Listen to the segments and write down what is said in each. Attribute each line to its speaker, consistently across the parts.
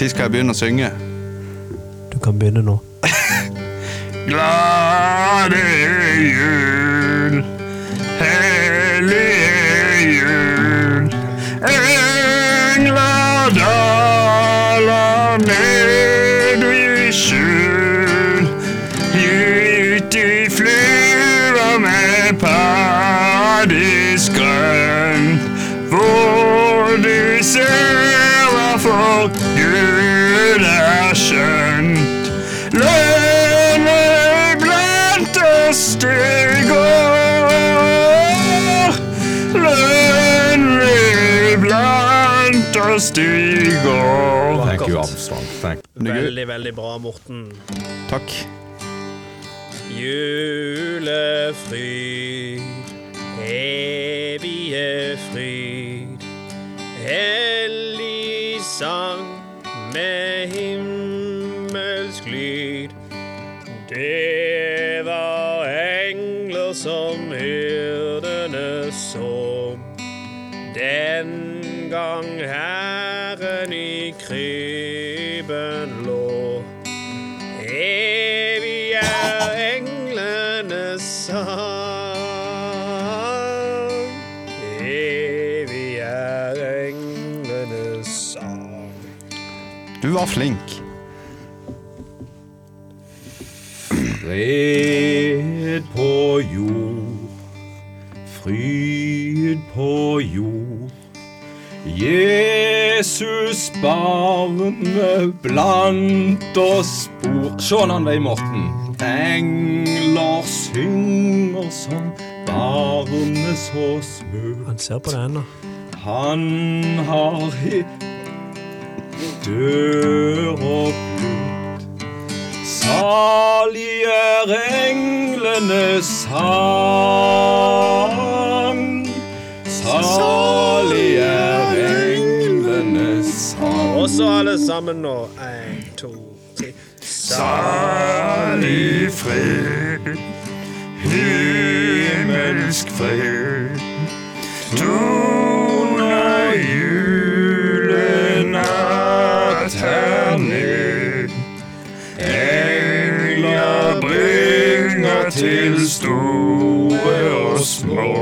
Speaker 1: Når skal jeg begynne å synge?
Speaker 2: Du kan begynne nå.
Speaker 1: Glade jul, hellige jul, engler daler ned i skjul. Ut i flyver med paradisgrønn, hvor du ser hva for Gud er skjønt. Lønner blant oss det går. Lønner blant oss det går.
Speaker 3: Thank you, Armstrong. Thank
Speaker 4: Veldig, veldig bra, Morten.
Speaker 1: Takk.
Speaker 4: Julefryd, evige fryd, hellig sang med himmelsk lyd. Det var engler som hyrdene så, den gang Herren i krybben lå. Evig er englenes sang. Evig er englenes sang.
Speaker 1: Du var flink.
Speaker 3: Fred på jord, fryd på jord. Jesus barne blant oss bor. Sjå han deg, Morten. Engler synger som barne så smurt.
Speaker 2: Han ser på det ennå.
Speaker 3: Han har hit dør og blut. Salig er englenes sang. Salig er englenes sang.
Speaker 4: Og så alle sammen nå. Én, to, tre.
Speaker 1: Salig fred, himmelsk fred. Toner julenatt her ned. Engler bringer til store og små.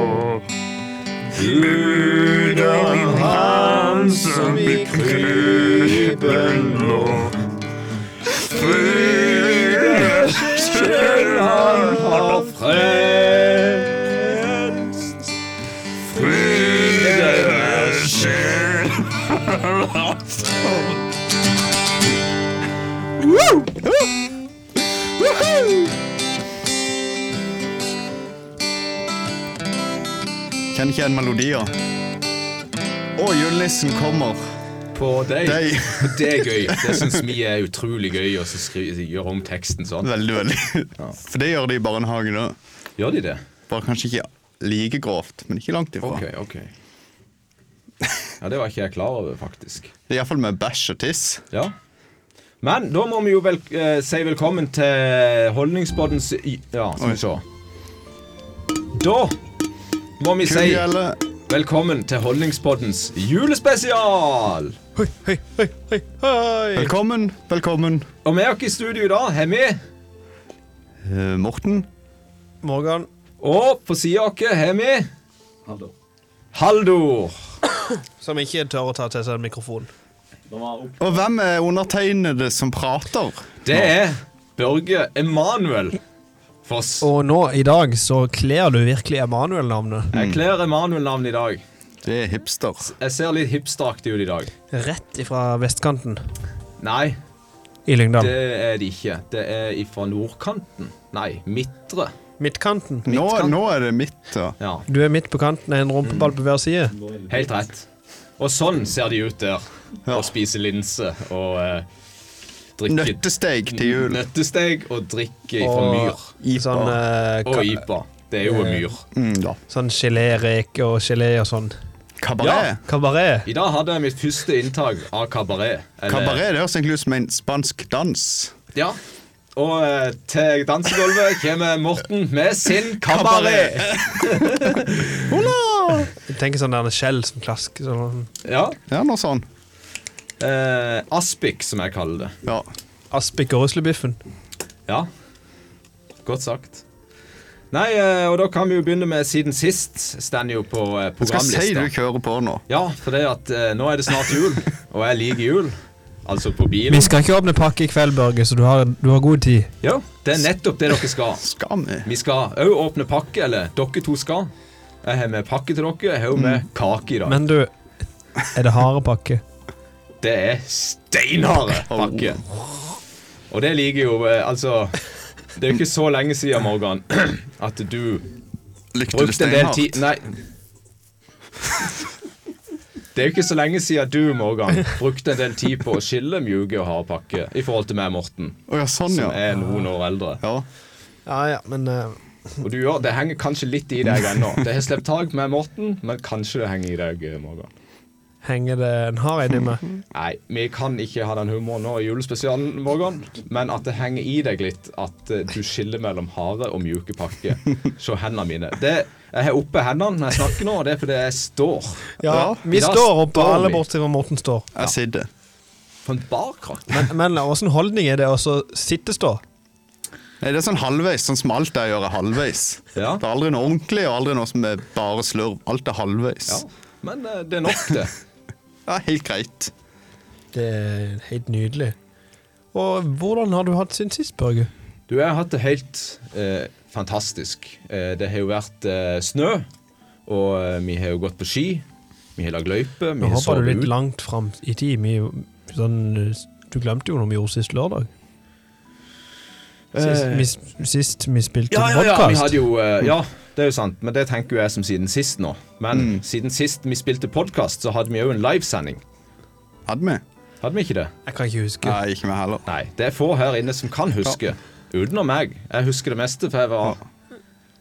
Speaker 1: Guderen han som i krypen lå. Fryd
Speaker 3: Han har frelst.
Speaker 1: er sjel. Kjenner ikke igjen melodier. Og julenissen kommer.
Speaker 3: På deg.
Speaker 1: Deg.
Speaker 3: Det er gøy. Det syns vi er utrolig gøy å så skri- gjøre om teksten sånn.
Speaker 1: Veldig, veldig. For det gjør de i barnehagen òg.
Speaker 3: Gjør de det?
Speaker 1: Bare kanskje ikke like grovt, men ikke langt ifra.
Speaker 3: Ok, ok. Ja, det var ikke jeg klar over, faktisk.
Speaker 1: Det er Iallfall med bæsj og tiss.
Speaker 3: Ja. Men da må vi jo vel, eh, si velkommen til Eh, Holdningspoddens i- Ja, skal
Speaker 1: Oi.
Speaker 3: vi se. Da må vi si
Speaker 1: Kuggjelder.
Speaker 3: velkommen til Holdningspoddens julespesial!
Speaker 2: Hoi, hei, hei, hei, hei.
Speaker 1: Velkommen, velkommen.
Speaker 3: Og med oss i studio i dag har vi
Speaker 1: Eh, Morten.
Speaker 4: Morgan.
Speaker 3: Og på sida av oss har vi Haldor.
Speaker 4: Som ikke tør å ta til seg en mikrofon.
Speaker 1: Og hvem er undertegnede som prater?
Speaker 3: Det er Børge Emanuel Foss.
Speaker 4: Og nå, i dag, så kler du virkelig Emanuel-navnet.
Speaker 3: Jeg kler Emanuel-navnet i dag.
Speaker 1: Det er hipster.
Speaker 3: Jeg ser litt hipsteraktig ut i dag.
Speaker 4: Rett ifra vestkanten
Speaker 3: Nei,
Speaker 4: i Lyngdal.
Speaker 3: Det er det ikke. Det er ifra nordkanten. Nei, midtre.
Speaker 4: Midtkanten.
Speaker 1: Nå,
Speaker 3: Midtkant.
Speaker 1: nå er det mitt, da.
Speaker 3: Ja,
Speaker 4: Du er midt på kanten av en rumpeball på hver side.
Speaker 3: helt rett. Og sånn ser de ut der. Og spiser linse og eh, drikker
Speaker 1: Nøttesteg til jul.
Speaker 3: Nøttesteg og drikker fra
Speaker 4: Og-
Speaker 3: myr.
Speaker 1: Ipa.
Speaker 4: Sånn, eh,
Speaker 3: Og
Speaker 4: ka-
Speaker 3: ipa. Det er jo en myr.
Speaker 1: Mm, da.
Speaker 4: sånn geléreker og gelé og sånn.
Speaker 1: Kabaret.
Speaker 4: Kabaret.
Speaker 3: I dag hadde jeg mitt første inntak av kabaret. Eller-
Speaker 1: Kabaret det høres egentlig ut som en spansk dans.
Speaker 3: Ja. Og eh, til dansegulvet kommer Morten med sin kabaret.
Speaker 4: Jeg tenker sånn der skjell som klasker. Sånn.
Speaker 3: Ja,
Speaker 1: Ja, noe sånn.
Speaker 3: Eh, aspik, som jeg kaller det.
Speaker 1: Ja.
Speaker 4: Aspik og ruslebiffen.
Speaker 3: Ja. Godt sagt. Nei, eh, og da kan vi jo begynne med siden sist. Stender jo på eh,
Speaker 1: Jeg skal si du
Speaker 3: programlista.
Speaker 1: kjører på nå.
Speaker 3: Ja, for det at eh, nå er det snart jul, og jeg liker jul. Altså på bilen.
Speaker 4: Vi skal ikke åpne pakke i kveld, Børge, så du har, du har god tid.
Speaker 3: Ja, det er nettopp det dere skal.
Speaker 1: Skal vi?
Speaker 3: Vi skal òg åpne pakke, eller dere to skal. Jeg har med pakke til dere, jeg har jo med kake i dag.
Speaker 4: Men du, er det harde pakke?
Speaker 3: Det er steinharde pakke. Og det liker jo eh, Altså, det er jo ikke så lenge siden, Morgan, at du
Speaker 1: Likte du
Speaker 3: brukte en del tid
Speaker 1: steinhardt?
Speaker 3: Nei. Det er jo ikke så lenge siden du, Morgan, brukte en del tid på å skille mjuke og harde pakke i forhold til meg, Morten,
Speaker 1: Å ja, sånn,
Speaker 3: som
Speaker 1: ja.
Speaker 3: er noen år eldre.
Speaker 1: ja.
Speaker 4: Ja, ja, men eh,
Speaker 3: Og du gjør, Det henger kanskje litt i deg ennå. Det har sluppet tak med Morten, men kanskje det henger i deg, eh, Morgan.
Speaker 4: henger det en hard en i meg?
Speaker 3: Nei, vi kan ikke ha den humoren nå i julespesialen, Morgan, men at det henger i deg litt at eh, du skiller mellom harde og mjuke pakker. Se hendene mine. Det, jeg har oppe hendene når jeg snakker nå, og det er fordi jeg står
Speaker 1: Ja,
Speaker 4: Ja, vi
Speaker 3: da
Speaker 4: står oppe,
Speaker 3: står
Speaker 4: alle
Speaker 3: vi.
Speaker 4: bortsett fra Morten står.
Speaker 1: Jeg sitter.
Speaker 3: på en barkrakk.
Speaker 4: Men, men åssen holdning er det å så sitte-stå?
Speaker 1: Nei, det er sånn halvveis, sånn som alt jeg gjør er halvveis.
Speaker 3: Ja.
Speaker 1: Det er aldri noe ordentlig, og aldri noe som er bare slurv. Alt er halvveis.
Speaker 3: Ja, men eh, det er nok, det.
Speaker 1: Det er helt greit.
Speaker 4: Det er helt nydelig. Og hvordan har du hatt siden sist, Børge?
Speaker 3: Du, jeg har hatt det helt eh, fantastisk. Eh, det har jo vært eh, snø, og eh, vi har jo gått på ski. Vi har lagd løype, vi
Speaker 4: Nå
Speaker 3: har
Speaker 4: hoppa du
Speaker 3: sovet
Speaker 4: litt
Speaker 3: ut.
Speaker 4: langt fram i tid. Vi, sånn, du glemte jo noe vi gjorde sist lørdag. Sist,
Speaker 3: Eh,
Speaker 4: vi, s- sist vi spilte
Speaker 3: Ja,
Speaker 4: ja,
Speaker 3: ja, ja, vi
Speaker 4: podkast.
Speaker 3: hadde jo eh,
Speaker 4: Mm.
Speaker 3: Ja, det er jo sant, men det tenker jo jeg som siden sist nå. Men siden sist vi spilte podkast, så hadde vi jo en livesending.
Speaker 1: Hadde vi?
Speaker 3: Hadde vi ikke det?
Speaker 4: Jeg kan ikke huske.
Speaker 1: Nei, ikke vi heller.
Speaker 3: Nei. Det er få her inne som kan huske. Utenom meg. Jeg husker det meste, for jeg var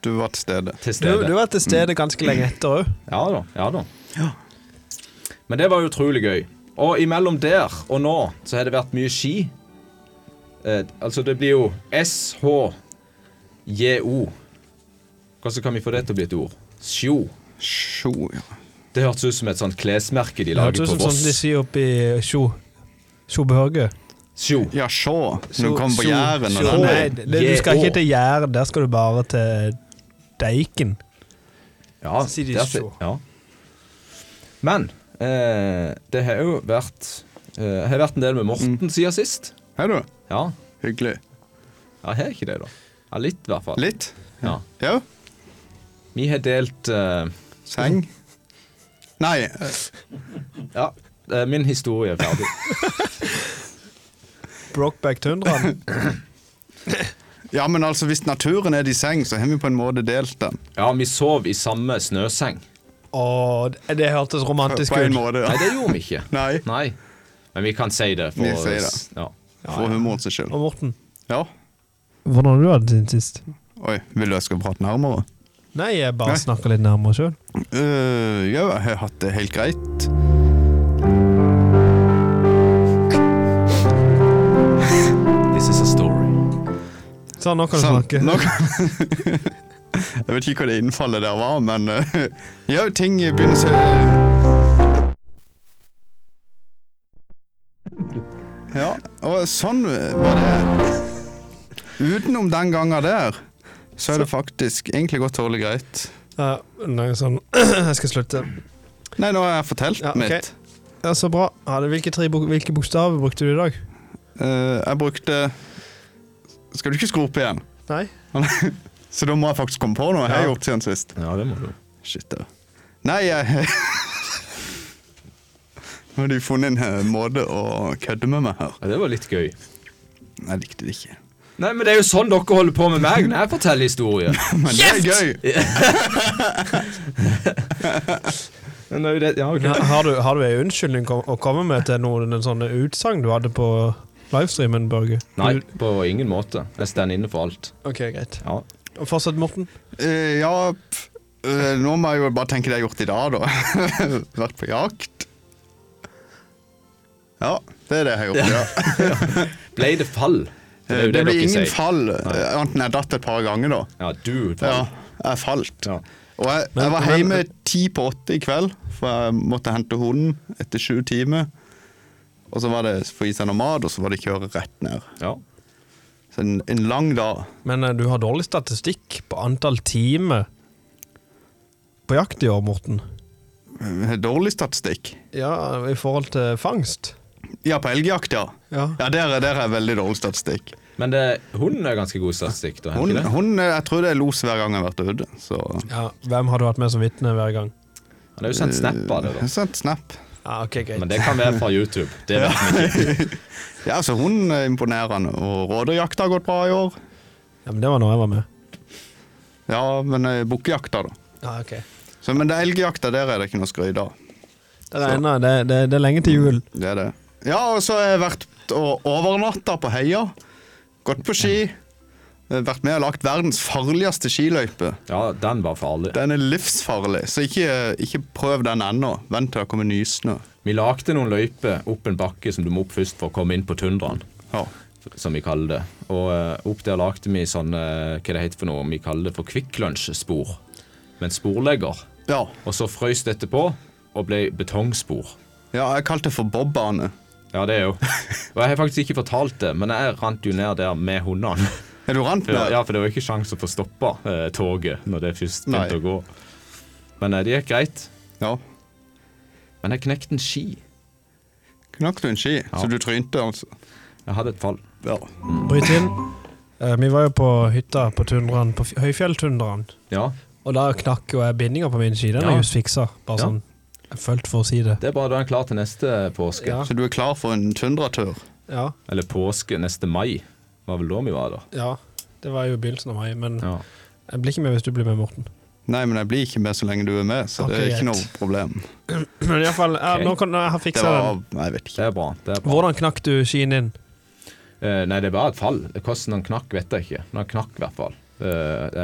Speaker 1: Du var til stede.
Speaker 4: Du,
Speaker 3: til stede.
Speaker 4: du var til stede ganske lenge etter òg.
Speaker 3: Ja da. ja da Men det var jo utrolig gøy. Og imellom der og nå så har det vært mye ski. Eh, altså, det blir jo SHJO. Hvordan kan vi få det til å bli et ord? Sjo.
Speaker 1: Sjo, ja.
Speaker 3: Det hørtes ut som et sånt klesmerke de
Speaker 4: Det
Speaker 3: lager
Speaker 4: hørtes ut
Speaker 3: på
Speaker 4: som sånn de
Speaker 3: Voss.
Speaker 4: sier oppe i Sjo. Sjobehøge.
Speaker 3: Sjo.
Speaker 1: Ja, sjå. Når du kommer på Jæren og
Speaker 3: sjå.
Speaker 1: den
Speaker 4: Nei,
Speaker 1: er
Speaker 4: det, du skal
Speaker 3: J-å.
Speaker 4: ikke til Jæren, der skal du bare til Deiken.
Speaker 3: Ja,
Speaker 4: Så sier de
Speaker 3: der-
Speaker 4: sjo.
Speaker 3: Ja. Men eh, det har jo vært eh, Har vært en del med Morten
Speaker 4: Mm.
Speaker 3: siden sist.
Speaker 1: Hei, du.
Speaker 3: Ja.
Speaker 1: Hyggelig.
Speaker 3: ja, har ikke det, da. Ja, litt, i hvert fall.
Speaker 1: Litt?
Speaker 3: Ja.
Speaker 1: Ja.
Speaker 3: Vi har delt eh,
Speaker 1: Seng? Nei. eh,
Speaker 3: Ja, eh, min historie er ferdig.
Speaker 4: Brokeback Tundraen.
Speaker 1: Ja, men altså, hvis naturen er i seng, så har vi på en måte delt den.
Speaker 3: Ja, vi sov i samme snøseng.
Speaker 4: Åh, det- det hørtes romantisk
Speaker 1: På en
Speaker 4: ut.
Speaker 1: måte, ja.
Speaker 3: Nei, det gjorde vi ikke.
Speaker 1: Nei.
Speaker 3: Nei. Men vi kan si det. For,
Speaker 1: Vi sier det.
Speaker 3: Ja.
Speaker 1: For humoren sin skyld.
Speaker 4: Og Morten,
Speaker 1: Ja.
Speaker 4: hvordan har du hatt det siden sist?
Speaker 1: Oi, vil du jeg skal prate nærmere?
Speaker 4: Nei, jeg bare
Speaker 1: Nei.
Speaker 4: snakker litt nærmere sjøl.
Speaker 1: Øh, ja, jeg har hatt det helt greit.
Speaker 3: This is a story.
Speaker 4: Sånn, nå kan du
Speaker 1: Sånn,
Speaker 4: snakke.
Speaker 1: nå kan- jeg vet ikke hva det innfallet der var, men øh, ja, ting begynner å se Ja, og sånn var det. Utenom den gangen der, så er det faktisk egentlig gått tålelig greit.
Speaker 4: Ja, nei, sånn. Jeg skal slutte.
Speaker 1: Nei, nå har jeg fortalt
Speaker 4: Ja, ok.
Speaker 1: mitt.
Speaker 4: Ja, så bra. Ja, det, hvilke, tre, bok- hvilke bokstaver brukte du i dag?
Speaker 1: Øh, jeg brukte Skal du ikke skru opp igjen?
Speaker 4: Nei?
Speaker 1: Så da må jeg faktisk komme på noe. Jeg har
Speaker 4: Ja.
Speaker 1: gjort siden sist.
Speaker 3: Ja, det må du.
Speaker 1: Shit, da. Nei, jeg Nå har de funnet en eh, måte å kødde med meg her.
Speaker 3: Ja, det var litt gøy.
Speaker 1: Jeg likte det ikke.
Speaker 3: Nei, men det er jo sånn dere holder på med meg når jeg forteller historier.
Speaker 1: Men det er gøy!
Speaker 3: Men det er jo det, ja, ok.
Speaker 4: Ja, Har du, har du ei unnskyldning kom, å komme med til noen en sånn utsagn du hadde på livestreamen, Børge?
Speaker 3: Nei,
Speaker 4: Du-
Speaker 3: på ingen måte. Jeg står inne for alt.
Speaker 4: Ok, greit.
Speaker 3: Ja.
Speaker 4: Og Fortsett, Morten.
Speaker 1: Eh, ja pff, eh, Nå må jeg jo bare tenke det jeg har gjort i dag, da. Vært på jakt. Ja, det er det jeg har gjort i dag.
Speaker 3: Ble det fall? For
Speaker 1: Eh, Det
Speaker 3: dere
Speaker 1: ble ingen
Speaker 3: sier.
Speaker 1: fall, eh, annet enn jeg datt et par ganger, da.
Speaker 3: Ja, du
Speaker 1: Ja,
Speaker 3: fall.
Speaker 1: jeg falt.
Speaker 3: Ja.
Speaker 1: Og jeg,
Speaker 4: Men-
Speaker 1: jeg var
Speaker 4: men-
Speaker 1: hjemme ti på åtte i kveld, for jeg måtte hente hunden etter sju timer. Og så var det for i seg noe mat, og så var det kjøre rett ned.
Speaker 3: Ja.
Speaker 1: Så en, en lang dag.
Speaker 4: Men eh, du har dårlig statistikk på antall timer på jakt i år, Morten.
Speaker 1: Eh, Dårlig statistikk.
Speaker 4: Ja, i forhold til fangst.
Speaker 1: Ja, på elgjakt, ja.
Speaker 4: Ja.
Speaker 1: Ja, der, er- der er veldig dårlig statistikk.
Speaker 3: Men det, hunden er ganske god statistikk. Da,
Speaker 1: Hun,
Speaker 3: hun, det?
Speaker 1: hun, eh, jeg tror det er los hver gang jeg har vært ute. Så
Speaker 4: ja. Hvem har du hatt med som vitne hver gang?
Speaker 3: Han er jo sendt snap av det,
Speaker 1: Jeg
Speaker 3: da.
Speaker 1: har sendt snap.
Speaker 4: Ja, ok, greit.
Speaker 3: Men det kan være fra YouTube. Det vet vi ikke.
Speaker 1: Ja, så hun er imponerende. Og rådyrjakta har gått bra i år.
Speaker 4: Ja, men det var når jeg var med.
Speaker 1: Ja, men eh, bukkejakta, da.
Speaker 4: Ja, ok.
Speaker 1: Så, men det er elgjakta, der er det ikke noe å skryte av.
Speaker 4: Det regner, det, det, det er lenge til jul.
Speaker 1: Det er det. Ja, og så har jeg vært og overnatta på heia. Gått på ski. eh, Vært med og lagt verdens farligste skiløype.
Speaker 3: Ja, den var farlig.
Speaker 1: Den er livsfarlig, så ikke, ikke prøv den ennå. Vent til det kommer nysnø.
Speaker 3: Vi lagde noen løyper opp en bakke som du må opp først for å komme inn på tundraen.
Speaker 1: Ja.
Speaker 3: Som vi kaller det. Og eh, opp der lagde vi sånn eh, Hva det heter for noe? Vi kaller det for kvikklunsjspor. Med en sporlegger.
Speaker 1: ja.
Speaker 3: Og så frøys dette på og ble betongspor.
Speaker 1: Ja, jeg kalte det for bobbane.
Speaker 3: Ja, det er jo. Og jeg har faktisk ikke fortalt det, men jeg rant jo ned der med hundene.
Speaker 1: Er du rant
Speaker 3: For,
Speaker 1: med?
Speaker 3: ja, for det var jo ikke sjans å få stoppa eh, toget når det først begynte
Speaker 1: Nei.
Speaker 3: å gå. Men eh, det gikk greit.
Speaker 1: Ja.
Speaker 3: Men jeg knekte en ski.
Speaker 1: Knakk du en ski, så du trynte, altså?
Speaker 3: Jeg hadde et fall.
Speaker 1: Ja.
Speaker 4: Bryt inn. Eh, Vi var jo på hytta på tundraen, på fj- høyfjelltundraen.
Speaker 3: Ja,
Speaker 4: Og da knakk jo jeg bindinga på min ski. Den har
Speaker 3: Ja.
Speaker 4: jeg just fiksa. Bare
Speaker 3: Ja.
Speaker 4: sånn. Jeg følte for å si det.
Speaker 3: det er bare da er en klar til neste påske.
Speaker 4: Ja.
Speaker 1: Så du er klar for en tundratur?
Speaker 4: Ja.
Speaker 3: Eller påske neste mai. Var vel da vi var der.
Speaker 4: ja. Det var jo begynnelsen av meg, men
Speaker 3: Ja.
Speaker 4: jeg blir ikke med hvis du blir med, Morten.
Speaker 1: Nei, men jeg blir ikke med så lenge du er med, så det
Speaker 4: Ok,
Speaker 1: er ikke
Speaker 4: greit.
Speaker 1: noe problem.
Speaker 4: Men i alle fall, ja,
Speaker 3: Ok.
Speaker 4: nå kan jeg har
Speaker 1: Det
Speaker 4: fiksa den.
Speaker 1: var Nei, Jeg vet ikke.
Speaker 3: Det er bra. det er bra.
Speaker 4: Hvordan knakk du skien din?
Speaker 3: Eh, nei, det er bare et fall. Hvordan han knakk, vet jeg ikke. Men han knakk i hvert fall. Eh,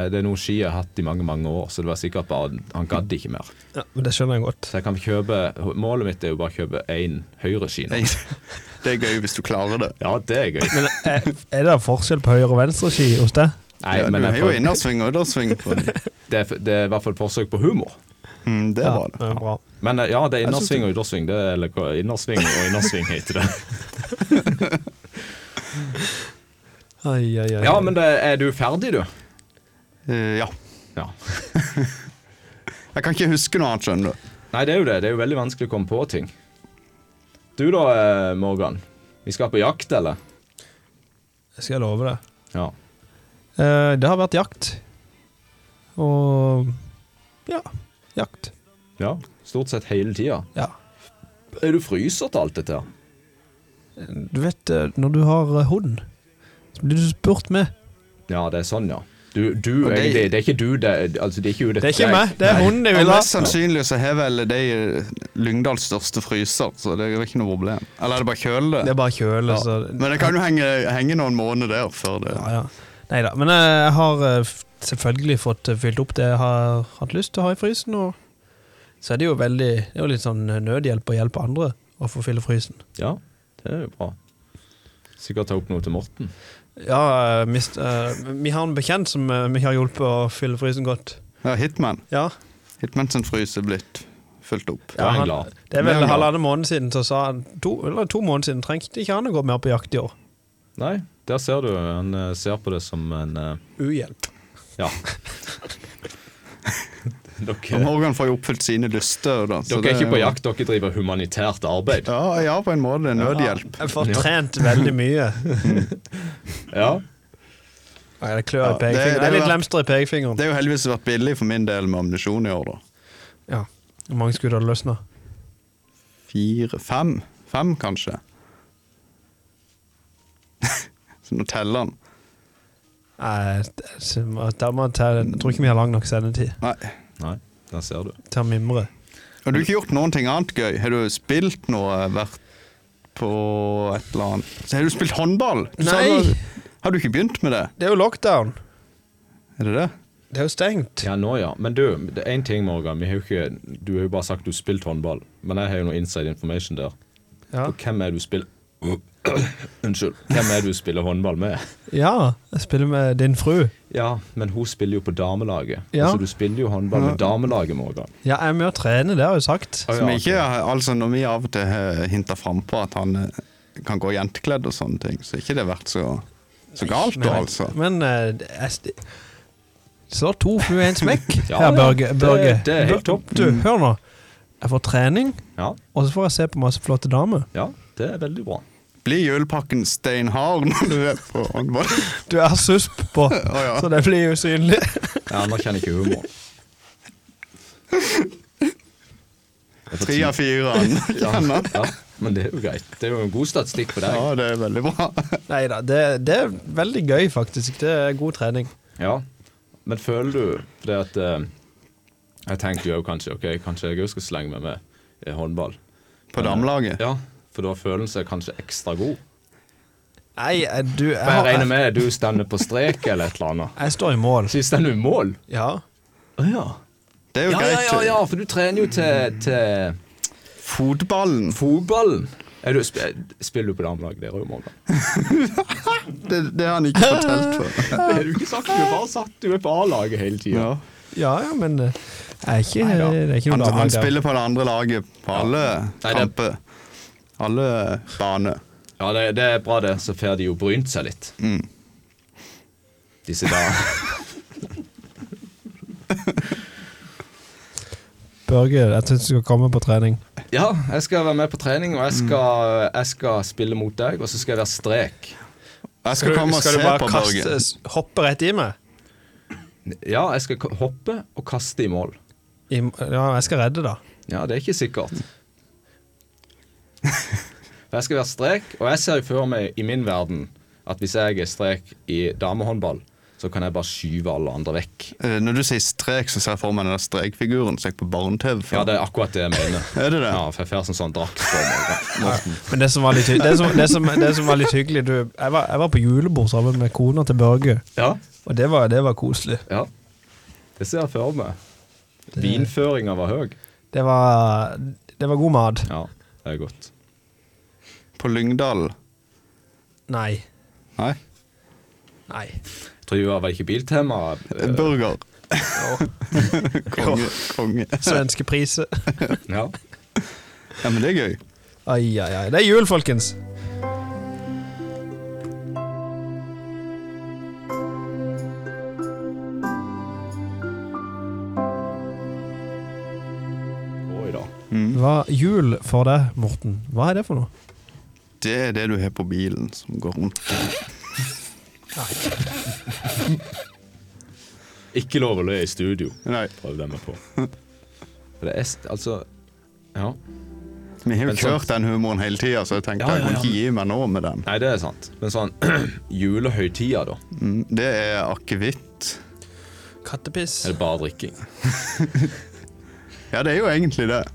Speaker 3: det er noe ski jeg har hatt i mange mange år, så det var sikkert bare han gadd ikke mer.
Speaker 4: Ja, men Det skjønner jeg godt.
Speaker 3: Så jeg kan kjøpe Målet mitt er jo bare å kjøpe én høyreski nå.
Speaker 1: Nei, Det er gøy hvis du klarer det.
Speaker 3: Ja, det er gøy.
Speaker 4: Men er, er det forskjell på høyre- og venstreski hos deg?
Speaker 3: Nei,
Speaker 1: ja,
Speaker 3: men
Speaker 1: du har
Speaker 3: jeg
Speaker 1: jo
Speaker 3: prøv,
Speaker 1: innersving og undersving på den.
Speaker 3: det, er, det er i hvert fall et forsøk på humor.
Speaker 1: Mm, det var det.
Speaker 4: Ja, bra.
Speaker 3: Men eh, ja, det er
Speaker 1: Jeg synes
Speaker 3: innersving og yttersving. Det er, eller hva- innersving og innersving heter det.
Speaker 4: Ai, ai, ai.
Speaker 3: Ja, men det, er du ferdig, du?
Speaker 1: Eh, ja.
Speaker 3: Ja.
Speaker 1: Jeg kan ikke huske noe annet, skjønner du.
Speaker 3: Nei, det er jo det. Det er jo veldig vanskelig å komme på ting. Du da, eh, Morgan. Vi skal på jakt, eller?
Speaker 4: Jeg skal love det.
Speaker 3: Ja.
Speaker 4: Eh, det har vært jakt. Og ja. Jakt.
Speaker 3: ja. Stort sett hele tida.
Speaker 4: Ja.
Speaker 3: Er du fryser til alt dette? her?
Speaker 4: Du vet, eh, når du har eh, hund, så blir du spurt med.
Speaker 3: Ja, det er sånn, ja. Du, du
Speaker 1: Og det-
Speaker 3: egentlig, det er ikke du, det, altså, det er ikke jo dette
Speaker 4: Det er ikke
Speaker 3: deg.
Speaker 4: meg, det er hunden jeg
Speaker 1: Og
Speaker 4: vil ha.
Speaker 1: mest sannsynlig så har vel de Lyngdals største fryser, så det er ikke noe problem. Eller er det bare kjøle?
Speaker 4: Det er bare kjøle,
Speaker 1: Ja.
Speaker 4: så
Speaker 1: Men det kan jo henge, henge noen måneder der før det
Speaker 4: Ja, ja. Nei da. Men eh, jeg har eh, f- selvfølgelig fått eh, fylt opp det jeg har hatt lyst til å ha i frysen. Og så er det jo veldig Det er jo litt sånn eh, nødhjelp å hjelpe andre å få fylle frysen.
Speaker 3: Ja, det er jo bra. Sikkert ta opp noe til Morten.
Speaker 4: Ja, eh, mist, eh, vi har en bekjent som eh, vi har hjulpet å fylle frysen godt.
Speaker 1: Ja, Hitman.
Speaker 4: Ja,
Speaker 1: Hitman sin fryse er blitt fylt opp.
Speaker 3: Da er han
Speaker 4: han-
Speaker 3: glad.
Speaker 4: Det er vel
Speaker 1: Men, ja.
Speaker 4: halvannen måned siden, så sa han to, eller to måneder siden trengte ikke han å gå mer på jakt i år.
Speaker 3: Nei, der ser du. Han eh, ser på det som en eh,
Speaker 4: Uhjelp.
Speaker 3: Ja.
Speaker 1: Og
Speaker 3: dere,
Speaker 1: Morgan får jo oppfylt sine lyster. Da, så
Speaker 3: dere er
Speaker 1: det
Speaker 3: ikke
Speaker 1: jo-
Speaker 3: på jakt, dere driver humanitært arbeid.
Speaker 1: Ja, ja, på en måte. Nødhjelp.
Speaker 4: Jeg får trent veldig mye.
Speaker 3: Ja.
Speaker 4: Nei, det klør
Speaker 1: Ja,
Speaker 4: i
Speaker 1: det- det
Speaker 4: pekefingeren. Det
Speaker 1: er
Speaker 4: er
Speaker 1: jo-
Speaker 4: litt lemster i pekefingeren.
Speaker 1: Det er jo heldigvis vært billig for min del med ammunisjon i år, da.
Speaker 4: Ja. Hvor mange skudd har det løsna?
Speaker 1: Fire, fem. Fem, kanskje. Så nå teller han.
Speaker 4: Nei, det- så må- da må jeg ta- jeg tror ikke vi har lang nok sendetid
Speaker 1: Nei.
Speaker 3: Nei, der ser du.
Speaker 4: til å mimre.
Speaker 1: Har du ikke gjort noen ting annet gøy? Har du spilt noe? Vært på et eller annet Så Har du spilt håndball? Du sa
Speaker 4: Nei.
Speaker 1: du- Har du ikke begynt med det?
Speaker 4: Det er jo lockdown.
Speaker 1: Er det det?
Speaker 4: Det er jo stengt.
Speaker 3: Ja, nå ja. Men du, det er én ting, Morgan. Vi har jo ikke, du har jo bare sagt du har spilt håndball. Men jeg har jo noe inside information der.
Speaker 4: Ja.
Speaker 3: Og hvem er det du spiller Unnskyld. Hvem er det du spiller håndball med?
Speaker 4: Ja, jeg spiller med din fru.
Speaker 3: Ja, men hun spiller jo på damelaget.
Speaker 4: Ja.
Speaker 3: Så du spiller jo håndball med damelaget, Morgan.
Speaker 4: Ja, jeg er med og trener, det har jeg jo sagt.
Speaker 3: Å, ja,
Speaker 1: Som ikke,
Speaker 3: ok.
Speaker 1: altså Når vi av og til eh, hinter frampå at han eh, kan gå jentekledd og sånne ting, så har ikke det vært så, så galt, da, altså.
Speaker 4: Men eh, jeg sti- slår to fluer i en smekk
Speaker 3: Ja,
Speaker 4: her,
Speaker 3: ja.
Speaker 4: Børge.
Speaker 3: Det-
Speaker 4: Børge.
Speaker 3: det er helt
Speaker 4: Bør-
Speaker 3: topp.
Speaker 4: Du, hør nå. Jeg får trening,
Speaker 3: Ja,
Speaker 4: og så får jeg se på masse flotte damer.
Speaker 3: ja, det er veldig bra.
Speaker 1: Blir julepakken steinhard når du er på håndball?
Speaker 4: Du er susp på,
Speaker 1: Å, ja.
Speaker 4: så det blir usynlig.
Speaker 3: Jeg anerkjenner ikke humor. Det er på
Speaker 1: Tre
Speaker 3: tide.
Speaker 1: av fire. han
Speaker 3: ja,
Speaker 1: kjenner.
Speaker 3: ja, men det er jo greit. Det er jo en god statistikk på deg.
Speaker 1: Ja, det er veldig bra.
Speaker 4: Nei da, det, det er veldig gøy, faktisk. Det er god trening.
Speaker 3: Ja, men føler du Fordi at eh, Jeg tenkte jo kanskje Ok, kanskje jeg også skal slenge meg med eh, håndball
Speaker 1: På damelaget?
Speaker 3: Ja, for da er følelsen kanskje ekstra god
Speaker 4: Nei, jeg- du jeg,
Speaker 3: For jeg
Speaker 4: har-
Speaker 3: regner med du stender på strek eller et eller annet
Speaker 4: jeg står i mål.
Speaker 3: Så stender du i mål
Speaker 4: Ja.
Speaker 3: Åja
Speaker 1: Det er jo
Speaker 3: ja, ja,
Speaker 1: greit.
Speaker 3: ja, ja, for du trener jo til, til
Speaker 1: Fotballen,
Speaker 3: fotballen er du, sp Spiller du på damelaget der, Morgan?
Speaker 1: det, det har han ikke fortalt for.
Speaker 3: Det har du ikke sagt, du har bare satt du er på A-laget hele tiden
Speaker 1: Ja.
Speaker 4: Ja, ja, men eh, jeg er ikke,
Speaker 3: Neida.
Speaker 4: det er ikke noe
Speaker 1: Han,
Speaker 4: damelag
Speaker 1: han
Speaker 4: der.
Speaker 1: spiller på det andre laget på alle
Speaker 3: Nei, det-
Speaker 1: kamper. Alle baner.
Speaker 3: Ja, det, det er bra det, så får de jo brynt seg litt.
Speaker 1: Mm.
Speaker 3: Disse der.
Speaker 4: Børge, jeg syns du skal komme på trening.
Speaker 3: Ja, jeg skal være med på trening, og jeg
Speaker 1: Mm.
Speaker 3: skal, jeg skal spille mot deg, og så skal jeg være strek.
Speaker 1: Jeg skal, komme og se på Børge.
Speaker 4: hoppe rett i meg?
Speaker 3: Ja, jeg skal k- hoppe og kaste i mål.
Speaker 4: I, ja, jeg skal redde, da.
Speaker 3: Ja, det er ikke sikkert. For jeg skal være strek, og jeg ser jo for meg i min verden at hvis jeg er strek i damehåndball, så kan jeg bare skyve alle andre vekk.
Speaker 1: Eh, Når du sier strek, så ser jeg for meg den der strekfiguren som gikk på barne-TV. før.
Speaker 3: Ja, det er akkurat det jeg mener.
Speaker 1: Er det det?
Speaker 3: Ja, for jeg får sånn, sånn drakt på meg. Morten.
Speaker 4: Men det som var litt, hy- det som, det som, det som var litt hyggelig du, jeg, var, jeg var på julebord sammen med kona til Børge,
Speaker 3: Ja.
Speaker 4: og det var, det var koselig.
Speaker 3: Ja, det ser jeg for meg. Vinføringa var høy.
Speaker 4: Det var, det var god mat.
Speaker 3: Ja, det er godt.
Speaker 1: På Lyngdal.
Speaker 4: Nei.
Speaker 1: Nei.
Speaker 4: Nei.
Speaker 3: Trua var ikke biltema. eh,
Speaker 1: Burger. Konge. Konge.
Speaker 4: Svenske priser.
Speaker 3: Ja.
Speaker 1: Ja, men det er gøy.
Speaker 4: Ai, ai, ai. Det er jul, folkens.
Speaker 3: Oi da.
Speaker 4: Hva jul for deg, Morten? Hva er det for noe?
Speaker 1: Det er det du har på bilen som går rundt.
Speaker 3: Ikke lov å le i studio.
Speaker 1: Nei,
Speaker 3: Prøv det meg på. For det er s- altså Ja.
Speaker 1: Vi har jo
Speaker 3: Men sånn-
Speaker 1: kjørt den humoren hele tida, så jeg tenkte
Speaker 3: Ja, ja,
Speaker 1: jeg kunne
Speaker 3: ja.
Speaker 1: ikke gi meg nå med den.
Speaker 3: Nei, det er sant. Men sånn julehøytida, da.
Speaker 1: Mm, Det er akevitt.
Speaker 4: Kattepiss.
Speaker 3: Er det bare drikking?
Speaker 1: Ja, det er jo egentlig det.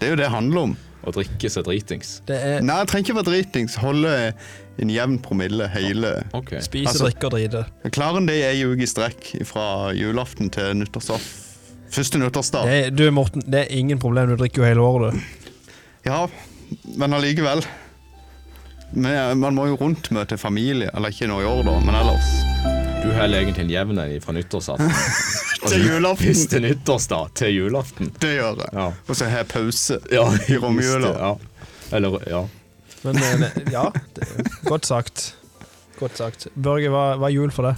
Speaker 1: Det er jo det det handler om.
Speaker 3: Å drikke seg dritings?
Speaker 4: Det er
Speaker 1: Nei, jeg trenger ikke være dritings. Holde en jevn promille hele
Speaker 3: OK.
Speaker 4: spise,
Speaker 1: Altså-
Speaker 4: drikke og drite.
Speaker 1: Klarer en det i ei uke i strekk fra julaften til nyttårsdag? Første nyttårsdag.
Speaker 4: Det er, du, Morten, det er ingen problem. Du drikker jo hele året, du.
Speaker 1: Ja, men allikevel. Men Man må jo rundt møte familie, eller ikke nå i år, da, men ellers.
Speaker 3: Du heller egentlig en jevn en fra nyttårsaften. Og
Speaker 1: Til
Speaker 3: du-
Speaker 1: julaften.
Speaker 3: Hvis til nyttårsdag. Til julaften.
Speaker 1: Det gjør jeg.
Speaker 3: Ja.
Speaker 1: Og så har jeg pause
Speaker 3: Ja,
Speaker 1: i romjula.
Speaker 3: Ja. Eller Ja.
Speaker 4: Men eh, det- ja, det, godt sagt. Godt sagt. Børge, hva, hva er jul for deg?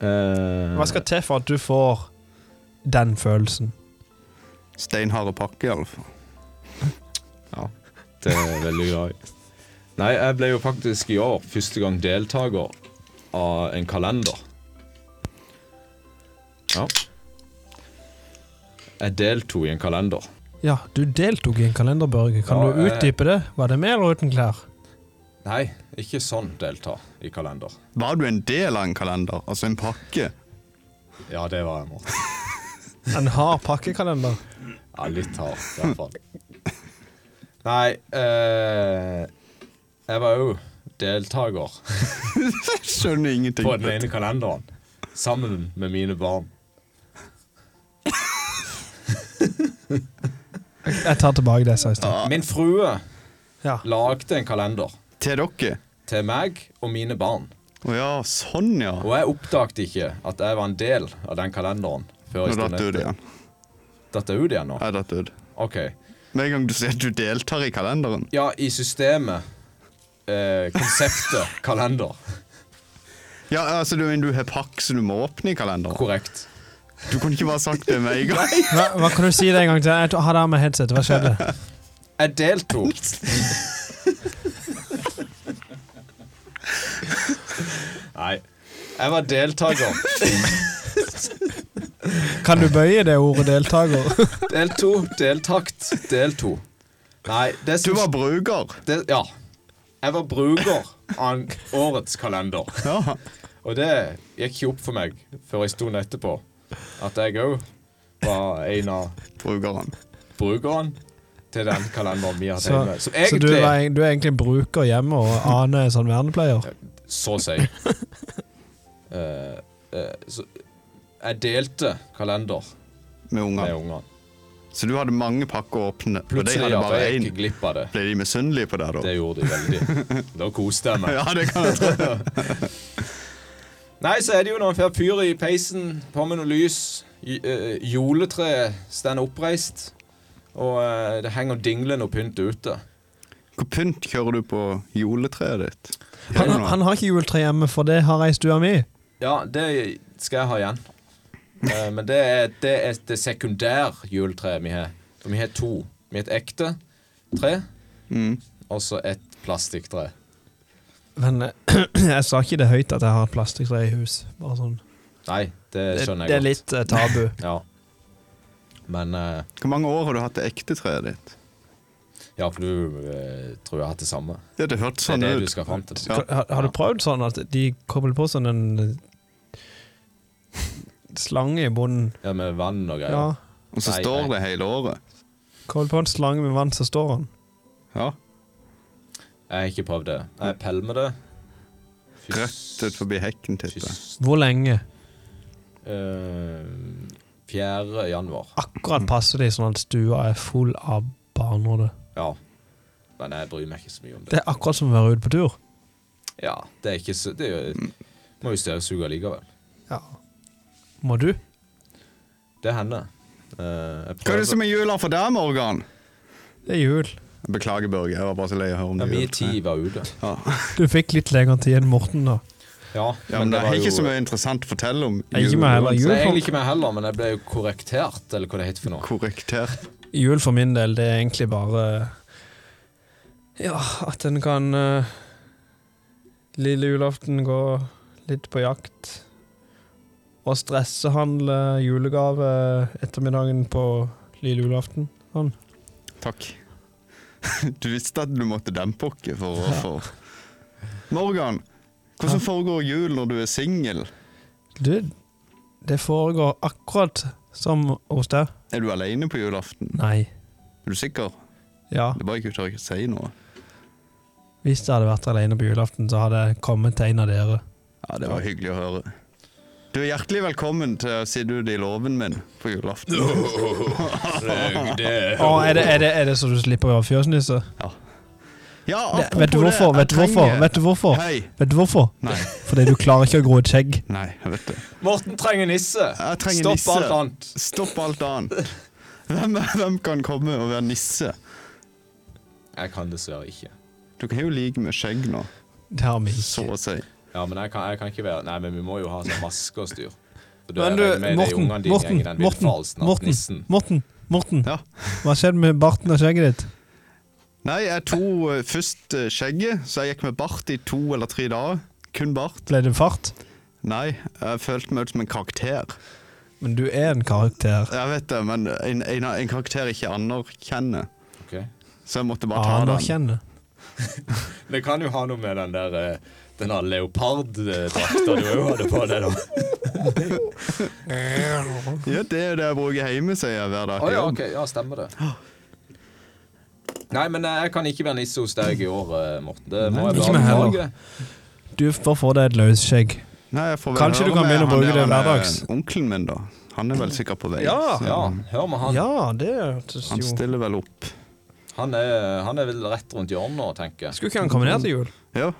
Speaker 3: Eh,
Speaker 4: Hva skal til for at du får den følelsen?
Speaker 1: Steinharde pakke, iallfall.
Speaker 3: Ja, det er jeg eh, veldig glad i. Nei, jeg ble jo faktisk i år første gang deltaker av en kalender. Ja. Jeg deltok i en kalender.
Speaker 4: Ja, du deltok i en kalender, Børge. Kan
Speaker 3: Ja, eh.
Speaker 4: du
Speaker 3: jeg-
Speaker 4: utdype det? Var det med eller uten klær?
Speaker 3: Nei, ikke sånn delta i kalender.
Speaker 1: Var du en del av en kalender? Altså en pakke?
Speaker 3: Ja, det var jeg, Morten.
Speaker 4: En hard pakkekalender.
Speaker 3: Ja, litt hardt, i hvert fall. Nei, eh, jeg var jo deltaker
Speaker 1: Skjønner ingenting.
Speaker 3: på den ene kalenderen sammen med mine barn.
Speaker 4: Jeg tar tilbake det jeg sa i stad.
Speaker 3: Min frue
Speaker 4: Ja.
Speaker 3: lagde en kalender
Speaker 1: Til dere?
Speaker 3: til meg og mine barn.
Speaker 1: Å ja, sånn ja.
Speaker 3: Og jeg oppdagte ikke at jeg var en del av den kalenderen
Speaker 1: Nå
Speaker 3: før jeg
Speaker 1: datt du ut
Speaker 3: studerte.
Speaker 1: igjen.
Speaker 3: Datt jeg ut igjen nå?
Speaker 1: Jeg datt ut.
Speaker 3: OK.
Speaker 1: Med en gang du sier at du deltar i kalenderen.
Speaker 3: Ja, i systemet. Eh, konseptet kalender.
Speaker 1: Ja, altså du, men du har pakk så du må åpne i kalenderen.
Speaker 3: Korrekt.
Speaker 1: Du kunne ikke bare sagt det med en gang.
Speaker 4: Hva, hva kan du si det en gang til? Jeg tar- hadde av meg headset, hva skjedde?
Speaker 3: Jeg deltok. Nei. Jeg var deltaker.
Speaker 4: Kan du bøye det ordet 'deltaker'?
Speaker 3: Del to. Deltakt. Del to. Nei, det
Speaker 1: Du
Speaker 3: som
Speaker 1: var bruker.
Speaker 3: det, Ja. Jeg var bruker av årets kalender.
Speaker 1: Ja.
Speaker 3: Og det gikk ikke opp for meg før jeg sto etterpå at jeg òg var en av
Speaker 1: Brukeren.
Speaker 3: brukerne til den kalenderen vi hadde
Speaker 4: Så,
Speaker 3: hjemme. Som
Speaker 4: så du,
Speaker 3: egentlig
Speaker 4: var, du er egentlig en bruker hjemme og Ane er sånn vernepleier?
Speaker 3: så å si. Eh, eh, så jeg delte kalender
Speaker 1: Med
Speaker 3: med
Speaker 1: unger.
Speaker 3: ungene.
Speaker 1: Så du hadde mange pakker åpne. Og de
Speaker 3: Plutselig
Speaker 1: hadde
Speaker 3: at
Speaker 1: bare
Speaker 3: jeg
Speaker 1: én.
Speaker 3: gikk glipp av det.
Speaker 1: Ble de misunnelige på deg da?
Speaker 3: Det gjorde de veldig. Da koste jeg meg.
Speaker 1: Ja, det kan jeg tro.
Speaker 3: Nei, så er det jo når en får fyr i peisen, på med noe lys, j- eh, juletreet står oppreist, og eh, det henger dinglende og pynt ute.
Speaker 1: Hvor pynt kjører du på juletreet ditt?
Speaker 4: Han, han har ikke juletre hjemme, for det har jeg i stua mi.
Speaker 3: Ja, det skal jeg ha igjen. Eh, men det er det, er det sekundærjuletreet vi har. For vi har to. Vi har et ekte tre,
Speaker 1: Mm.
Speaker 3: og så et plastikktre.
Speaker 4: Men eh, jeg sa ikke det høyt at jeg har et plastikktre i hus. Bare sånn.
Speaker 3: Nei, det
Speaker 4: Det,
Speaker 3: skjønner
Speaker 4: det er
Speaker 3: jeg godt.
Speaker 4: litt eh, tabu.
Speaker 3: Ja. Men eh,
Speaker 1: Hvor mange år har du hatt det ekte treet ditt?
Speaker 3: ja, for du eh, tror jeg har hatt det samme.
Speaker 1: Ja, det hørtes
Speaker 3: Det er
Speaker 1: sånn
Speaker 3: det du
Speaker 1: ut.
Speaker 3: skal fram til.
Speaker 1: Ja.
Speaker 4: Har, har du prøvd sånn at de kobler på sånn en eh, slange i bunnen?
Speaker 3: Ja, Med vann og
Speaker 4: Ja.
Speaker 3: greier.
Speaker 1: Og så
Speaker 3: Nei,
Speaker 1: står
Speaker 3: nei.
Speaker 1: det hele året.
Speaker 4: Kobler på en slange med vann, så står han.
Speaker 1: Ja.
Speaker 3: Jeg har ikke prøvd det. Jeg pælmer det. Fys-
Speaker 1: Rett ut forbi hekken, tipper jeg.
Speaker 3: fys-
Speaker 4: Hvor lenge?
Speaker 3: eh, 4. januar.
Speaker 4: Akkurat passer de sånn at stua er full av barnehode.
Speaker 3: Ja. Men jeg bryr meg ikke så mye om det.
Speaker 4: Det er akkurat som å være ute på tur.
Speaker 3: Ja, det er ikke så Det er jo, må jo støvsuge allikevel.
Speaker 4: Ja. Må du?
Speaker 3: Det hender.
Speaker 1: Hva
Speaker 3: Eh, jeg
Speaker 1: er det
Speaker 3: prøver.
Speaker 1: som er jula for deg, Morgan?
Speaker 4: Det er jul.
Speaker 1: Beklager, Børge. Jeg var bare så lei av å høre om
Speaker 3: Ja,
Speaker 1: det.
Speaker 3: Min
Speaker 1: juletreet.
Speaker 3: tid var ute.
Speaker 1: Ja.
Speaker 4: Du fikk litt lengre tid enn Morten, da.
Speaker 3: Ja,
Speaker 1: Ja, men det
Speaker 3: var
Speaker 1: er ikke så
Speaker 3: jo-
Speaker 1: mye interessant å fortelle om
Speaker 4: Jeg gir meg heller.
Speaker 1: jul.
Speaker 3: Så det er egentlig
Speaker 4: Jul
Speaker 3: ikke meg heller, men jeg ble jo korrektert, eller hva det heter for noe.
Speaker 1: Korrektert.
Speaker 4: for, jul for min del, det er egentlig bare Ja, at en kan eh, Lille julaften gå litt på jakt. Og stressehandle julegave ettermiddagen på lille julaften.
Speaker 1: Takk. Du visste at du måtte dempe oss for å for. Morgan, hvordan foregår jul når du er singel?
Speaker 4: Du, det foregår akkurat som hos deg.
Speaker 1: Er du alene på julaften?
Speaker 4: Nei.
Speaker 1: Er du sikker?
Speaker 4: Ja.
Speaker 1: Det er bare ikke tør ikke si noe.
Speaker 4: Hvis jeg hadde vært alene på julaften, så hadde jeg kommet til en av dere.
Speaker 1: Ja, det var hyggelig å høre. Du er hjertelig velkommen til å sitte ute i låven min på julaften.
Speaker 3: Det,
Speaker 4: Å, er, det, er, det, er det så du slipper å være fjøsnisse?
Speaker 1: Ja,
Speaker 4: Det-
Speaker 1: apropos
Speaker 4: Vet du hvorfor?
Speaker 1: det, jeg
Speaker 4: Vet du hvorfor?
Speaker 1: trenger-
Speaker 4: Vet du hvorfor?
Speaker 1: Hei.
Speaker 4: Vet du hvorfor?
Speaker 1: Nei.
Speaker 4: Fordi du klarer ikke å gro et skjegg.
Speaker 1: Nei, jeg vet det.
Speaker 3: Morten trenger nisse.
Speaker 1: Jeg trenger
Speaker 3: Stopp
Speaker 1: nisse.
Speaker 3: alt annet.
Speaker 1: Stopp alt annet. Hvem, hvem kan komme og være nisse?
Speaker 3: Jeg kan dessverre ikke.
Speaker 1: Du kan jo like med skjegg nå,
Speaker 4: Det har vi
Speaker 1: så
Speaker 4: ikke.
Speaker 1: å si.
Speaker 3: Ja, men jeg kan, jeg kan ikke være Nei, men vi må jo ha sånn maske og styr. For
Speaker 4: Men du, Morten, Morten, Morten, Morten, Morten, Morten.
Speaker 1: Ja.
Speaker 4: Hva skjedde med barten og skjegget ditt?
Speaker 1: Nei, jeg tok eh, først eh, skjegget, så jeg gikk med bart i to eller tre dager. Kun bart.
Speaker 4: Ble det fart?
Speaker 1: Nei, jeg følte meg ut som en karakter.
Speaker 4: Men du er en karakter.
Speaker 1: Jeg vet det, men en, en, en karakter jeg ikke anerkjenner.
Speaker 3: Ok.
Speaker 1: Så jeg måtte bare ta den.
Speaker 4: Anerkjenne.
Speaker 3: Det kan jo ha noe med den der eh, Den der leoparddrakta du òg hadde på deg, da.
Speaker 1: Ja, det er jo det jeg bruker hjemme, sier jeg hver dag.
Speaker 3: Å
Speaker 1: til
Speaker 3: ja,
Speaker 1: jobb.
Speaker 3: ok. Ja, stemmer det. Nei, men eh, jeg kan ikke være nisse hos deg i år, eh, Morten. Det må jeg
Speaker 4: ikke
Speaker 3: bare
Speaker 4: meg heller.
Speaker 3: beklage.
Speaker 4: Du får få deg et løsskjegg.
Speaker 1: Nei, jeg får vel
Speaker 4: Kanskje
Speaker 1: høre
Speaker 4: du kan
Speaker 1: med
Speaker 4: begynne å
Speaker 1: han
Speaker 4: bruke
Speaker 1: der,
Speaker 4: det
Speaker 1: han er
Speaker 4: hverdags?
Speaker 1: Onkelen min, da. Han er vel sikkert på vei.
Speaker 3: Ja,
Speaker 1: så
Speaker 3: ja. Hør med han.
Speaker 4: Ja, det hørtes
Speaker 1: Han
Speaker 4: jo
Speaker 1: stiller vel opp.
Speaker 3: Han er, han er vel rett rundt hjørnet, tenker jeg.
Speaker 5: Skulle ikke han komme ned til jul?
Speaker 1: Ja,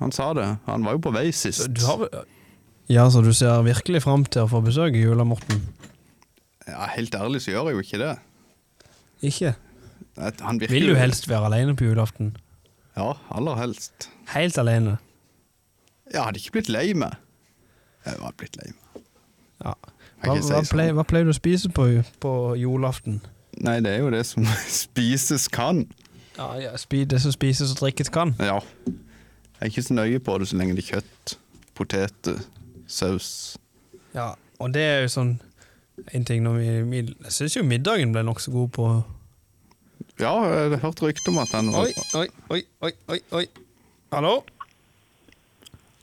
Speaker 1: han sa det. Han var jo på vei sist.
Speaker 5: Du har... Ja, så du ser virkelig fram til å få besøk i jula, Morten?
Speaker 1: Ja, helt ærlig så gjør jeg jo ikke det.
Speaker 5: Ikke?
Speaker 1: At Han virker
Speaker 5: Vil du
Speaker 1: jo-
Speaker 5: helst være alene på julaften?
Speaker 1: Ja, aller helst.
Speaker 5: Helt alene?
Speaker 1: Jeg hadde ikke blitt lei meg. Jeg var blitt lei meg.
Speaker 5: Ja. Hva,
Speaker 1: Jeg kan ikke si
Speaker 5: hva,
Speaker 1: sånn.
Speaker 5: pleier, hva pleier du å spise på, på julaften?
Speaker 1: Nei, det er jo det som spises kan.
Speaker 5: Ja, ja, spi, Det som spises og drikkes kan.
Speaker 1: Ja. Jeg er ikke så nøye på det så lenge det er kjøtt, poteter, saus.
Speaker 5: Ja, og det er jo sånn en ting når vi, vi Jeg syns jo middagen ble nokså god på
Speaker 1: Ja, jeg har hørt rykter om at den var
Speaker 5: Oi, oi, oi, oi, oi, oi. Hallo?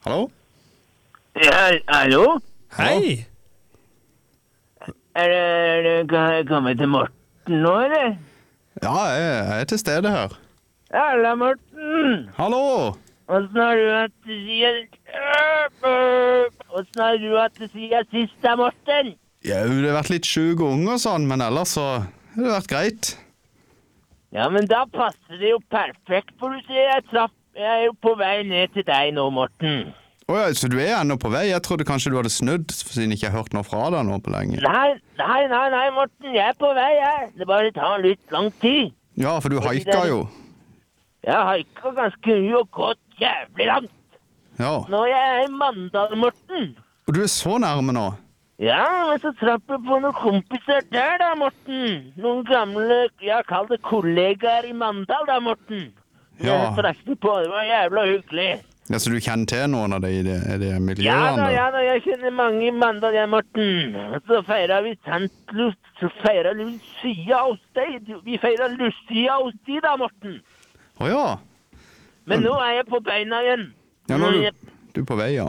Speaker 1: Hallo?
Speaker 6: Ja, hallo?
Speaker 5: Hei!
Speaker 6: Er det, er det, kan jeg komme til Morten nå, eller?
Speaker 1: Ja, jeg jeg er til stede her.
Speaker 6: Halla, Morten!
Speaker 1: Hallo!
Speaker 6: Åssen har du hatt det siden øh, Åssen har du hatt det siden sist, da, Morten?
Speaker 1: Jau, det har vært litt sjuk unge og sånn, men ellers så har det vært greit.
Speaker 6: Ja, men da passer det jo perfekt, for du ser jeg traff Jeg er jo på vei ned til deg nå, Morten.
Speaker 1: Å ja, så du er ennå på vei? Jeg trodde kanskje du hadde snudd, siden jeg ikke har hørt noe fra deg nå på lenge.
Speaker 6: Nei, nei, nei, nei, Morten. Jeg er på vei, jeg. Det bare tar litt lang tid.
Speaker 1: Ja, for du haika jo.
Speaker 6: Jeg haika ganske mye og gått jævlig langt.
Speaker 1: Ja.
Speaker 6: Nå er jeg i Mandal, Morten.
Speaker 1: Og du er så nærme nå.
Speaker 6: Ja, men så traff jeg på noen kompiser der da, Morten. Noen gamle, jeg kaller det kollegaer i Mandal da, Morten.
Speaker 1: Ja.
Speaker 6: Jeg traff dem på, det var jævla hyggelig.
Speaker 1: Ja, Så du kjenner til noen av de i det, i det miljøet?
Speaker 6: Ja da,
Speaker 1: der?
Speaker 6: ja da, jeg kjenner mange i Mandal, jeg, Morten. Og Så feira vi Santlus, så feira Lucia hos deg. Vi feira Lucia hos de da, Morten.
Speaker 1: Å ja.
Speaker 6: Men nå er jeg på beina igjen.
Speaker 1: ja nå
Speaker 6: Nå
Speaker 1: er
Speaker 6: er jeg-
Speaker 1: du, du er på vei, ja.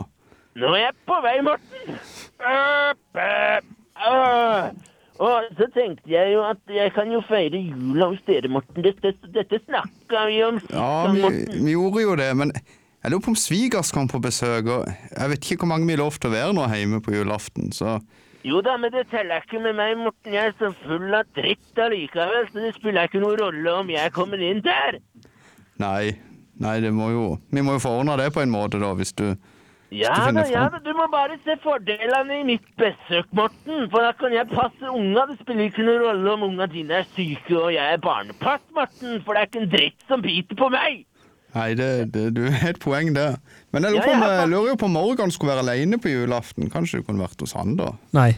Speaker 6: Nå er jeg på vei, Morten. Øp, øp, øp. Og så tenkte jeg jo at jeg kan jo feire jula hos dere, Morten. Dette, dette snakka vi om. sist,
Speaker 1: Ja,
Speaker 6: da,
Speaker 1: vi,
Speaker 6: Morten.
Speaker 1: vi gjorde jo det, men jeg lurer på om svigers kom på besøk. Og jeg vet ikke hvor mange vi er lov til å være nå hjemme på julaften, så
Speaker 6: Jo da, men det teller ikke med meg, Morten. Jeg er så full av dritt allikevel, så det spiller ikke noen rolle om jeg kommer inn der.
Speaker 1: Nei. Nei, det må jo Vi må jo få ordna det på en måte, da, hvis du
Speaker 6: Ja
Speaker 1: Skal finne
Speaker 6: da, ja
Speaker 1: fram.
Speaker 6: da, du må bare se fordelene i mitt besøk, Morten. For da kan jeg passe unga. Det spiller ikke noen rolle om unga dine er syke og jeg er barnepass, Morten. For det er ikke en dritt som biter på meg.
Speaker 1: Nei, det, det, du har et poeng der. Men jeg lurer,
Speaker 6: Ja,
Speaker 1: på om,
Speaker 6: ja,
Speaker 1: jeg
Speaker 6: fa-
Speaker 1: lurer jo på om Morgan skulle være aleine på julaften. Kanskje du kunne vært hos han, da?
Speaker 5: Nei.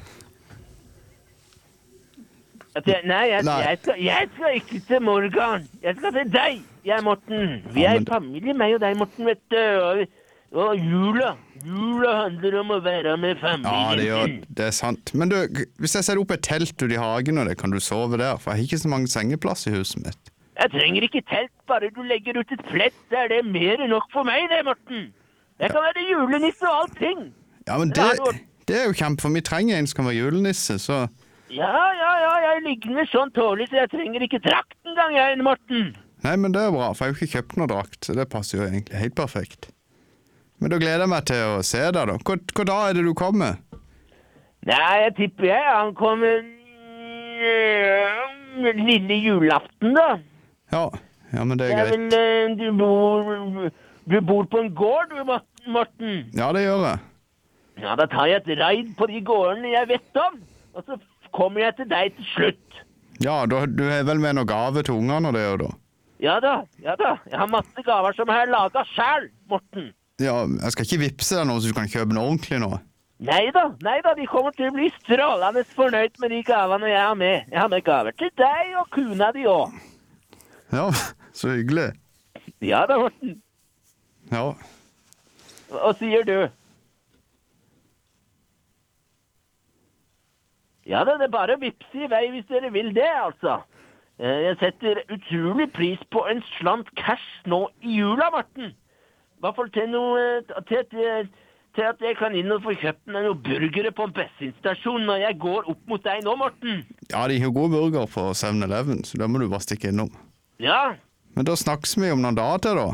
Speaker 6: At jeg, nei, jeg,
Speaker 1: Nei.
Speaker 6: Jeg, skal, jeg skal ikke til Morgan. Jeg skal til deg, jeg, Morten. Vi
Speaker 1: Ja,
Speaker 6: er
Speaker 1: men-
Speaker 6: familie, meg og deg, Morten, vet du. Og, og jula. Jula handler om å være med
Speaker 1: Ja,
Speaker 6: familien
Speaker 1: det, gjør,
Speaker 6: sin.
Speaker 1: det er sant. Men du, hvis jeg setter opp et telt ute i hagen, og det, kan du sove der? For jeg har ikke så mange sengeplass i huset mitt.
Speaker 6: Jeg trenger ikke telt, bare du legger ut et flett, så er det mer enn nok for meg, det, Morten. Jeg kan være julenisse og allting.
Speaker 1: Ja, men det,
Speaker 6: Ja, du-
Speaker 1: det er jo kjempe, for vi trenger en som kan være julenisse, så
Speaker 6: Ja, ja, ja, jeg ligner sånn tålig, så jeg trenger ikke drakt engang, jeg, Morten.
Speaker 1: Nei, men det er bra, for jeg har jo ikke kjøpt noe drakt, så det passer jo egentlig helt perfekt. Men da gleder jeg meg til å se deg, da. Hvor, hvor da er det du kommer?
Speaker 6: Nei, jeg tipper jeg ankommer mm, lille julaften, da.
Speaker 1: Ja, ja men det er
Speaker 6: Jeg
Speaker 1: greit.
Speaker 6: vil, eh, du, bor, du bor på en gård, du, Mor- Morten.
Speaker 1: Ja, det gjør jeg.
Speaker 6: Ja, da tar jeg et raid på de gårdene jeg vet om, og så kommer jeg til deg til slutt.
Speaker 1: Ja, da, du har vel med noe gave til ungene og det òg, da?
Speaker 6: Ja da, ja da. Jeg har masse gaver som jeg har laga sjæl, Morten.
Speaker 1: Ja, jeg skal ikke vippse deg nå, så du kan kjøpe noe ordentlig nå.
Speaker 6: Nei da, nei da, de kommer til å bli strålende fornøyd med de gavene jeg har med. Jeg har med gaver til deg og kuna di òg.
Speaker 1: Ja, så hyggelig.
Speaker 6: Ja da, Morten.
Speaker 1: Ja.
Speaker 6: Hva sier du? Ja da, det er bare å vippse i vei hvis dere vil det, altså. Eh, Jeg setter utrolig pris på en slant cash nå i jula, Morten. I hvert fall til, noe, eh, til, til, til at jeg kan inn og få kjøpt meg noen burgere på en bensinstasjon når jeg går opp mot deg nå, Morten.
Speaker 1: ja, de har gode burger på 7-Eleven, så da må du bare stikke innom.
Speaker 6: Ja,
Speaker 1: Men da snakkes vi om noen dager til, da.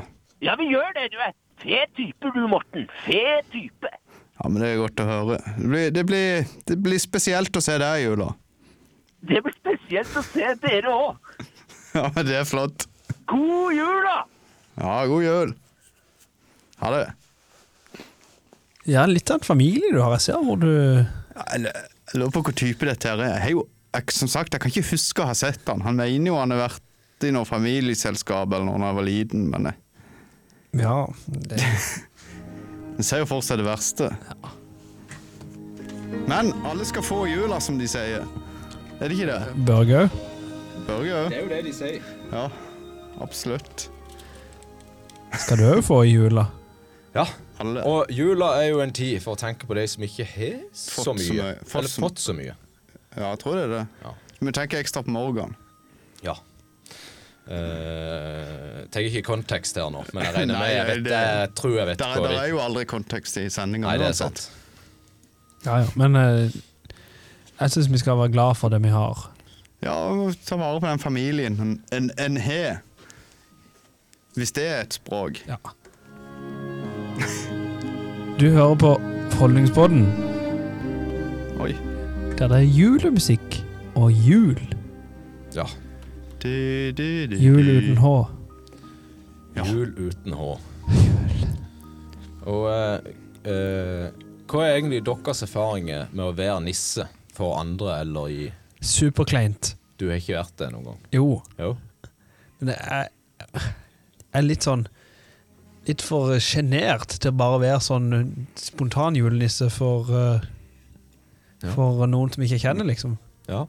Speaker 6: ja vi gjør det, du er. Fet type du, Morten. Fet type.
Speaker 1: Ja, men det er godt å høre. Det blir, det blir, det blir spesielt å se deg i jula.
Speaker 6: Det blir spesielt å se dere òg.
Speaker 1: Ja, men det er flott.
Speaker 6: God jul, da!
Speaker 1: Ja, god jul. Ha det.
Speaker 4: Ja, litt av en familie du har. Jeg ser hvor du
Speaker 1: Ja, Jeg l- jeg lurer på hvor type dette her er. Jeg, har jo- jeg, som sagt, jeg kan ikke huske å ha sett han. Han mener jo han har vært i noe familieselskap eller noe da jeg var liten, men eh, jeg-
Speaker 4: Ja. Det,
Speaker 1: jeg ser jo for seg det verste. Men alle skal få jula, som de sier. Er det ikke det?
Speaker 4: Børge òg.
Speaker 1: Børge òg.
Speaker 3: er jo det de sier.
Speaker 1: Ja, absolutt.
Speaker 4: Skal du òg få i jula?
Speaker 3: Ja,
Speaker 1: Alle.
Speaker 3: Og jula er jo en tid for å tenke på de som ikke har så
Speaker 1: Fått så
Speaker 3: mye.
Speaker 1: mye. Fått
Speaker 3: Eller
Speaker 1: så-
Speaker 3: fått så mye.
Speaker 1: Ja, jeg tror det er det.
Speaker 3: Ja.
Speaker 1: Vi tenker ekstra på Morgan.
Speaker 3: Ja. Uh, Tenker ikke kontekst her nå, men jeg regner
Speaker 1: Nei,
Speaker 3: med Jeg,
Speaker 1: det-
Speaker 3: vet, jeg tror jeg vet
Speaker 1: Der,
Speaker 3: hva
Speaker 1: der er
Speaker 3: de
Speaker 1: jo aldri kontekst i sendinga.
Speaker 3: Nei, det er sant.
Speaker 4: Ja, ja. Men eh, jeg syns vi skal være glad for det vi har.
Speaker 1: Ja, vi må ta vare på den familien en- en en har. Hvis det er et språk.
Speaker 4: Ja. Du hører på Holdningspodden,
Speaker 1: Oi.
Speaker 4: der det er julemusikk og jul.
Speaker 3: Ja.
Speaker 1: Du, du, du,
Speaker 4: Jul
Speaker 1: du.
Speaker 4: uten H.
Speaker 1: Ja.
Speaker 3: Jul uten H. Og eh, eh, hva er egentlig deres erfaringer med å være nisse for andre eller i
Speaker 4: Superkleint.
Speaker 3: Du har ikke vært det noen gang?
Speaker 4: Jo.
Speaker 3: Jo.
Speaker 4: Men jeg er- jeg er litt sånn Litt for sjenert til å bare være sånn spontan julenisse for eh,
Speaker 3: Ja.
Speaker 4: For noen som ikke jeg kjenner, liksom.
Speaker 3: Ja.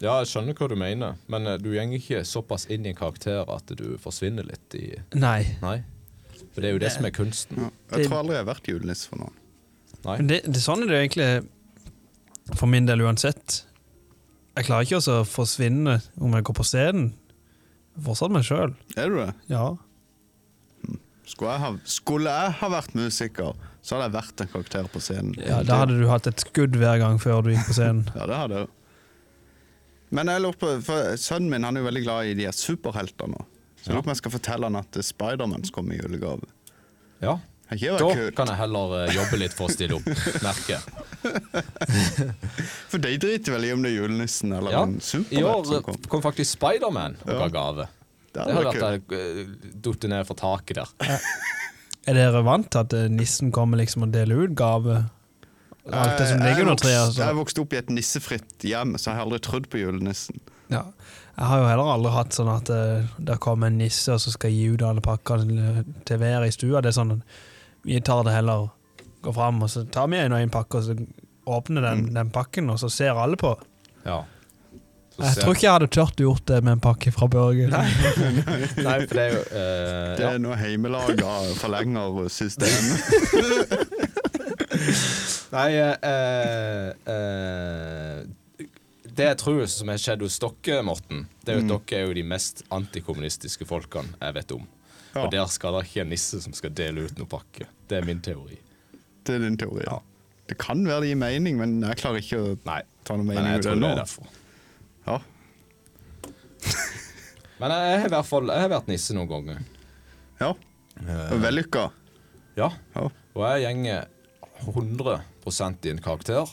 Speaker 3: ja, jeg skjønner hva du mener, men eh, du går ikke såpass inn i en karakter at du forsvinner litt i
Speaker 4: Nei.
Speaker 3: Nei. For det er jo det som er kunsten.
Speaker 1: Ja, Jeg tror aldri jeg har vært julenisse for noen.
Speaker 3: Nei.
Speaker 4: Men det, det, sånn er det jo egentlig for min del uansett. Jeg klarer ikke også å forsvinne om jeg går på scenen. Jeg er Fortsatt meg sjøl.
Speaker 1: Er du det?
Speaker 4: Ja.
Speaker 1: Skulle jeg ha, skulle jeg ha vært musiker, så hadde jeg vært en karakter på scenen.
Speaker 4: ja. Da hadde du hatt et skudd hver gang før du gikk på scenen.
Speaker 1: Ja, det hadde jeg. Men jeg lurer på, for sønnen min han er jo veldig glad i de her superheltene. Så jeg lurer på om jeg skal fortelle han at Spiderman skal komme i julegave.
Speaker 3: Ja.
Speaker 1: Har ikke det
Speaker 3: Da
Speaker 1: vært kult?
Speaker 3: kan jeg heller eh, jobbe litt for å stille opp, merker jeg.
Speaker 1: For de driter vel i om det er julenissen eller
Speaker 3: Ja.
Speaker 1: en
Speaker 3: I år
Speaker 1: superhelt som
Speaker 3: eh,
Speaker 1: kom.
Speaker 3: kom faktisk Spiderman og ga gave.
Speaker 1: Det
Speaker 3: Det
Speaker 1: hadde
Speaker 3: hadde
Speaker 1: vært kult.
Speaker 3: vært jeg datt ned fra taket der.
Speaker 4: Er dere vant til at eh, nissen kommer liksom og deler ut gave? Alt det som
Speaker 1: Jeg- jeg
Speaker 4: ligger under
Speaker 1: vokste-
Speaker 4: treet?
Speaker 1: Jeg
Speaker 4: Altså.
Speaker 1: vokste opp i et nissefritt hjem, så jeg har aldri trodd på julenissen.
Speaker 4: Ja. Jeg har jo heller aldri hatt sånn at eh, der kommer en nisse og så skal jeg gi ut alle pakkene eh, til hver i stua. Det er sånn Vi tar det heller, går fram og så tar vi en og en pakke, og så åpner den,
Speaker 3: Mm.
Speaker 4: den pakken, og så ser alle på.
Speaker 3: Ja. Så
Speaker 4: Jeg
Speaker 3: ser-
Speaker 4: tror ikke jeg hadde tørt gjort det med en pakke fra Børge.
Speaker 3: Nei, for det er jo eh,
Speaker 1: Det
Speaker 3: ja.
Speaker 1: er noe heimelaga forlenger systemet.
Speaker 3: Nei eh, eh, Det jeg tror som har skjedd hos dere, Morten, det er jo at dere er jo de mest antikommunistiske folkene jeg vet om.
Speaker 1: Ja.
Speaker 3: Og der skal det ikke en nisse som skal dele ut noen pakke. Det er min teori.
Speaker 1: Det er din teori. Det kan være det gir mening, men jeg klarer ikke å
Speaker 3: Nei.
Speaker 1: ta noe
Speaker 3: Men
Speaker 1: mening ut
Speaker 3: jeg
Speaker 1: av
Speaker 3: tror
Speaker 1: det nå.
Speaker 3: det er derfor.
Speaker 1: Ja.
Speaker 3: Men jeg har i hvert fall jeg har vært nisse noen ganger.
Speaker 1: ja.
Speaker 4: Eh.
Speaker 1: Og Vellykka.
Speaker 3: Ja.
Speaker 1: Ja.
Speaker 3: Og jeg gjenger 100 i en karakter.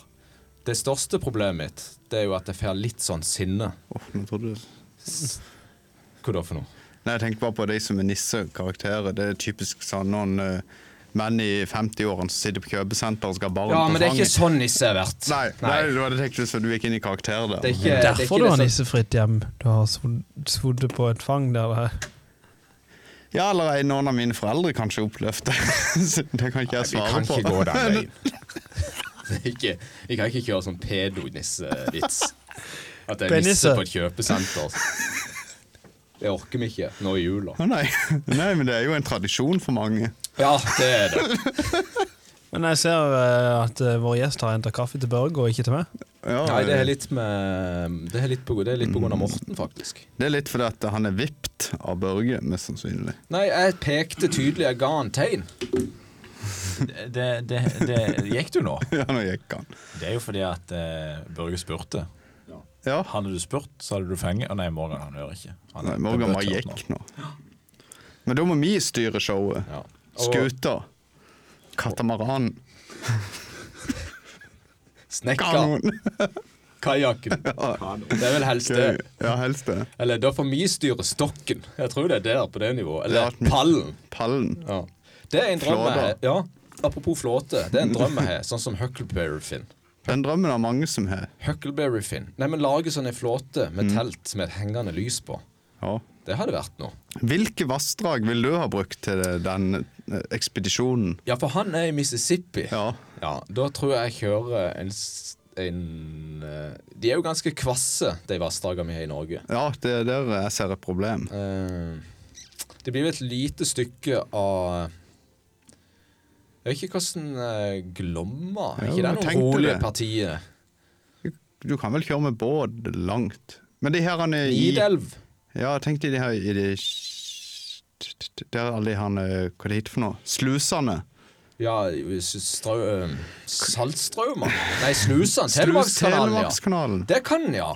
Speaker 3: Det største problemet mitt Det er jo at jeg får litt sånn sinne.
Speaker 1: Åh, nå trodde du
Speaker 3: Hva da for noe?
Speaker 1: Nei, jeg tenker bare på de som er nissekarakterer. Det er typisk sånn noen eh, menn i 50-årene som sitter på kjøpesenter og skal ha barn
Speaker 3: Ja,
Speaker 1: på
Speaker 3: men det er ikke
Speaker 1: fanget.
Speaker 3: sånn nisse jeg har vært.
Speaker 1: Nei, nei. det var det jeg tenkte så du gikk inn i karakter der.
Speaker 3: Det er ikke, det er
Speaker 4: Derfor
Speaker 3: ikke
Speaker 4: du
Speaker 3: det
Speaker 4: har
Speaker 3: som-
Speaker 4: nissefritt hjem. Du har svod- svodde på et fang der. det-
Speaker 1: Ja, eller er noen av mine foreldre kanskje oppløfte. Så det kan ikke jeg
Speaker 3: Vi
Speaker 1: svare
Speaker 3: kan
Speaker 1: på.
Speaker 3: ikke gå den veien. Det er ikke, vi kan ikke kjøre sånn pedo-nisse-vits. At det er nisse
Speaker 4: Penisse.
Speaker 3: på et kjøpesenter. Det orker vi ikke nå i jula.
Speaker 1: Å, nei. nei, men det er jo en tradisjon for mange.
Speaker 3: Ja, det er det.
Speaker 4: Men jeg ser eh, at eh, vår gjest har henta kaffe til Børge og ikke til meg.
Speaker 1: Ja,
Speaker 3: Nei, det er litt med Det er litt på, det er litt på grunn av Morten, faktisk.
Speaker 1: det er litt fordi at han er vippet av Børge, mest sannsynlig.
Speaker 3: Nei, jeg pekte tydelig, jeg ga han tegn.
Speaker 7: Det, det, det gikk du nå.
Speaker 1: Ja, nå gikk han.
Speaker 7: Det er jo fordi at eh, Børge spurte.
Speaker 1: Ja.
Speaker 7: Hadde du spurt, så hadde du fengt. Å nei, Morgan han hører ikke. Han,
Speaker 1: Nei, Morgan
Speaker 7: det
Speaker 1: bare
Speaker 7: bør
Speaker 1: gikk
Speaker 7: tørt
Speaker 1: nå. Men da må vi styre showet.
Speaker 3: Ja. Og
Speaker 1: Skuta. Katamaran.
Speaker 3: snekker.
Speaker 1: Kanon.
Speaker 3: kajakken. Det er vel helst det.
Speaker 1: Gøy. Ja, helst det.
Speaker 3: Eller da får vi styre stokken. Jeg tror det er der på det nivået.
Speaker 1: Det er
Speaker 3: Eller
Speaker 1: alt mye.
Speaker 3: pallen.
Speaker 1: Pallen.
Speaker 3: Ja. Det er en drøm jeg har.
Speaker 1: Flåter.
Speaker 3: Ja, apropos flåte. Det er en drøm jeg har, sånn som Huckleberry Finn.
Speaker 1: Den drømmen har mange som har.
Speaker 3: Huckleberry Finn. Nei, men lage sånn en flåte
Speaker 1: Mm.
Speaker 3: med telt med et hengende lys på.
Speaker 1: Ja.
Speaker 3: Det hadde vært noe.
Speaker 1: Hvilke vassdrag vil du ha brukt til den eh, ekspedisjonen?
Speaker 3: Ja, for han er i Mississippi.
Speaker 1: Ja.
Speaker 3: Ja, da tror jeg jeg kjører en, s- en eh, De er jo ganske kvasse, de vassdragene vi har i Norge.
Speaker 1: ja, det er der jeg ser et problem.
Speaker 3: Eh, det blir jo et lite stykke av Jeg vet ikke hvordan eh, Glomma Er
Speaker 1: Jo,
Speaker 3: ikke det
Speaker 1: jeg
Speaker 3: noe
Speaker 1: tenkte
Speaker 3: rolig
Speaker 1: det.
Speaker 3: parti?
Speaker 1: Du kan vel kjøre med båt langt. Men de her han er i
Speaker 3: Nidelv?
Speaker 1: Ja, tenk deg de her i de Der alle de her eh, Hva det heter for noe? Slusene.
Speaker 3: Ja, s- strø, eh, Saltstraumer? Nei, Snusan.
Speaker 1: Slus
Speaker 3: Telemarkskanalen, ja.
Speaker 1: Telemarkskanalen.
Speaker 3: Det kan ja.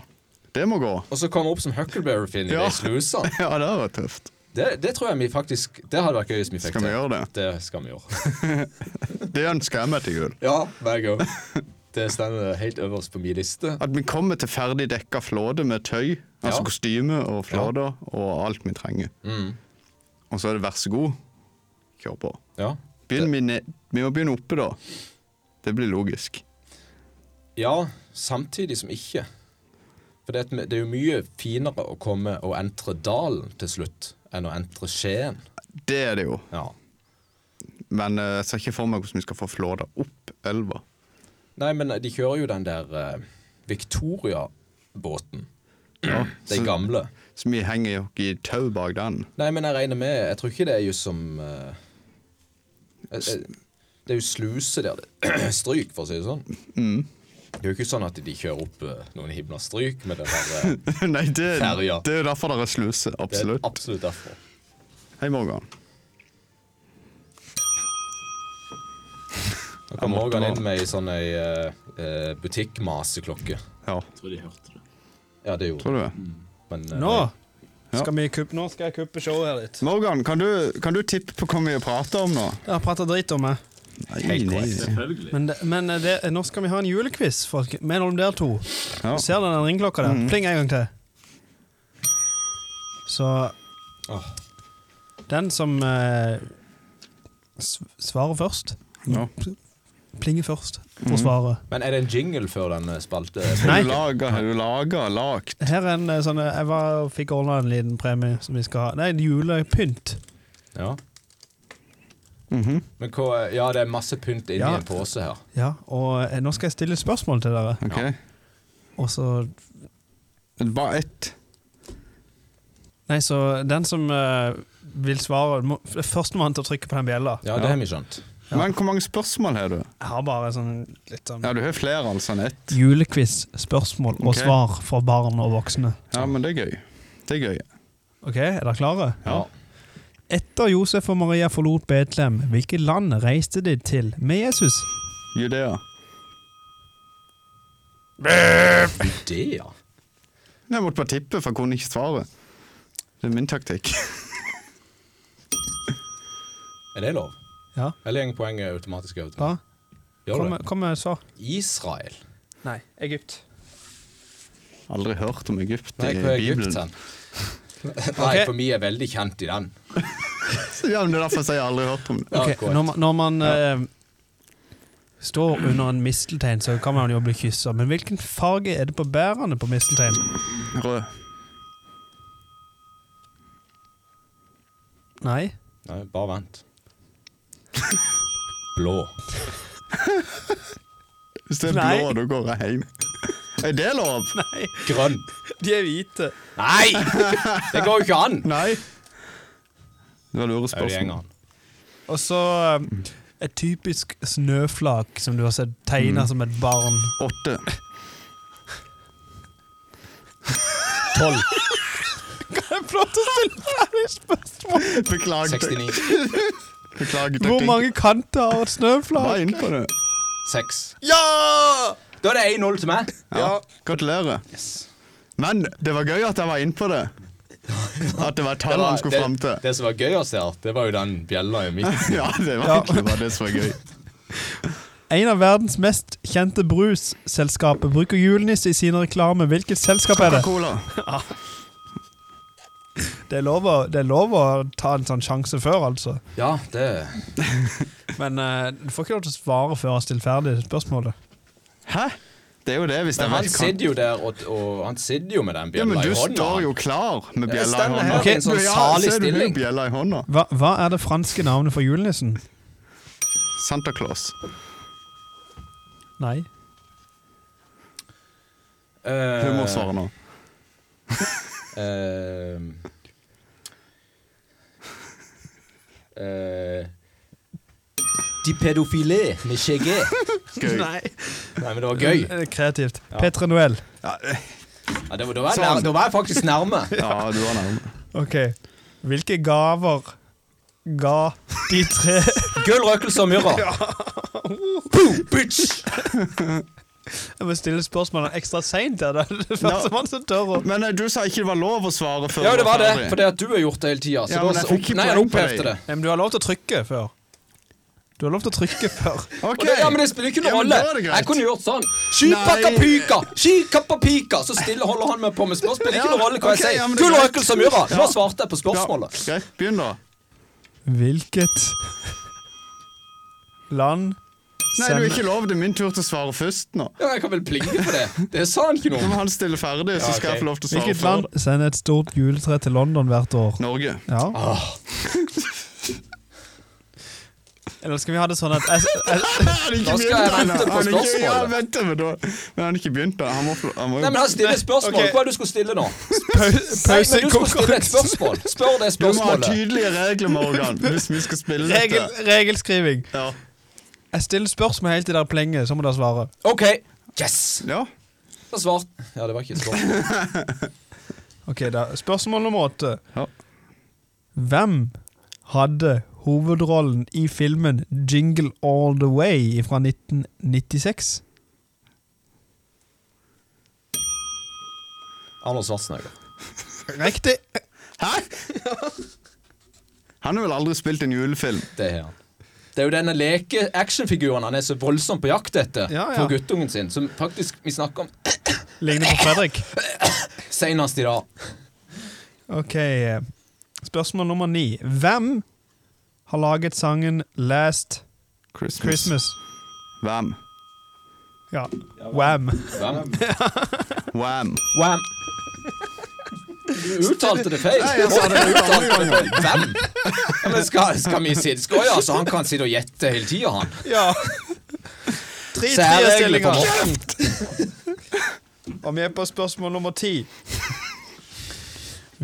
Speaker 1: Det må gå.
Speaker 3: Og så komme opp som Huckleberry Finn i
Speaker 1: Ja.
Speaker 3: de slusene.
Speaker 1: Ja, det var tøft.
Speaker 3: Det, det tror jeg vi faktisk Det hadde vært gøy hvis vi fikk
Speaker 1: Skal vi
Speaker 3: til.
Speaker 1: gjøre det?
Speaker 3: Det skal vi gjøre.
Speaker 1: Det ønsker jeg meg til jul.
Speaker 3: Ja, hver gang. Det står helt øverst på min liste.
Speaker 1: At vi kommer til ferdig dekka flåte med tøy, altså
Speaker 3: Ja. Mm.
Speaker 1: kostyme og flåter, og alt vi trenger. Og så er det vær så god, kjør på.
Speaker 3: Ja.
Speaker 1: Begynn vi, ned, vi må begynne oppe, da. Det blir logisk.
Speaker 3: Ja, samtidig som ikke. For det, er et- det er jo mye finere å komme og entre dalen til slutt enn å entre Skien.
Speaker 1: Det er det jo,
Speaker 3: Ja.
Speaker 1: men eh, jeg ser ikke for meg hvordan vi skal få flåta opp elva.
Speaker 3: Nei, men de kjører jo den der eh, Victoria-båten.
Speaker 1: Ja,
Speaker 3: De
Speaker 1: så,
Speaker 3: gamle.
Speaker 1: så vi henger jo ikke i tau bak den.
Speaker 3: Nei, men jeg regner med Jeg tror ikke det er jo som eh, eh, eh, Det er jo sluse der. det- Stryk, for å si det sånn. Det er jo ikke sånn at de kjører opp eh, noen himla stryk med den der eh,
Speaker 1: Nei, det,
Speaker 3: Ferja.
Speaker 1: det er jo derfor det er sluse.
Speaker 3: Det er
Speaker 1: Absolutt.
Speaker 3: absolutt derfor.
Speaker 1: Hei, Morgan.
Speaker 3: Da
Speaker 1: Jeg
Speaker 3: kom
Speaker 1: måtte
Speaker 3: Morgan
Speaker 1: bare-
Speaker 3: inn med ei sånn ei eh, butikkmaseklokke.
Speaker 1: Ja,
Speaker 7: Jeg tror de hørte det.
Speaker 3: Ja, det gjorde
Speaker 1: tror du det?
Speaker 3: men, eh,
Speaker 4: Nå
Speaker 1: Ja.
Speaker 4: skal, vi kuppe, nå skal jeg kuppe showet her litt.
Speaker 1: Morgan, kan du, kan du tippe på hva vi prater om nå?
Speaker 4: Jeg har prata dritt om meg.
Speaker 1: Nei, nei.
Speaker 7: Selvfølgelig.
Speaker 4: Men, det, men det, nå skal vi ha en julequiz folk, mellom dere to.
Speaker 1: Ja.
Speaker 4: Ser dere den ringeklokka
Speaker 3: Mm.
Speaker 4: der? Pling en gang til. Så
Speaker 3: Åh.
Speaker 4: Den som eh, s- svarer først,
Speaker 1: Ja.
Speaker 4: plinger først
Speaker 3: Mm.
Speaker 4: for svaret.
Speaker 3: Men er det en jingle før den eh, spalte?
Speaker 1: Har
Speaker 4: Nei.
Speaker 1: du laga, har du laga, lagt
Speaker 4: Her er en eh, sånn eh, Jeg var, fikk ordna en liten premie som vi skal ha. Nei, en julepynt.
Speaker 3: Ja.
Speaker 1: Mhm,
Speaker 3: Men hva er- Ja, det er masse pynt inni
Speaker 4: Ja.
Speaker 3: en pose her.
Speaker 4: Ja, og eh, nå skal jeg stille et spørsmål til dere,
Speaker 1: Ok.
Speaker 4: og så
Speaker 1: Bare ett.
Speaker 4: Nei, så den som eh, vil svare må, Førstemann til å trykke på den bjella.
Speaker 3: Ja, det har vi skjønt.
Speaker 1: Men hvor mange spørsmål har du?
Speaker 4: Jeg har bare sånn litt sånn
Speaker 1: Ja, Du har flere altså enn ett.
Speaker 4: julequiz, spørsmål og
Speaker 1: Ok.
Speaker 4: svar for barn og voksne.
Speaker 1: Ja, men det er gøy. Det er gøy.
Speaker 4: Ok, Er dere klare?
Speaker 1: Ja.
Speaker 4: Etter Josef og Maria forlot Betlehem, hvilket land reiste de til med Jesus?
Speaker 1: Judea.
Speaker 3: Det, ja.
Speaker 1: Jeg måtte bare tippe, for jeg kunne ikke svare. Det er min taktikk.
Speaker 3: Er det lov?
Speaker 4: Ja.
Speaker 3: Eller går poenget automatisk over til
Speaker 4: Da,
Speaker 3: Gjør
Speaker 4: kom,
Speaker 3: det?
Speaker 4: kom med et svar.
Speaker 3: Israel?
Speaker 4: Nei, Egypt.
Speaker 1: Aldri hørt om Egypt
Speaker 3: Nei,
Speaker 1: i
Speaker 3: hvor er Egypt
Speaker 1: Bibelen.
Speaker 3: hen? Nei, for vi er veldig kjent i den.
Speaker 1: Ja, men Det er derfor jeg sier jeg aldri hørt om det.
Speaker 3: Ja,
Speaker 4: Ok,
Speaker 3: korrekt.
Speaker 4: når man, når man eh, står under en misteltein, så kan man jo bli kyssa. Men hvilken farge er det på bærene på mistelteinen?
Speaker 1: Rød.
Speaker 4: Nei.
Speaker 3: Nei, bare vent. Blå.
Speaker 1: Hvis det er
Speaker 4: Nei.
Speaker 1: blå, da går jeg hjem. Er det lov?
Speaker 4: Nei,
Speaker 3: Grønn.
Speaker 4: de er hvite.
Speaker 3: Nei! Det går jo ikke an!
Speaker 1: Nei. Det var lure
Speaker 3: Det er jo
Speaker 1: spørsmål.
Speaker 3: gjengene.
Speaker 4: Og så eh, et typisk snøflak som du har sett tegna som et barn.
Speaker 1: Åtte.
Speaker 3: Tolv.
Speaker 4: Jeg får lov til å stille ferdig spørsmål.
Speaker 1: Beklager.
Speaker 3: 69.
Speaker 1: Beklager
Speaker 4: Hvor
Speaker 1: taktikk.
Speaker 4: mange kanter har et
Speaker 1: Hva
Speaker 4: snøflak?
Speaker 1: er inne på det?
Speaker 3: Seks. Ja! Da er det 1-0 til meg.
Speaker 1: Ja. Gratulerer. Men det var gøy at jeg var inne på det. At det var
Speaker 3: Det,
Speaker 1: tallene
Speaker 3: var,
Speaker 1: han skulle fram
Speaker 3: det,
Speaker 1: til.
Speaker 3: det som var gøyest her, det var jo den bjella i midten.
Speaker 1: Ja, det var
Speaker 4: Ja.
Speaker 1: egentlig bare det som var gøy.
Speaker 4: En av verdens mest kjente brusselskaper bruker julenisse i sine reklamer. Hvilket selskap er det?
Speaker 1: Cola.
Speaker 4: Det er lov å, det er lov å ta en sånn sjanse før, altså.
Speaker 3: Ja, det
Speaker 4: Men eh, du får ikke lov til å svare før jeg har stilt ferdig spørsmålet.
Speaker 1: Hæ? Det er jo det, hvis
Speaker 3: Men
Speaker 1: jeg
Speaker 3: han
Speaker 1: vet hva
Speaker 3: sitter jo der, og, og han sitter jo med den
Speaker 1: Ja, men
Speaker 3: bjella
Speaker 1: du
Speaker 3: i hånda.
Speaker 1: står
Speaker 3: han.
Speaker 1: jo klar med
Speaker 3: Jeg
Speaker 1: bjella i
Speaker 3: står
Speaker 1: hånda.
Speaker 3: her i en sånn
Speaker 1: Du, ja,
Speaker 3: salig
Speaker 1: ser du
Speaker 3: stilling.
Speaker 1: med bjella i hånda.
Speaker 4: Hva, hva er det franske navnet for julenissen?
Speaker 1: Santa Claus.
Speaker 4: Nei.
Speaker 3: Eh,
Speaker 1: Du må svare nå.
Speaker 3: eh, eh, De pedofile med skjegget.
Speaker 1: Gøy.
Speaker 3: Nei, men det var gøy.
Speaker 4: Eh, Kreativt. Petre Noël.
Speaker 3: Ja, det var, da, var jeg
Speaker 1: Sånn.
Speaker 3: nær, da var jeg faktisk nærme.
Speaker 1: Ja, du var nærme.
Speaker 4: Ok. Hvilke gaver ga de tre
Speaker 3: Gull, røkelse og myrra. Boom, bitch!
Speaker 4: Jeg må stille spørsmålene ekstra seint. Det er det første mann som tør å
Speaker 1: Men eh, du sa ikke det var lov å svare før
Speaker 3: Ja,
Speaker 1: du
Speaker 3: det var det.
Speaker 1: ferdig.
Speaker 3: For det at du har gjort det hele tida.
Speaker 1: Ja, men jeg fikk ikke
Speaker 3: Nei, han
Speaker 1: poeng på
Speaker 3: opphevde det.
Speaker 1: deg.
Speaker 4: Nei, men du har lov til å trykke før. Du har lov til å trykke før.
Speaker 1: Ok.
Speaker 3: Og det, ja, men det spiller ikke noen
Speaker 1: Ja, men da
Speaker 3: rolle.
Speaker 1: er det greit.
Speaker 3: Jeg kunne gjort sånn.
Speaker 1: Nei.
Speaker 3: Skypakapika! Skykappapika! Så stille holder han meg på med spørsmål. Spiller ikke
Speaker 1: Ja,
Speaker 3: noen rolle hva
Speaker 1: ok,
Speaker 3: jeg
Speaker 1: ja,
Speaker 3: sier.
Speaker 1: men det er
Speaker 3: Gull
Speaker 1: greit.
Speaker 3: røkelse og myrra. Nå
Speaker 1: Ja.
Speaker 3: svarte jeg på
Speaker 1: Ja,
Speaker 3: spørsmålet.
Speaker 1: Greit, begynn da.
Speaker 4: Hvilket land
Speaker 1: Nei, du er ikke lov. Det er min tur til å svare først nå.
Speaker 3: Ja, jeg kan vel plinge på det. Det sa han ikke
Speaker 1: Nå
Speaker 3: noe om.
Speaker 1: må han stille ferdig, så
Speaker 3: Ja,
Speaker 1: skal jeg
Speaker 3: ok.
Speaker 1: få lov til å svare
Speaker 4: Hvilket
Speaker 1: før.
Speaker 4: land sender et stort juletre til London hvert år?
Speaker 1: Norge.
Speaker 4: Ja.
Speaker 3: Ah.
Speaker 4: Eller skal vi ha det sånn at jeg, jeg,
Speaker 1: Han ikke
Speaker 3: Da skal
Speaker 1: begynt
Speaker 3: jeg vente
Speaker 1: ennå.
Speaker 3: på
Speaker 1: Han ikke- Ja,
Speaker 3: spørsmålet.
Speaker 1: vent da, men da. Men han har ikke begynt da. Han må, få- han må
Speaker 3: Nei, men han stiller spørsmål.
Speaker 4: Ok.
Speaker 3: Hva er det du skulle stille nå? Nei, men du skulle stille et
Speaker 4: pausekonkurranse?
Speaker 3: spørsmål. Spør det
Speaker 1: Du må ha
Speaker 3: spørsmålet.
Speaker 1: tydelige regler, Morgan, hvis vi skal spille
Speaker 4: Regel,
Speaker 1: dette.
Speaker 4: regelskriving.
Speaker 1: Ja.
Speaker 4: Jeg stiller spørsmål helt til dere plenger, så må dere svare.
Speaker 3: OK. Yes!
Speaker 1: ja.
Speaker 3: Da svart. Ja, det var ikke et spørsmål.
Speaker 4: Ok, da, Spørsmål nummer åtte.
Speaker 1: Ja.
Speaker 4: Hvem hadde hovedrollen i filmen Jingle All The Way fra 1996?
Speaker 3: Arnold Schwarzenegger.
Speaker 4: Riktig!
Speaker 1: Han har vel aldri spilt en julefilm.
Speaker 3: Det er han. Det er jo denne leke-actionfiguren han er så voldsomt på jakt etter
Speaker 4: Ja, ja.
Speaker 3: for guttungen sin, som faktisk vi snakker om
Speaker 4: Ligner på Fredrik.
Speaker 3: senest i dag.
Speaker 4: Ok, spørsmål nummer ni. Hvem har laget sangen Last
Speaker 1: Christmas.
Speaker 4: Christmas?
Speaker 1: Wham.
Speaker 4: Ja, Wham.
Speaker 3: Hvem?
Speaker 1: Wham.
Speaker 3: Wham. Du uttalte det feil.
Speaker 1: Nei, jeg sa det
Speaker 3: Du
Speaker 1: jo
Speaker 3: uttalte
Speaker 1: andre
Speaker 3: det feil. Hvem? Ja, men skal, skal vi si det? Skal ja, så han kan sitte og gjette hele tida, han.
Speaker 4: Ja. Tre
Speaker 3: Særregler på
Speaker 4: tierstillinger.
Speaker 3: Morten.
Speaker 4: Og vi er på spørsmål nummer ti.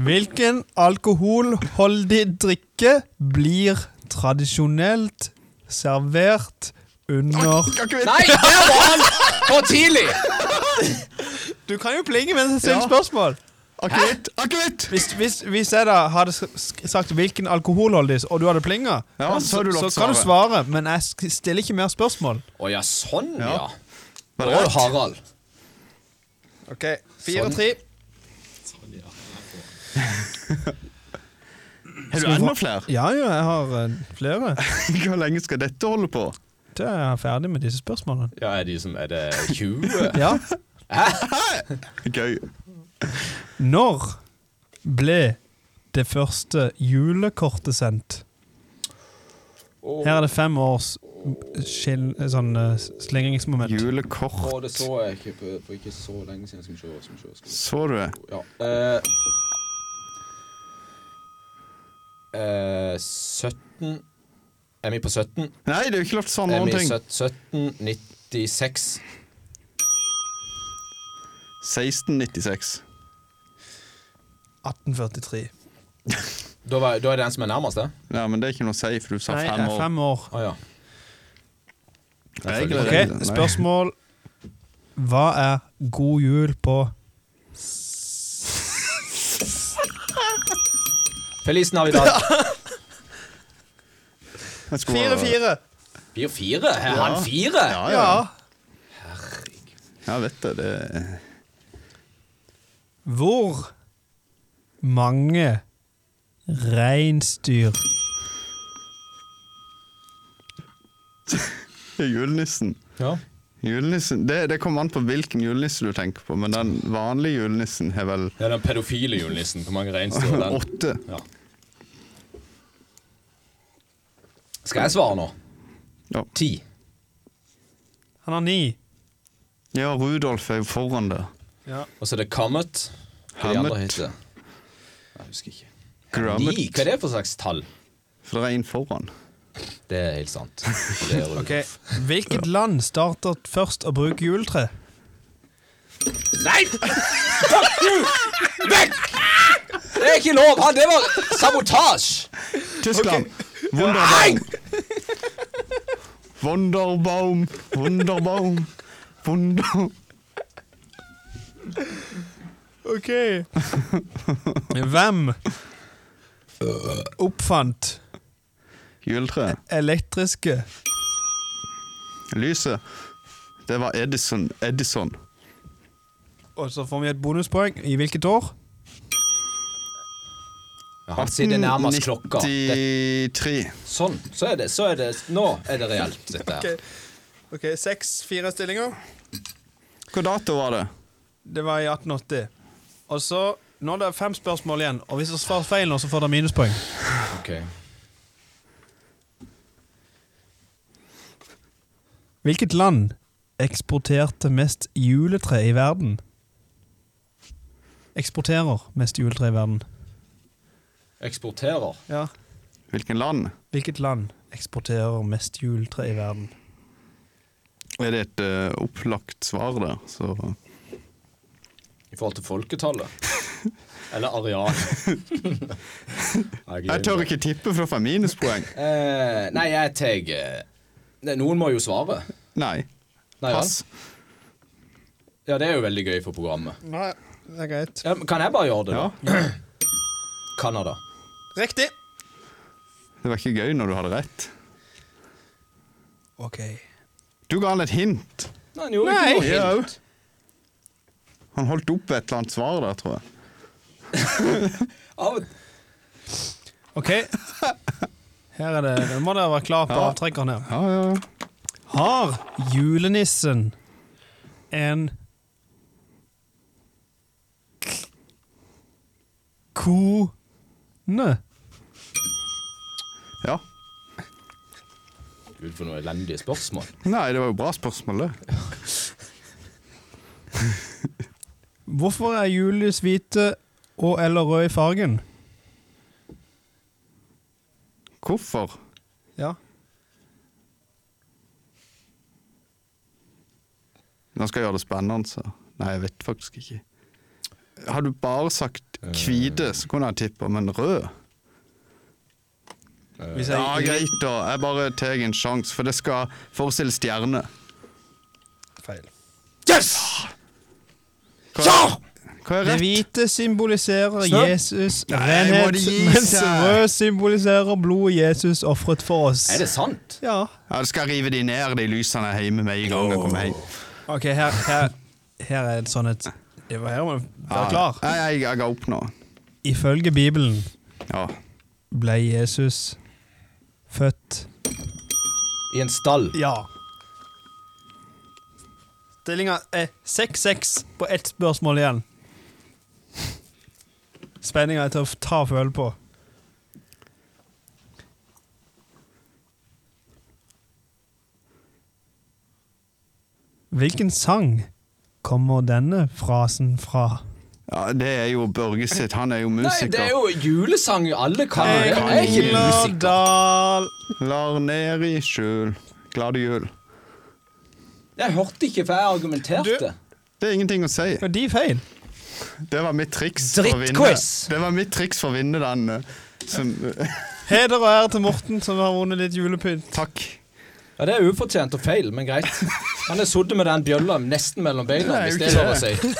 Speaker 4: Hvilken alkoholholdig drikke blir tradisjonelt servert under
Speaker 1: Kan ikke vi
Speaker 3: Nei, der var han! For tidlig!
Speaker 4: Du kan jo plinge mens jeg stiller
Speaker 1: Ja.
Speaker 4: spørsmål.
Speaker 1: Akevitt! Akevitt!
Speaker 4: Hvis, hvis, hvis jeg da hadde s- sk- sagt hvilken alkoholholdig, og du hadde plinga,
Speaker 1: Ja, så har du lov til å
Speaker 4: kan du svare, men jeg sk- stiller ikke mer spørsmål.
Speaker 3: Å ja, sånn, ja.
Speaker 1: Ja. Var det
Speaker 3: Og
Speaker 1: rett?
Speaker 3: Harald.
Speaker 4: Ok, Fire-tre.
Speaker 1: Har du enda flere?
Speaker 4: Ja, ja, jeg har eh, flere.
Speaker 1: Hvor lenge skal dette holde på?
Speaker 4: Da er jeg ferdig med disse spørsmålene.
Speaker 3: Ja, er, de som, er det 20?
Speaker 4: Ja.
Speaker 1: Gøy.
Speaker 4: Når ble det første julekortet sendt? Her er det fem års skil, sånn eh, slingringsmoment.
Speaker 1: Julekort.
Speaker 3: Å, det så jeg ikke for, for ikke så lenge siden. Skal vi se, skal vi se, skal vi se.
Speaker 1: Så du det?
Speaker 3: Ja. eh, eh, 17 Er vi på 17?
Speaker 1: Nei, det er jo ikke lov til å svare
Speaker 3: Er
Speaker 1: noen
Speaker 3: vi
Speaker 1: ting.
Speaker 3: 1796?
Speaker 1: 1696.
Speaker 4: 1843.
Speaker 3: Da, var, da er det den som er nærmest, det?
Speaker 1: Ja, men det er ikke noe å si, for du sa
Speaker 4: Nei,
Speaker 1: fem
Speaker 4: eh,
Speaker 1: år.
Speaker 4: fem år.
Speaker 3: Å ja.
Speaker 1: Regler,
Speaker 4: Ok,
Speaker 1: regler. Nei.
Speaker 4: spørsmål. Hva er god jul på
Speaker 3: Feliz Navidad.
Speaker 1: Jeg skulle-
Speaker 4: Fire-fire!
Speaker 3: Blir fire? Er han fire?
Speaker 1: Ja, Ah, ja.
Speaker 4: Ja.
Speaker 1: ja, vet du, det
Speaker 4: Hvor mange reinsdyr
Speaker 1: Julenissen.
Speaker 8: Ja.
Speaker 1: Julenissen, det, det kommer an på hvilken julenisse du tenker på, men den vanlige julenissen har vel
Speaker 3: Ja, den pedofile julenissen. Hvor mange reinsdyr er den?
Speaker 1: åtte.
Speaker 3: Ja. Skal jeg svare nå?
Speaker 1: Ja.
Speaker 3: Ti.
Speaker 4: Han har ni.
Speaker 1: Ja, Rudolf er jo foran der.
Speaker 3: Og så er det Kammet. Hva de
Speaker 1: Kammet.
Speaker 3: andre heter Jeg husker ikke.
Speaker 1: Grummet,
Speaker 3: Ni? Hva er det for slags tall?
Speaker 1: for det er en foran.
Speaker 3: Det er helt sant. Det er
Speaker 4: Ok, Hvilket land starter først å bruke juletre?
Speaker 3: Nei! Fuck you! Vekk! Det er ikke lov! Han, det var sabotasje!
Speaker 1: Tyskland! Wunderbaum. Wunderbaum, Wunderbaum, Wunder...
Speaker 4: Ok. Hvem oppfant
Speaker 1: Juletre.
Speaker 4: elektriske
Speaker 1: Lyset. Det var Edison. Edison.
Speaker 4: Og så får vi et bonuspoeng. I hvilket år?
Speaker 3: Ja, han sitter nærmest klokka. Det,
Speaker 1: 93.
Speaker 3: sånn. Så er det, så er det Nå er det reelt, dette her.
Speaker 4: Ok, Seks-fire stillinger.
Speaker 1: Hva dato var det?
Speaker 4: Det var i 1880. Og så Nå er det fem spørsmål igjen, og hvis dere svarer feil nå, så får dere minuspoeng.
Speaker 3: Ok.
Speaker 4: Hvilket land eksporterte mest juletre i verden? Eksporterer mest juletre i verden.
Speaker 3: Eksporterer.
Speaker 4: Ja.
Speaker 1: Hvilken land?
Speaker 4: Hvilket land eksporterer mest juletre i verden?
Speaker 1: Er det et eh, opplagt svar der? Så
Speaker 3: I forhold til folketallet. Eller areal.
Speaker 1: Jeg tør ikke tippe, for å få minuspoeng.
Speaker 3: Eh, nei, jeg tar eh, nei, Noen må jo svare.
Speaker 1: Nei.
Speaker 3: Nei, ja.
Speaker 1: Pass.
Speaker 3: ja, det er jo veldig gøy for programmet.
Speaker 4: Nei, det er greit.
Speaker 3: Ja, men kan jeg bare gjøre det, da? Canada.
Speaker 4: Riktig!
Speaker 1: Det var ikke gøy når du hadde rett.
Speaker 4: Ok.
Speaker 1: Du ga han et hint.
Speaker 3: Nei, han gjorde ikke noe
Speaker 1: Ja,
Speaker 3: hint.
Speaker 1: Han holdt opp et eller annet svar der, tror jeg.
Speaker 3: Av,
Speaker 4: Ok. Her er det. Nå må dere være klar på avtrekkeren her.
Speaker 1: Ja, ja, ja.
Speaker 4: Har julenissen en k- kone?
Speaker 1: ja.
Speaker 3: Gud, for noen elendige spørsmål.
Speaker 1: Nei, det var jo bra spørsmål, det.
Speaker 4: Hvorfor er julelys hvite og eller rød i fargen?
Speaker 1: Hvorfor?
Speaker 4: Ja.
Speaker 1: Nå skal jeg gjøre det spennende, så. Nei, jeg vet faktisk ikke. Hadde du bare sagt hvite, så kunne jeg tippa, men rød?
Speaker 4: Hvis
Speaker 1: Ja,
Speaker 4: jeg
Speaker 1: greit, da. Jeg bare tar en sjanse, for det skal forestille stjerne.
Speaker 4: feil.
Speaker 3: Yes!
Speaker 1: Hva,
Speaker 3: Ja!
Speaker 1: hva er
Speaker 4: Det
Speaker 1: rett?
Speaker 4: hvite symboliserer
Speaker 3: Snø?
Speaker 4: Jesus,
Speaker 1: Nei, må
Speaker 4: renhet,
Speaker 1: det gi
Speaker 4: mens
Speaker 1: seg.
Speaker 4: rød symboliserer blodet Jesus ofret for oss.
Speaker 3: Er det sant?
Speaker 4: Ja.
Speaker 1: Ja, du skal rive de ned, de lysene hjemme med en gang jeg kommer hjem.
Speaker 4: Ok, her, her, her er et sånn et Det var her man var klar.
Speaker 1: Nei, jeg, jeg ga opp nå.
Speaker 4: Ifølge Bibelen
Speaker 1: Ja.
Speaker 4: ble Jesus født
Speaker 3: I en stall.
Speaker 4: Ja. Stillinga er 6-6 på ett spørsmål igjen. Spenninga er til å ta og føle på. Hvilken sang kommer denne frasen fra?
Speaker 1: ja, det er jo Børge sitt. Han er jo
Speaker 3: Nei, det
Speaker 1: musiker.
Speaker 3: er jo julesang alle kan.
Speaker 1: Nei,
Speaker 3: Jeg er ikke musiker.
Speaker 4: Engerdal
Speaker 1: Lar ned i skjul. Glade jul.
Speaker 3: Jeg hørte ikke hva jeg argumenterte.
Speaker 1: Det er ingenting å si.
Speaker 4: Var de feil?
Speaker 1: Det var mitt triks for å vinne.
Speaker 3: Drittquiz!
Speaker 1: Det var mitt triks for å vinne den. eh, Som,
Speaker 4: Heder og ære til Morten, som har vunnet litt julepynt.
Speaker 1: takk.
Speaker 3: Ja, Det er ufortjent og feil, men greit. Han er sittet med den bjølla nesten mellom beina.
Speaker 1: Nei,
Speaker 3: hvis
Speaker 1: det
Speaker 3: det
Speaker 1: er
Speaker 3: er
Speaker 1: jo
Speaker 3: lov å si.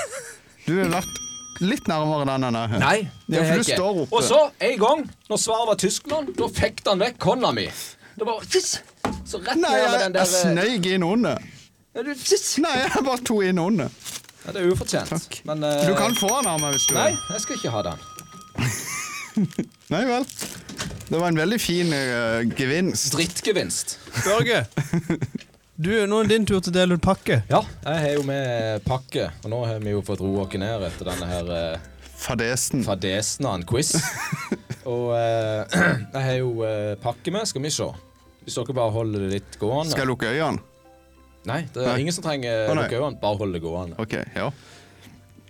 Speaker 1: Du har vært litt nærmere den enn jeg.
Speaker 3: Nei, det
Speaker 1: Ja,
Speaker 3: er
Speaker 1: for
Speaker 3: jeg
Speaker 1: du står
Speaker 3: ikke.
Speaker 1: oppe.
Speaker 3: Og så, en gang, når svaret var Tyskland, da fekte han vekk hånda mi. Det var Tiss! Så rett
Speaker 1: Nei,
Speaker 3: ned med
Speaker 1: jeg, jeg
Speaker 3: den der eh,
Speaker 1: sneik inn under.
Speaker 3: ja, du, tiss.
Speaker 1: Nei, jeg bare to inn under.
Speaker 3: ja, Det er ufortjent.
Speaker 1: Takk.
Speaker 3: Men eh,
Speaker 1: Du kan få den av meg hvis du
Speaker 3: Nei,
Speaker 1: vil.
Speaker 3: jeg skal ikke ha den.
Speaker 1: Nei vel. Det var en veldig fin eh, gevinst.
Speaker 3: Drittgevinst.
Speaker 4: Børge, Du, nå er det din tur til å dele ut pakke.
Speaker 3: Ja, jeg har jo med pakke, og nå har vi jo fått roa oss ned etter denne her eh,
Speaker 1: Fadesen.
Speaker 3: fadesen av en quiz. Og eh, jeg har jo eh, pakke med, skal vi se. Hvis dere bare holder det litt gående
Speaker 1: Skal jeg lukke øynene?
Speaker 3: Nei, det er
Speaker 1: Nei.
Speaker 3: ingen som trenger
Speaker 1: Å, nei.
Speaker 3: lukke øynene, bare hold det gående.
Speaker 1: OK, ja.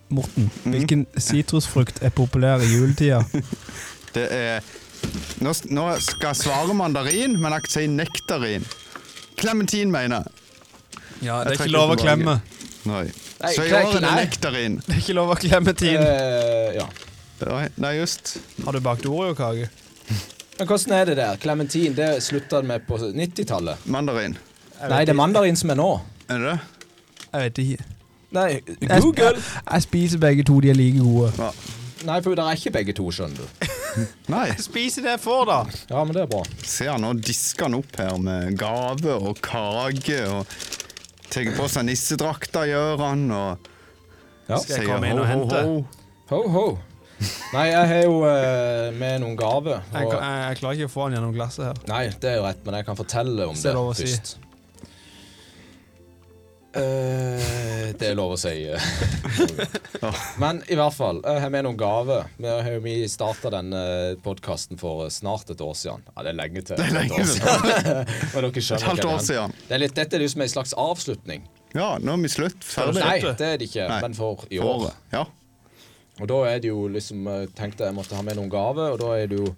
Speaker 4: Morten, hvilken sitrusfrukt er populær i juletida?
Speaker 1: Det er Nå, s- nå skal jeg svare mandarin, men jeg kan si nektarin. Klementin, mener jeg.
Speaker 4: Ja,
Speaker 1: det er ikke lov å klemme. Nei. Så i
Speaker 3: kle-
Speaker 1: år er det
Speaker 3: nei.
Speaker 1: nektarin.
Speaker 4: Det er ikke lov å klemme tiden.
Speaker 3: Eh, ja.
Speaker 1: Nei, Nei, just.
Speaker 4: Eh, Har du bakt Oreo-kake?
Speaker 3: Men hvordan er det der? Clementin, det slutta det med på 90-tallet.
Speaker 1: Mandarin.
Speaker 3: Nei, det er mandarin som er nå.
Speaker 1: Er det det?
Speaker 4: Jeg vet ikke.
Speaker 3: Nei,
Speaker 4: Jeg, sp
Speaker 3: Google!
Speaker 4: jeg spiser begge to, de er like gode.
Speaker 3: Nei, for det er ikke begge to, skjønner du.
Speaker 1: Nei.
Speaker 4: Spiser det jeg får, da.
Speaker 3: Ja, men det er bra.
Speaker 1: Se han, nå disker han opp her med gave og kake og tar på seg nissedrakta, gjør han, og
Speaker 3: Ja.
Speaker 4: Skal jeg komme inn og hente?
Speaker 3: Ho, ho. Nei, jeg har jo eh, med noen gaver.
Speaker 4: Jeg,
Speaker 3: Og...
Speaker 4: kan- jeg, jeg klarer ikke å få den gjennom glasset her.
Speaker 3: Nei, det er jo rett, men jeg kan fortelle om
Speaker 4: Så er
Speaker 3: det
Speaker 4: det lov å si.
Speaker 3: først. Eh, det er lov å si. eh. men i hvert fall, jeg har med noen gaver. Vi har jo- Vi starta denne podkasten for snart et år siden. Ja, det er lenge til. Det
Speaker 1: er lenge til.
Speaker 3: Men dere skjønner
Speaker 1: Et halvt
Speaker 3: hva
Speaker 1: år
Speaker 3: det er.
Speaker 1: siden.
Speaker 3: Det er litt, dette er jo som en slags avslutning.
Speaker 1: Ja, nå er vi slutt. Ferdig.
Speaker 3: Nei, det er det ikke,
Speaker 1: Nei.
Speaker 3: men for i
Speaker 1: For
Speaker 3: år.
Speaker 1: året. Ja.
Speaker 3: Og da er det jo liksom eh, tenkte jeg måtte ha med noen gave, og da er det jo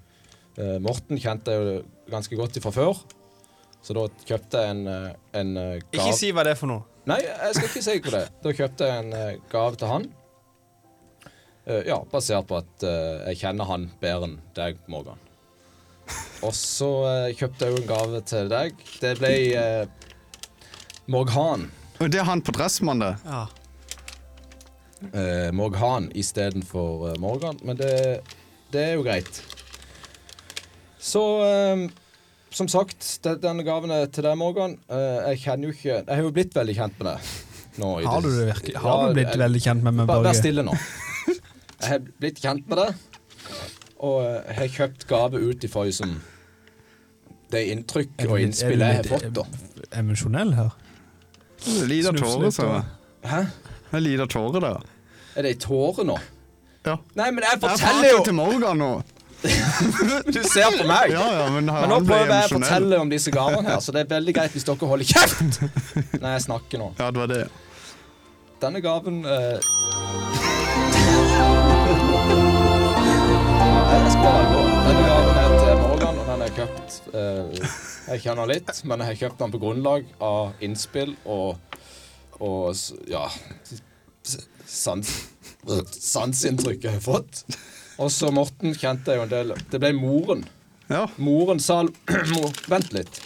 Speaker 3: eh, Morten kjente jeg jo ganske godt fra før. Så da kjøpte jeg en, eh, en eh, gave
Speaker 4: Ikke si hva det er for noe.
Speaker 3: Nei, jeg skal ikke si på det. Da kjøpte jeg en eh, gave til han. Eh, ja, basert på at eh, jeg kjenner han bedre enn deg, Morgan. Og så eh, kjøpte jeg jo en gave til deg. Det ble eh, Morghan.
Speaker 1: Og det er han på Dressmann, det.
Speaker 4: Ja.
Speaker 3: eh, Morghan istedenfor eh, Morgan, men det, det er jo greit. Så eh, som sagt, det, denne gaven er til deg, Morgan. Eh, jeg kjenner jo ikke Jeg har jo blitt veldig kjent med deg. Nå, i
Speaker 4: Har du det virkelig? Har
Speaker 3: Ja,
Speaker 4: du blitt
Speaker 3: jeg-
Speaker 4: veldig kjent med meg,
Speaker 3: Bare vær
Speaker 4: Børge?
Speaker 3: stille nå. Jeg har blitt kjent med det, og eh, jeg har kjøpt gave ut ifra liksom, det inntrykk
Speaker 4: Er du
Speaker 3: og
Speaker 4: litt-
Speaker 3: innspill
Speaker 4: er
Speaker 3: jeg har
Speaker 4: du
Speaker 3: fått.
Speaker 4: litt-
Speaker 3: da.
Speaker 4: Emosjonell her?
Speaker 1: Lita
Speaker 4: Snufs
Speaker 1: tåre,
Speaker 4: litt,
Speaker 1: sa jeg.
Speaker 4: og-
Speaker 3: Hæ?
Speaker 1: En lita tåre der.
Speaker 3: Er det i tårer nå?
Speaker 1: Ja.
Speaker 3: Nei, men jeg
Speaker 1: Jeg
Speaker 3: forteller
Speaker 1: prater
Speaker 3: jo!
Speaker 1: til Morgan nå.
Speaker 3: Du ser på meg!
Speaker 1: Ja, ja, men,
Speaker 3: Men nå
Speaker 1: han ble
Speaker 3: prøver jeg å
Speaker 1: emosjonell.
Speaker 3: fortelle om disse gavene her, så det er veldig greit hvis dere holder kjeft når jeg snakker nå.
Speaker 1: Ja, det var det.
Speaker 3: Denne gaven eh, Jeg spør på. Denne gaven er til Morgan, og den er kjøpt eh, Jeg kjenner den litt, men jeg har kjøpt den på grunnlag av innspill og Og s- ja s- sans, Sanseinntrykk jeg har fått. Og så Morten kjente jeg jo en del Det ble moren.
Speaker 1: Ja.
Speaker 3: Moren sa mor, Vent litt.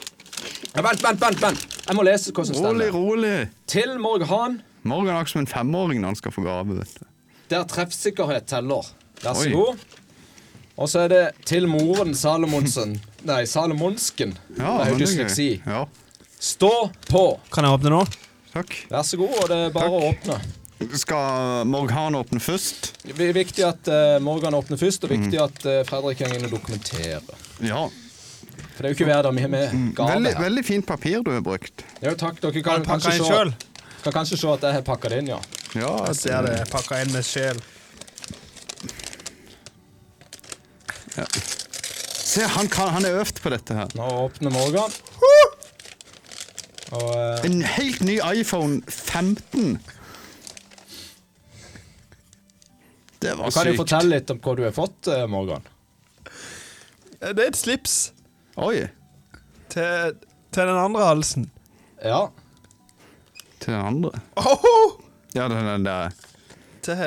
Speaker 3: Ja, vent, vent, vent! vent. Jeg må lese hva som
Speaker 1: Rolig,
Speaker 3: stemmer.
Speaker 1: rolig.
Speaker 3: Til Morghan
Speaker 1: Morgan er ikke som en femåring når han skal få gave. vet du.
Speaker 3: Der treffsikkerhet teller. Vær så
Speaker 1: Oi.
Speaker 3: god. Og så er det til moren Salomonsen Nei, Salomonsken.
Speaker 1: Ja,
Speaker 3: det er
Speaker 1: men
Speaker 3: jo
Speaker 1: det er
Speaker 3: dysleksi.
Speaker 1: gøy. Ja,
Speaker 3: Stå på.
Speaker 4: Kan jeg åpne nå?
Speaker 1: takk.
Speaker 3: Vær så god, og det er bare å åpne.
Speaker 1: Skal Morgan åpne først?
Speaker 3: Det er viktig at eh, Morgan åpner først, og
Speaker 1: Mm.
Speaker 3: viktig at eh, Fredrik er inne og dokumenterer.
Speaker 1: Ja.
Speaker 3: For det er jo ikke hver dag vi har med gave
Speaker 1: Mm. Veldig,
Speaker 3: her.
Speaker 1: veldig fint papir du har brukt.
Speaker 3: Jo, takk. Dere kan
Speaker 4: Pakka
Speaker 3: kanskje
Speaker 4: inn
Speaker 3: se,
Speaker 4: sjøl?
Speaker 3: kan kanskje se at jeg har pakka det inn, ja.
Speaker 1: Ja,
Speaker 4: Jeg
Speaker 1: altså,
Speaker 4: ser det. jeg Pakka inn med sjel.
Speaker 1: Se, han, kan, han er øvd på dette her.
Speaker 3: Nå åpner Morgan. Og eh,
Speaker 1: En helt ny iPhone 15. Det var
Speaker 3: du kan jo
Speaker 1: sykt.
Speaker 3: fortelle litt om hva du har fått, eh, Morgan.
Speaker 4: Eh, Det er et slips
Speaker 1: Oi.
Speaker 4: til, til den andre halsen.
Speaker 3: Ja.
Speaker 1: Til den andre. Ja, den den der.
Speaker 4: Til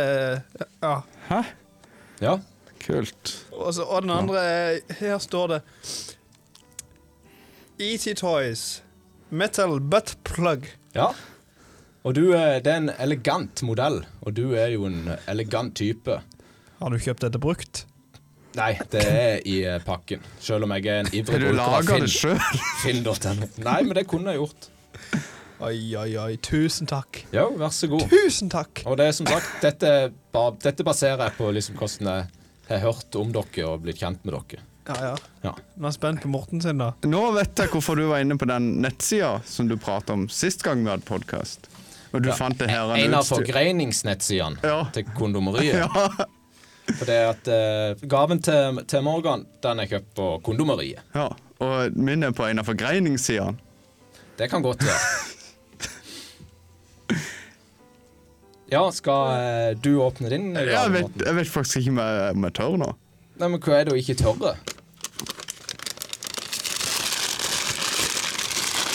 Speaker 4: Ja.
Speaker 1: Hæ?
Speaker 3: ja.
Speaker 1: Kult.
Speaker 4: Og, så, og den andre er Her står det ET Toys Metal Butt Plug.
Speaker 3: Ja. Og du er, det er en elegant modell, og du er jo en elegant type.
Speaker 4: Har du kjøpt dette brukt?
Speaker 3: Nei, det er i eh, pakken. Selv om jeg er en
Speaker 1: Har
Speaker 3: ivrig
Speaker 1: du
Speaker 3: bruker av
Speaker 1: laga det
Speaker 3: Finn.
Speaker 1: sjøl?
Speaker 3: Finn.no. Nei, men det kunne jeg gjort.
Speaker 4: Oi, oi, oi. Tusen takk.
Speaker 3: Jo, vær så god.
Speaker 4: Tusen takk!
Speaker 3: Og det er som sagt, dette, er ba, dette baserer jeg på liksom hvordan jeg har hørt om dere og blitt kjent med dere.
Speaker 4: Ja, ja.
Speaker 9: Ja.
Speaker 4: Nå er jeg spent på Morten sin, da.
Speaker 1: Nå vet jeg hvorfor du var inne på den nettsida som du pratet om sist gang vi hadde podkast. Og du fant det her
Speaker 3: En av
Speaker 1: utstyr-
Speaker 3: forgreiningsnettsidene
Speaker 1: Ja.
Speaker 3: til kondomeriet. For det at eh, gaven til, til Morgan, den er kjøpt på kondomeriet.
Speaker 1: Ja, og min er på en av forgreiningssidene.
Speaker 3: Det kan godt være. Ja, skal eh, du åpne din? eh,
Speaker 1: Jeg
Speaker 3: Jan
Speaker 1: vet,
Speaker 3: Morten?
Speaker 1: jeg vet faktisk ikke om jeg, om jeg tør nå.
Speaker 3: Nei, men hva er det å ikke tørre?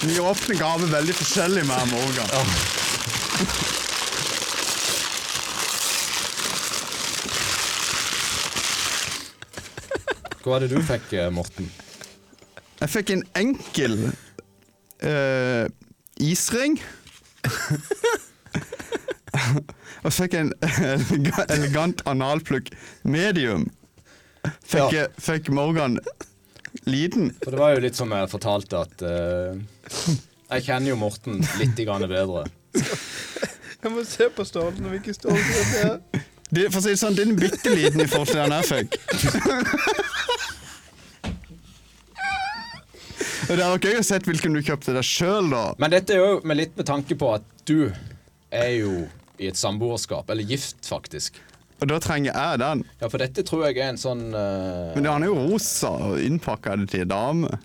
Speaker 1: Vi åpner gaver veldig forskjellig med Morgan.
Speaker 3: Hva er det du fikk, eh, Morten?
Speaker 1: Jeg fikk en enkel eh, isring. Og så fikk jeg en elega- elegant analplugg medium. Fikk,
Speaker 3: Ja.
Speaker 1: fikk Morgan liten.
Speaker 3: For det var jo litt som jeg fortalte at eh, Jeg kjenner jo Morten litt grann bedre.
Speaker 10: Jeg må se på stålen og hvilken stål det er.
Speaker 1: Det, for å si det sånn, den er bitte liten i forhold til den jeg fikk. Og det er gøy å se hvilken du kjøpte deg sjøl, da.
Speaker 3: Men dette er jo med litt med tanke på at du er jo i et samboerskap, eller gift, faktisk.
Speaker 1: Og da trenger jeg den.
Speaker 3: Ja, for dette tror jeg er en sånn eh,
Speaker 1: Men han er jo rosa og innpakka til en dame.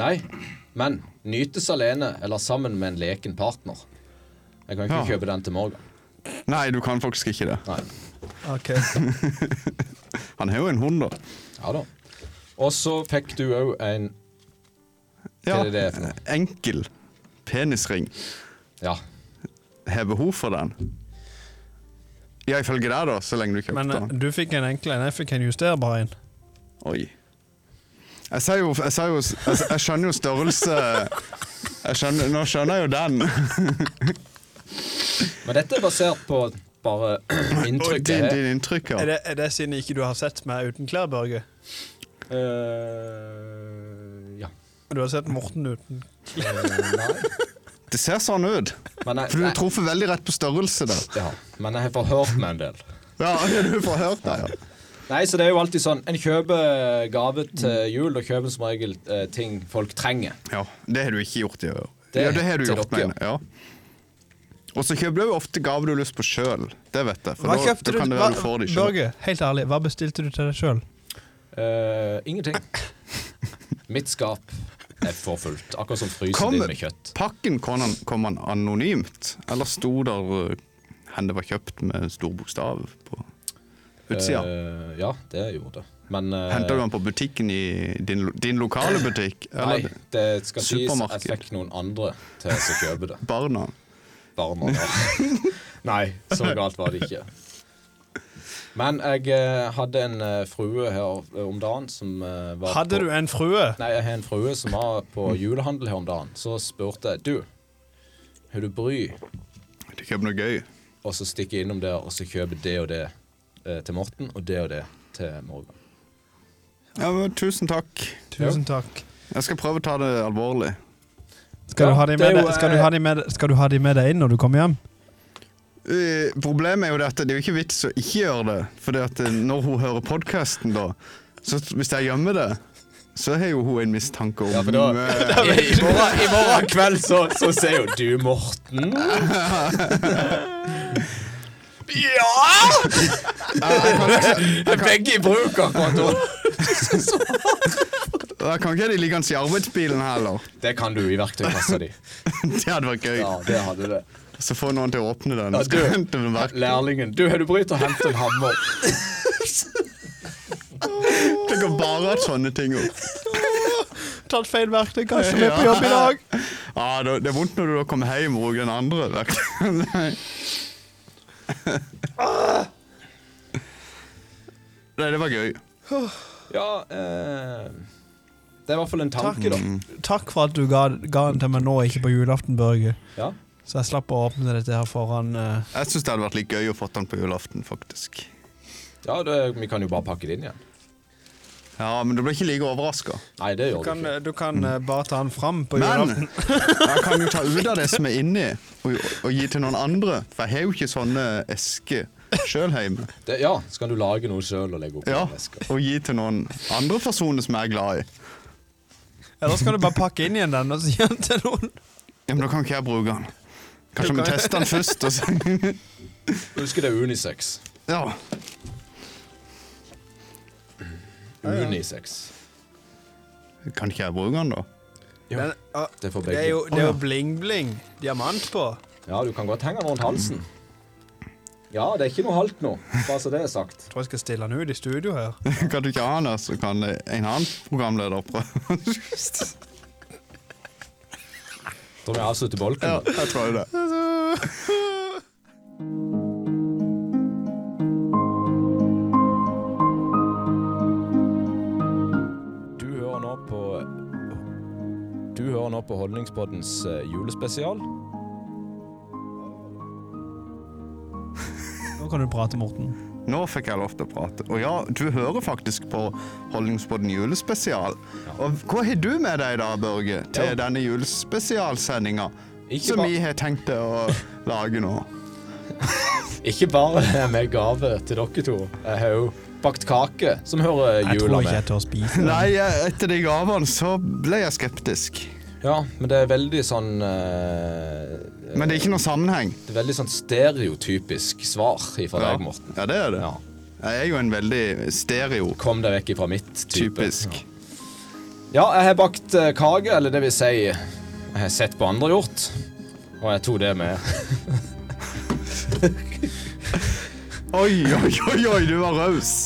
Speaker 3: Nei, men nytes alene eller sammen med en leken partner. Jeg kan ikke
Speaker 1: Ja.
Speaker 3: kjøpe den til Morgan.
Speaker 1: Nei, du kan faktisk ikke det.
Speaker 3: Nei.
Speaker 10: Ok.
Speaker 1: Han har jo en hund, da.
Speaker 3: Ja da. Og så fikk du òg en
Speaker 1: Ja,
Speaker 3: Hva er det for noe?
Speaker 1: Enkel penisring.
Speaker 3: Ja.
Speaker 1: Har behov for den. Ja, ifølge deg, da, så lenge du kjøpte
Speaker 4: Men eh,
Speaker 1: den.
Speaker 4: du fikk en enkel en, jeg fikk en justerbar en.
Speaker 1: Oi. Jeg sier jo, jeg, sier jo jeg, jeg skjønner jo størrelse jeg skjønner, Nå skjønner jeg jo den.
Speaker 3: Men dette er basert på bare
Speaker 1: Og
Speaker 3: inntrykk jeg
Speaker 1: din,
Speaker 3: har.
Speaker 1: din inntrykk,
Speaker 4: Er
Speaker 1: ja.
Speaker 4: det, er det siden ikke du har sett meg uten klær, Børge?
Speaker 3: Eh, ja.
Speaker 4: Du har sett Morten uten
Speaker 3: Eh, nei.
Speaker 1: Det ser sånn ut.
Speaker 3: Men jeg,
Speaker 1: For du
Speaker 3: nei.
Speaker 1: har truffet veldig rett på størrelse der.
Speaker 3: Ja. Men jeg har forhørt meg en del.
Speaker 1: Ja, du får hørt det, ja.
Speaker 3: Nei, så det er jo alltid sånn En kjøper gave
Speaker 1: Mm.
Speaker 3: til jul, og kjøper som regel eh, ting folk trenger.
Speaker 1: Ja, det har du ikke gjort i år.
Speaker 3: Det
Speaker 1: ja, det har du
Speaker 3: til
Speaker 1: gjort,
Speaker 3: dere,
Speaker 1: mener jeg. Ja. Og så kjøper du jo ofte gaver du har lyst på sjøl. Det vet jeg. For
Speaker 4: Hva
Speaker 1: da,
Speaker 4: kjøpte
Speaker 1: da
Speaker 4: du?
Speaker 1: kan det
Speaker 4: Hva,
Speaker 1: være du får de selv.
Speaker 4: Børge, helt ærlig, hva bestilte du til deg sjøl?
Speaker 3: Eh, ingenting. Mitt skap er for fullt. Akkurat som frysen
Speaker 1: Kom-
Speaker 3: din med kjøtt.
Speaker 1: Pakken kom han, kom han anonymt, eller sto der uh, hen det var kjøpt med stor bokstav på utsida?
Speaker 3: Eh, ja, det gjorde det. Men eh,
Speaker 1: Henta du den på butikken i din, lo- din lokale butikk? Eller
Speaker 3: Nei, det skal sies
Speaker 1: Supermarked.
Speaker 3: jeg fikk noen andre til å kjøpe det.
Speaker 1: barna?
Speaker 3: Barna. Ja. Nei, så galt var det ikke. Men jeg eh, hadde en eh, frue her eh, om dagen som eh, var
Speaker 4: Hadde
Speaker 3: på,
Speaker 4: du en frue?
Speaker 3: Nei, jeg har en frue som var på julehandel her om dagen. Så spurte jeg Du, har du bry?
Speaker 1: Du kjøper noe gøy?
Speaker 3: Og så stikker jeg innom der og så kjøper det og det eh, til Morten, og det og det til Morgan.
Speaker 1: Ja, men Tusen takk.
Speaker 4: Tusen takk.
Speaker 1: Jeg skal prøve å ta det alvorlig.
Speaker 4: Skal
Speaker 3: Ja,
Speaker 4: du ha de
Speaker 3: det er
Speaker 4: med,
Speaker 3: jo,
Speaker 4: deg- skal du ha de med, deg- skal du ha de med deg inn når du kommer hjem?
Speaker 1: Eh, Problemet er jo dette, det er jo ikke vits å ikke gjøre det. For at eh, når hun hører podkasten, da så t- Hvis jeg gjemmer det, så har jo hun en mistanke om
Speaker 3: Ja, for da-
Speaker 1: eh,
Speaker 3: I, i, morgen, I morgen kveld så, så ser jo du Morten. Ja! Begge i bruk akkurat nå.
Speaker 1: Jeg kan ikke ha de liggende i arbeidsbilen heller.
Speaker 3: Det kan du i verktøykassa di.
Speaker 1: Det hadde vært gøy.
Speaker 3: Ja, det hadde det.
Speaker 1: Så får noen til å åpne den.
Speaker 3: Ja,
Speaker 1: og skal
Speaker 3: du-
Speaker 1: hente den vekk.
Speaker 3: Lærlingen. Du, har du brytt og hentet en hammer?
Speaker 1: Det går bare at sånne ting opp.
Speaker 4: Tatt feil verktøy, kanskje med på jobb i dag.
Speaker 1: Ja, det det er vondt når du da kommer hjem og bruker den andre. verktøy. Nei. Nei, det var gøy.
Speaker 3: Ja, eh, det er i hvert fall en tanke, da.
Speaker 1: Mm.
Speaker 4: Takk for at du ga, ga den til meg nå, ikke på julaften, Børge.
Speaker 3: Ja.
Speaker 4: Så jeg slapp å åpne dette her foran eh,
Speaker 1: Jeg syns det hadde vært litt gøy å få den på julaften, faktisk.
Speaker 3: Ja, det, vi kan jo bare pakke det inn igjen.
Speaker 1: Ja, men du ble ikke like overraska.
Speaker 3: Nei, det
Speaker 4: Du
Speaker 3: gjør
Speaker 4: kan,
Speaker 3: du ikke.
Speaker 4: du kan eh, bare ta den fram på
Speaker 1: Mm. Men
Speaker 4: julaften.
Speaker 1: jeg kan jo ta ut av det som er inni, og, og gi til noen andre. For jeg har jo ikke sånne esker. sjøl hjemme.
Speaker 3: Det, ja, så kan du lage noe sjøl og legge opp
Speaker 1: Ja,
Speaker 3: i veska.
Speaker 1: og gi til noen andre personer som jeg er glad i.
Speaker 4: Ellers kan du bare pakke inn igjen den og si den til noen.
Speaker 1: Ja, Men da kan ikke jeg bruke den. Kanskje vi tester den først, og så
Speaker 3: Husker det er unisex.
Speaker 1: Ja.
Speaker 3: Unisex.
Speaker 1: Kan ikke jeg bruke den, da?
Speaker 4: Den, å,
Speaker 3: Det er for
Speaker 4: det
Speaker 3: begge.
Speaker 4: er jo det er
Speaker 1: Å,
Speaker 4: jo
Speaker 1: ja.
Speaker 4: bling-bling. Diamant på.
Speaker 3: Ja, du kan godt henge den rundt halsen. Ja, det er ikke noe halvt nå, bare så det er sagt.
Speaker 4: Jeg tror jeg skal stille den ut i studio her.
Speaker 1: Kan du ikke ha den, så kan en annen programleder prøve.
Speaker 3: Da må jeg avslutte bolken.
Speaker 1: Ja, jeg tror det.
Speaker 3: Du hører nå på Du hører nå på Holdningspoddens eh, julespesial.
Speaker 4: Nå kan du prate, Morten.
Speaker 1: Nå fikk jeg lov til å prate. Og ja, du hører faktisk på Holdningsbåten julespesial. Og hva har du med deg da, Børge, til
Speaker 3: Ja.
Speaker 1: denne julespesialsendinga?
Speaker 3: Ikke
Speaker 1: Som
Speaker 3: ba-
Speaker 1: vi har tenkt til å lage nå.
Speaker 3: Ikke bare med gave til dere to. Jeg har jo bakt kake, som hører
Speaker 4: Jeg
Speaker 3: jula
Speaker 4: tror ikke
Speaker 3: med.
Speaker 4: jeg tør spise den.
Speaker 1: Nei, jeg- etter de gavene så ble jeg skeptisk.
Speaker 3: Ja, men det er veldig sånn eh,
Speaker 1: Men det er ikke noe sammenheng.
Speaker 3: Det er veldig sånn stereotypisk svar fra deg, Morten.
Speaker 1: ja det er det.
Speaker 3: Ja.
Speaker 1: Jeg er jo en veldig
Speaker 3: Kom deg vekk ifra mitt type.
Speaker 1: stereotypisk.
Speaker 3: Ja, jeg har bakt eh, kake, eller det vil si Jeg har sett på andre gjort, og jeg tok det med.
Speaker 1: Oi, oi, oi, oi, du var raus.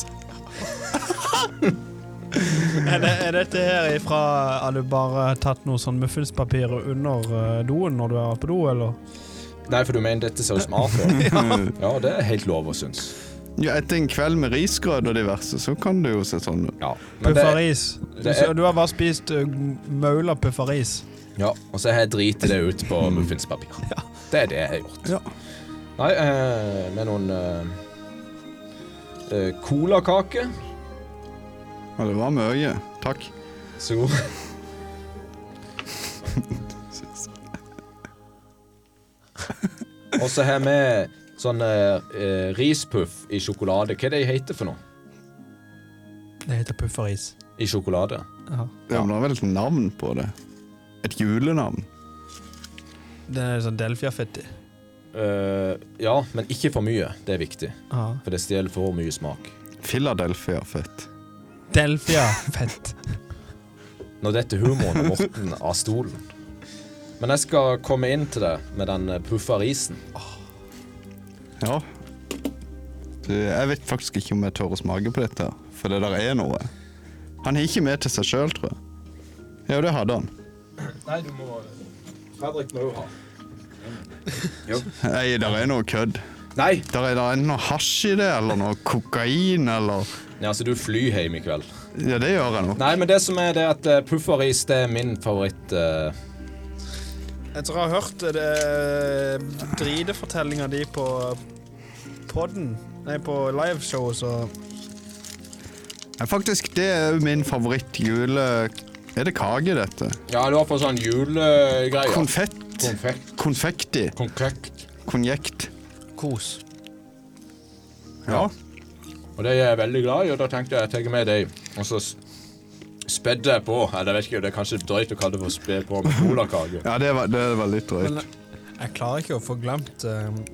Speaker 4: Er, det, er dette her ifra Har du bare tatt noe sånn muffinspapir under eh, doen når du er på do, eller?
Speaker 3: Nei, for du mener dette ser ut som avfall? ja. det er helt lov å synes.
Speaker 1: Ja, etter en kveld med risgrøt og diverse, så kan det jo se sånn ut.
Speaker 3: Ja. Men det,
Speaker 4: Puffa ris. Du,
Speaker 3: det
Speaker 4: ser-
Speaker 3: er-
Speaker 4: du har bare spist uh, maula puffa ris.
Speaker 3: ja, og så har jeg driti det ut på muffinspapir. Det er det jeg har gjort.
Speaker 1: Ja.
Speaker 3: Nei, eh, med noen eh, eh, colakake.
Speaker 1: Og det var mye. Takk.
Speaker 3: Så god. Og så har vi sånn eh, rispuff i sjokolade. Hva er det de heter for noe?
Speaker 4: Det heter puffa ris.
Speaker 3: I sjokolade?
Speaker 4: Ja.
Speaker 1: Ja, men det var vel et navn på det. Et julenavn.
Speaker 4: Det er sånn Delfia-fetti.
Speaker 3: Eh, ja, men ikke for mye. Det er viktig.
Speaker 4: Ja.
Speaker 3: For det stjeler for mye smak.
Speaker 1: Philadelphia-fett.
Speaker 4: Delfia-fett.
Speaker 3: Når dette humoren er Morten av stolen. Men jeg skal komme inn til det med den eh, puffa risen.
Speaker 1: Ja. Du, jeg vet faktisk ikke om jeg tør å smake på dette, her, for det der er noe. Han har ikke med til seg sjøl, tror jeg. Ja, det hadde han.
Speaker 3: Nei, du må Fredrik må jo ha.
Speaker 1: Nei, der er noe kødd.
Speaker 3: Nei!
Speaker 1: Der er der enten noe hasj i det, eller noe kokain, eller
Speaker 3: Nei, altså, du flyr hjem i kveld.
Speaker 1: Ja, det gjør jeg nå.
Speaker 3: Nei, men det som er det at eh, puffaris det er min favoritt eh,
Speaker 4: Jeg tror jeg har hørt eh, det dridefortellinga di på podden. Nei, på liveshow, så
Speaker 1: Ja, faktisk, det er jo min favorittjule... Er det kake, dette?
Speaker 3: Ja, det var for sånn julegreier.
Speaker 1: Konfett.
Speaker 3: Konfekt.
Speaker 1: Konfekti.
Speaker 3: Konfekt.
Speaker 1: Konjekt.
Speaker 4: kos.
Speaker 1: Ja.
Speaker 3: Og det er jeg veldig glad i, og da tenkte jeg jeg tar med deg. Og så s- spedde jeg på. Eller jeg vet ikke, det er kanskje drøyt å kalle det for spe på med colakake.
Speaker 1: Ja, det var, det var litt drøyt.
Speaker 4: Men jeg klarer ikke å få glemt eh,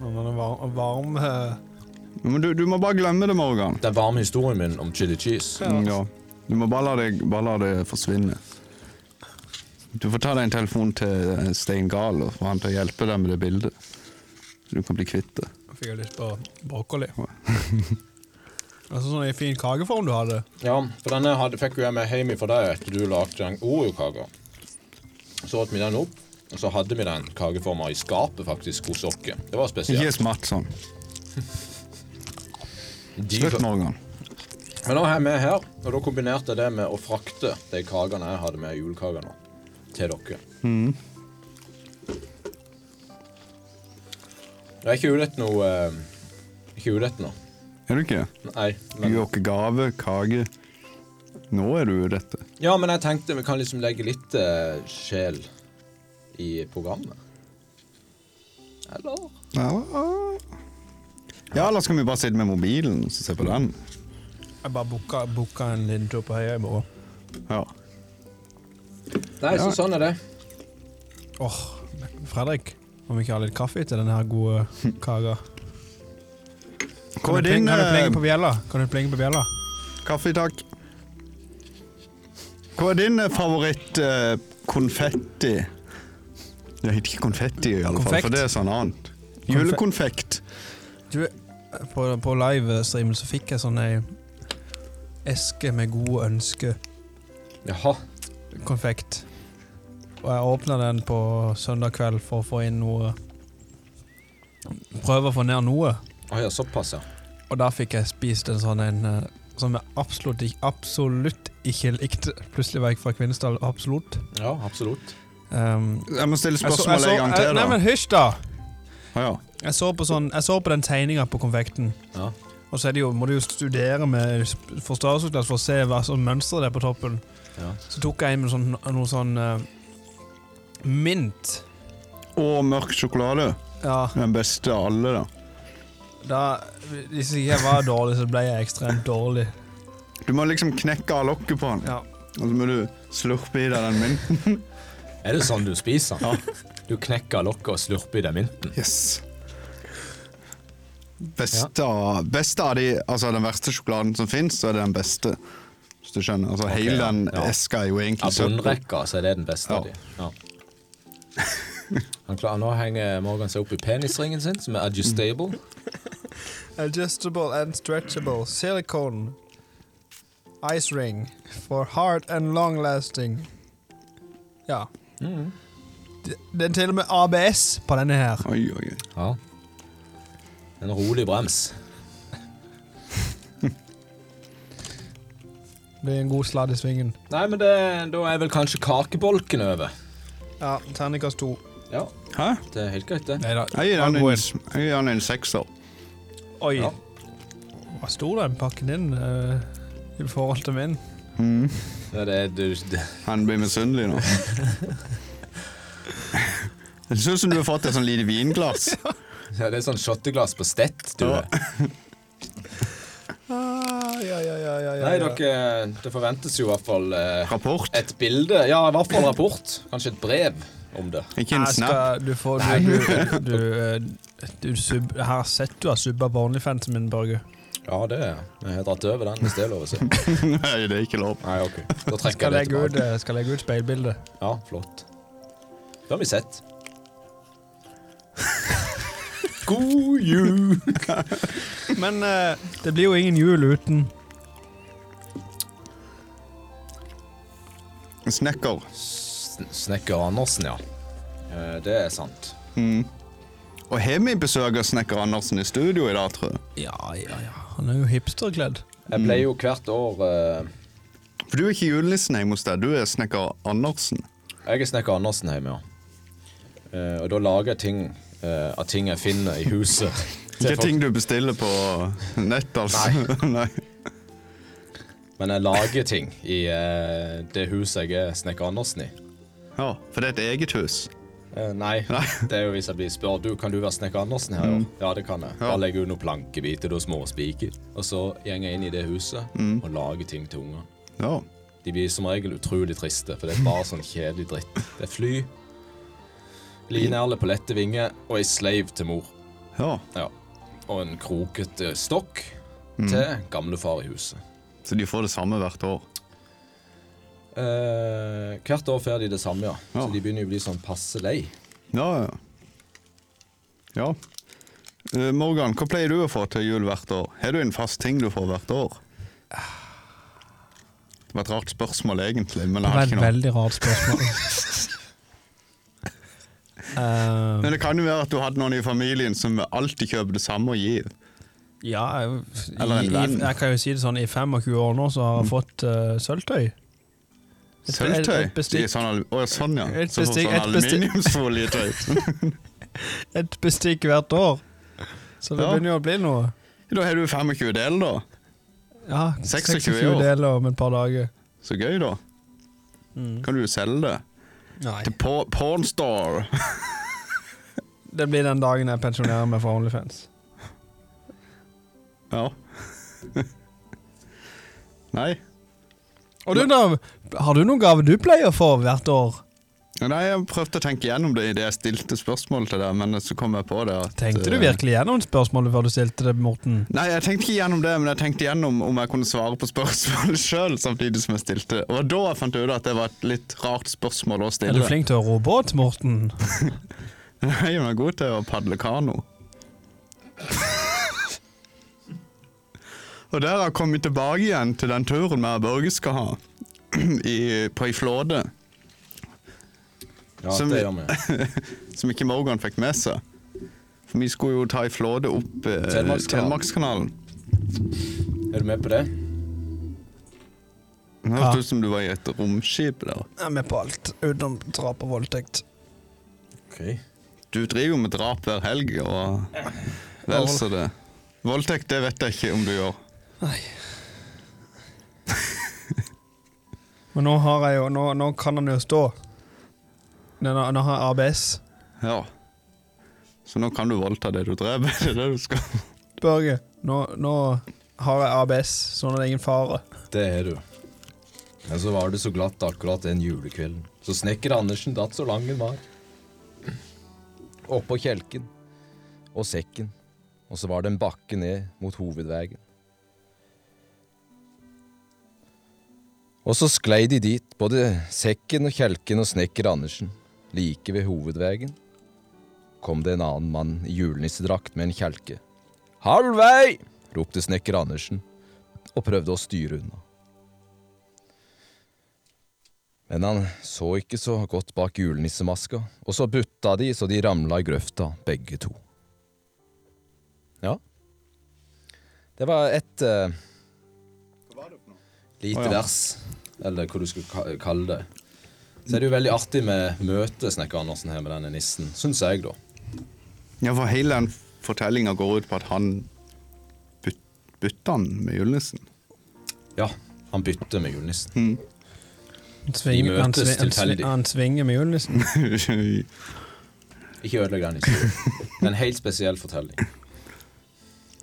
Speaker 4: den varme, varme
Speaker 1: Men du, du må bare glemme det, Morgan.
Speaker 3: Den varme historien min om chili cheese.
Speaker 1: Mm, Ja. Du må bare la det, bare la det forsvinne. Du får ta deg en telefon til eh, Stein Gahl og få han til å hjelpe deg med det bildet. Så du kan bli kvitt det.
Speaker 4: Nå Fikk jeg lyst på brokkoli. Altså sånn i fin kakeform du hadde.
Speaker 3: Ja, for denne hadde, fikk jo jeg med hjem fra deg etter du lagde den Oreo-kaka. Så åt vi den opp, og så hadde vi den kakeforma i skapet faktisk hos oss. Det var
Speaker 1: Ikke
Speaker 3: spesielt.
Speaker 1: smatt sånn.
Speaker 3: De-
Speaker 1: Slutt, Morgan.
Speaker 3: Men nå er jeg med her, og da kombinerte jeg det med å frakte de kakene jeg hadde med julekakene til dere. Jeg er ikke ute etter noe eh, Ikke ute etter noe.
Speaker 1: Er du ikke?
Speaker 3: Nei.
Speaker 1: Du
Speaker 3: Men,
Speaker 1: gjør ikke gave, kake. Nå er du dette.
Speaker 3: ja, men jeg tenkte vi kan liksom legge litt eh, sjel i programmet. Eller?
Speaker 1: Ja. Ja, eller skal vi bare sitte med mobilen og se på den?
Speaker 4: Jeg bare booka, booka en liten tur på Høyøy i morgen.
Speaker 1: Ja.
Speaker 3: Nei, så sånn er det.
Speaker 4: Åh, Fredrik, om vi ikke har litt kaffe til denne her gode kaka?
Speaker 1: Hvor
Speaker 4: Kan,
Speaker 1: er
Speaker 4: du
Speaker 1: din
Speaker 4: pling- kan du
Speaker 1: eh,
Speaker 4: plinge på bjella? Kan du plinge på bjella?
Speaker 1: kaffe, takk? Hva er din eh, favoritt eh, konfetti? Det heter ikke konfetti, i alle fall,
Speaker 4: Konfekt?
Speaker 1: for det er sånn annet. Julekonfekt.
Speaker 4: Du, på, på livestreamen så fikk jeg sånn ei eske med gode ønsker-konfekt.
Speaker 3: Jaha.
Speaker 4: Og jeg åpna den på søndag kveld for å få inn noe Prøve å få ned noe.
Speaker 3: Å ja, såpass, ja.
Speaker 4: Og da fikk jeg spist en sånn en eh, som jeg absolutt, ikke- absolutt ikke likte. Plutselig var jeg fra Kvinesdal. Absolutt.
Speaker 3: Ja, absolutt.
Speaker 4: Um,
Speaker 1: Jeg må stille
Speaker 4: jeg så-
Speaker 1: spørsmålet
Speaker 4: jeg
Speaker 1: en gang
Speaker 4: så- jeg-
Speaker 1: til,
Speaker 4: Nei,
Speaker 1: da.
Speaker 4: men hysj, da!
Speaker 1: Å, ja.
Speaker 4: Jeg så på, sånn, jeg så på den tegninga på konfekten.
Speaker 3: Ja.
Speaker 4: Og så er det jo, må du jo studere med sp- forstørrelsesglass for å se hva som mønster det er på toppen.
Speaker 3: Ja.
Speaker 4: Så tok jeg inn med sånn, noe sånn eh, mint.
Speaker 1: Og mørk sjokolade.
Speaker 4: Ja,
Speaker 1: Den beste av alle, da.
Speaker 4: da, Hvis ikke jeg var dårlig, så ble jeg ekstremt dårlig.
Speaker 1: Du må liksom knekke av lokket på den,
Speaker 4: Ja.
Speaker 1: og så må du slurpe i deg den mynten.
Speaker 3: Er det sånn du spiser? Du knekker lokket og slurper i deg mynten.
Speaker 1: Yes. Beste, av, beste av de Altså, den verste sjokoladen som fins, så er det den beste. Hvis du skjønner. Altså, hele
Speaker 3: ja,
Speaker 1: den
Speaker 3: ja.
Speaker 1: eska er jo egentlig
Speaker 3: Av
Speaker 1: søppel.
Speaker 3: bunnrekka så er det den beste av
Speaker 1: Ja.
Speaker 3: de. Ja. Han klarer, nå henger Morgan seg opp i penisringen sin, som er adjustable.
Speaker 4: Adjustable and stretchable silicone ice ring for hard and long lasting. Ja. Mm. Det, det er til og med ABS på denne her.
Speaker 1: Oi, oi, oi.
Speaker 3: Ja. En rolig brems.
Speaker 4: Det er en god sladd i svingen.
Speaker 3: Nei, men det, da er vel kanskje kakebolken over.
Speaker 4: Ja, terningkast to.
Speaker 3: Ja,
Speaker 1: Hæ?
Speaker 3: det er helt greit, det.
Speaker 4: Nei da.
Speaker 1: Jeg gir den en, jeg gir den en sekser.
Speaker 4: Oi.
Speaker 3: Ja.
Speaker 4: Hva sto den pakken din eh, i forhold til min?
Speaker 3: Ja, det, er- du, det.
Speaker 1: Han blir misunnelig nå. Det ser ut som du har fått et sånn lite vinglass.
Speaker 3: Ja, det er sånn shotteglass på stett, du.
Speaker 1: Ja.
Speaker 4: Ah, ja, ja, ja, ja,
Speaker 3: Nei, dere, det forventes jo i hvert fall eh,
Speaker 1: Rapport.
Speaker 3: et bilde. Ja, i hvert fall en rapport. Kanskje et brev om det.
Speaker 1: Ikke en snap.
Speaker 4: Du får Du, du, du, eh, du sub, Jeg har sett du har subba på OnlyFansen min, Børge.
Speaker 3: Ja, det er Jeg har dratt over den, hvis det er lov å si.
Speaker 1: Nei, det er ikke lov.
Speaker 3: Nei, ok. Da trekker
Speaker 4: Skal
Speaker 3: jeg det
Speaker 4: legge ut,
Speaker 3: tilbake.
Speaker 4: eh, skal legge ut speilbildet.
Speaker 3: Ja, flott. Da har vi sett. God jul!
Speaker 4: Men eh, det blir jo ingen jul uten
Speaker 1: Snekker.
Speaker 3: Sn- Snekker Andersen, ja. Eh, Det er sant.
Speaker 1: Og har vi besøk av snekker Andersen i studio i dag, tror jeg?
Speaker 4: Ja, ja, ja. Han er jo hipsterkledd.
Speaker 3: Jeg ble
Speaker 1: Mm.
Speaker 3: jo hvert år eh,
Speaker 1: For du er ikke julenissen hjemme hos deg, du er snekker Andersen.
Speaker 3: Jeg er snekker Andersen hjemme, ja. Eh, og da lager jeg ting eh, av ting jeg finner i huset.
Speaker 1: Ikke
Speaker 3: Til folk.
Speaker 1: ting du bestiller på nett, altså. Nei.
Speaker 3: Men jeg lager ting i eh, det huset jeg er snekker Andersen i.
Speaker 1: Ja, for det er et eget hus.
Speaker 3: Eh, nei. det er jo hvis jeg blir spurt du, kan du være snekker Andersen her i år. Ja, det kan jeg. Da
Speaker 1: Mm. Ja.
Speaker 3: legger jeg ut noen plankebiter og små spiker. Og så går jeg inn i det huset
Speaker 1: Mm.
Speaker 3: og lager ting til ungene.
Speaker 1: Ja.
Speaker 3: De blir som regel utrolig triste, for det er bare sånn kjedelig dritt. Det er fly, linerle på lette vinger og ei sleiv til mor.
Speaker 1: ja.
Speaker 3: Ja. Og en krokete stokk til gamlefar i huset.
Speaker 1: Så de får det samme hvert år.
Speaker 3: Eh, hvert år får de det samme, ja. Så
Speaker 1: Ja.
Speaker 3: de begynner jo å bli sånn passe lei.
Speaker 1: Ja, ja. Ja. Eh, Morgan, hva pleier du å få til jul hvert år? Har du en fast ting du får hvert år? Det var et rart spørsmål, egentlig, men jeg
Speaker 4: Det var
Speaker 1: har
Speaker 4: et
Speaker 1: ikke noe.
Speaker 4: veldig rart spørsmål. Eh,
Speaker 1: Men det kan jo være at du hadde noen i familien som alltid kjøper det samme og gir.
Speaker 4: ja, jeg,
Speaker 1: Eller en
Speaker 4: i, i,
Speaker 1: venn. Mm.
Speaker 4: jeg kan jo si det sånn, i 25 år nå så har jeg fått eh, sølvtøy. Et-
Speaker 1: Sølvtøy?
Speaker 4: et bestikk.
Speaker 1: De er sånn, al- å, ja, sånn, ja.
Speaker 4: Et
Speaker 1: Så får
Speaker 4: bestikk-
Speaker 1: sånn
Speaker 4: et bestikk.
Speaker 1: aluminiumsfolietøy.
Speaker 4: Et bestikk hvert år. Så det
Speaker 1: Ja.
Speaker 4: begynner jo å bli noe.
Speaker 1: Da har du 25 del, da.
Speaker 4: Ja,
Speaker 1: 26 år.
Speaker 4: deler om et par dager.
Speaker 1: Så gøy, da.
Speaker 4: Mm.
Speaker 1: Kan du jo selge det?
Speaker 4: Nei.
Speaker 1: Til por Pornstar.
Speaker 4: Det blir den dagen jeg pensjonerer meg fra OnlyFans.
Speaker 1: Ja. Nei.
Speaker 4: Og du, da, har du noen gave du pleier å få hvert år?
Speaker 1: Nei, jeg prøvde å tenke gjennom det idet jeg stilte spørsmål til deg, men så kom jeg på det at
Speaker 4: Tenkte du
Speaker 1: eh,
Speaker 4: virkelig gjennom spørsmålet før du stilte det, Morten?
Speaker 1: Nei, jeg tenkte ikke gjennom det, men jeg tenkte gjennom om jeg kunne svare på spørsmålet sjøl samtidig som jeg stilte. Og det var da jeg fant ut at det var et litt rart spørsmål å
Speaker 4: Er
Speaker 1: stille.
Speaker 4: du flink til å ro båt, Morten?
Speaker 1: Nei, hun er god til å padle kano. og der har jeg kommet tilbake igjen til den turen vi og Børge skal ha i, på ei flåte.
Speaker 3: Ja,
Speaker 1: Som-
Speaker 3: det gjør vi.
Speaker 1: som ikke Morgan fikk med seg. For vi skulle jo ta ei flåte opp eh,
Speaker 3: Telemarkskanalen.
Speaker 1: Telemarkskanalen.
Speaker 3: Er du med på det?
Speaker 1: Det hørtes ut som du var i et romskip der.
Speaker 4: Jeg er med på alt, utenom drap og voldtekt.
Speaker 3: Ok.
Speaker 1: Du driver jo med drap hver helg, og vel så det. Voldtekt, det vet jeg ikke om du gjør.
Speaker 11: Men nå har jeg jo Nå, nå kan han jo stå. Nå, nå, nå har jeg ABS.
Speaker 1: Ja. Så nå kan du voldta det du dreper. Det er det du skal.
Speaker 11: Børge, nå, nå har jeg ABS, sånn at det er ingen fare.
Speaker 3: Det er du. Men så var det så glatt akkurat den julekvelden. Så snekker Andersen datt så lang den var. Oppå kjelken og sekken, og så var det en bakke ned mot hovedveien. Og så sklei de dit, både sekken og kjelken og snekker Andersen. Like ved hovedveien kom det en annen mann i julenissedrakt med en kjelke. Halvvei! ropte snekker Andersen og prøvde å styre unna. Men han så ikke så godt bak julenissemaska, og så butta de så de ramla i grøfta, begge to. Ja. Det var et eh, lite vers, eller hva du skulle ka- kalle det. Så er det jo veldig artig med møtet Snekker Andersen her med denne nissen, syns jeg, da.
Speaker 1: Ja, for hele den fortellinga går ut på at han byt, bytta han med julenissen.
Speaker 3: Ja, han bytter med julenissen.
Speaker 11: Han svinger, han, svi-
Speaker 3: møtes
Speaker 11: han, svi-
Speaker 3: tilfeldig.
Speaker 11: han svinger med julenissen.
Speaker 1: ja,
Speaker 3: Ikke ødelegg den historien. Det er en helt spesiell fortelling.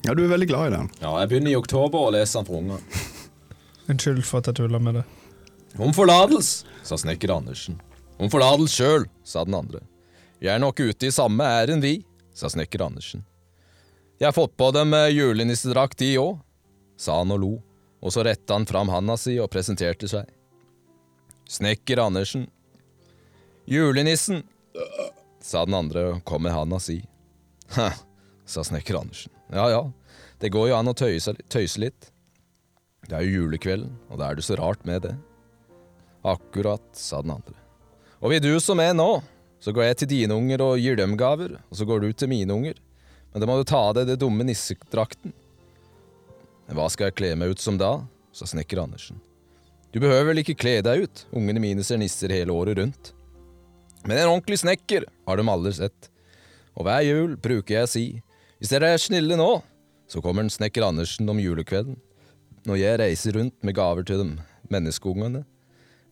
Speaker 1: du er veldig glad i den.
Speaker 3: Ja, jeg begynner i oktober å lese den for unger.
Speaker 11: Unnskyld for at jeg tulla med det.
Speaker 3: Om forlatelse, sa snekker Andersen. Om forlatelse sjøl, sa den andre. Vi er nok ute i samme ærend, vi, sa snekker Andersen. Jeg har fått på dem eh, julenissedrakt, de òg, sa han og lo, og så retta han fram handa si og presenterte seg. Snekker Andersen. Julenissen, sa den andre og kom med handa si. Hæ, sa snekker Andersen. Ja ja, det går jo an å tøyse, tøyse litt. Det er jo julekvelden, og da er det så rart med det. Akkurat, sa den andre. Og vil du som er nå, så går jeg til dine unger og gir dem gaver, og så går du til mine unger. Men da må du ta av deg det dumme nissedrakten. Men hva skal jeg kle meg ut som da? sa snekker Andersen. Du behøver vel ikke kle deg ut, ungene mine ser nisser hele året rundt. Men en ordentlig snekker har de alle sett. Og hver jul bruker jeg å si, hvis dere er snille nå, så kommer en snekker Andersen om julekvelden. Når jeg reiser rundt med gaver til dem, menneskeungene,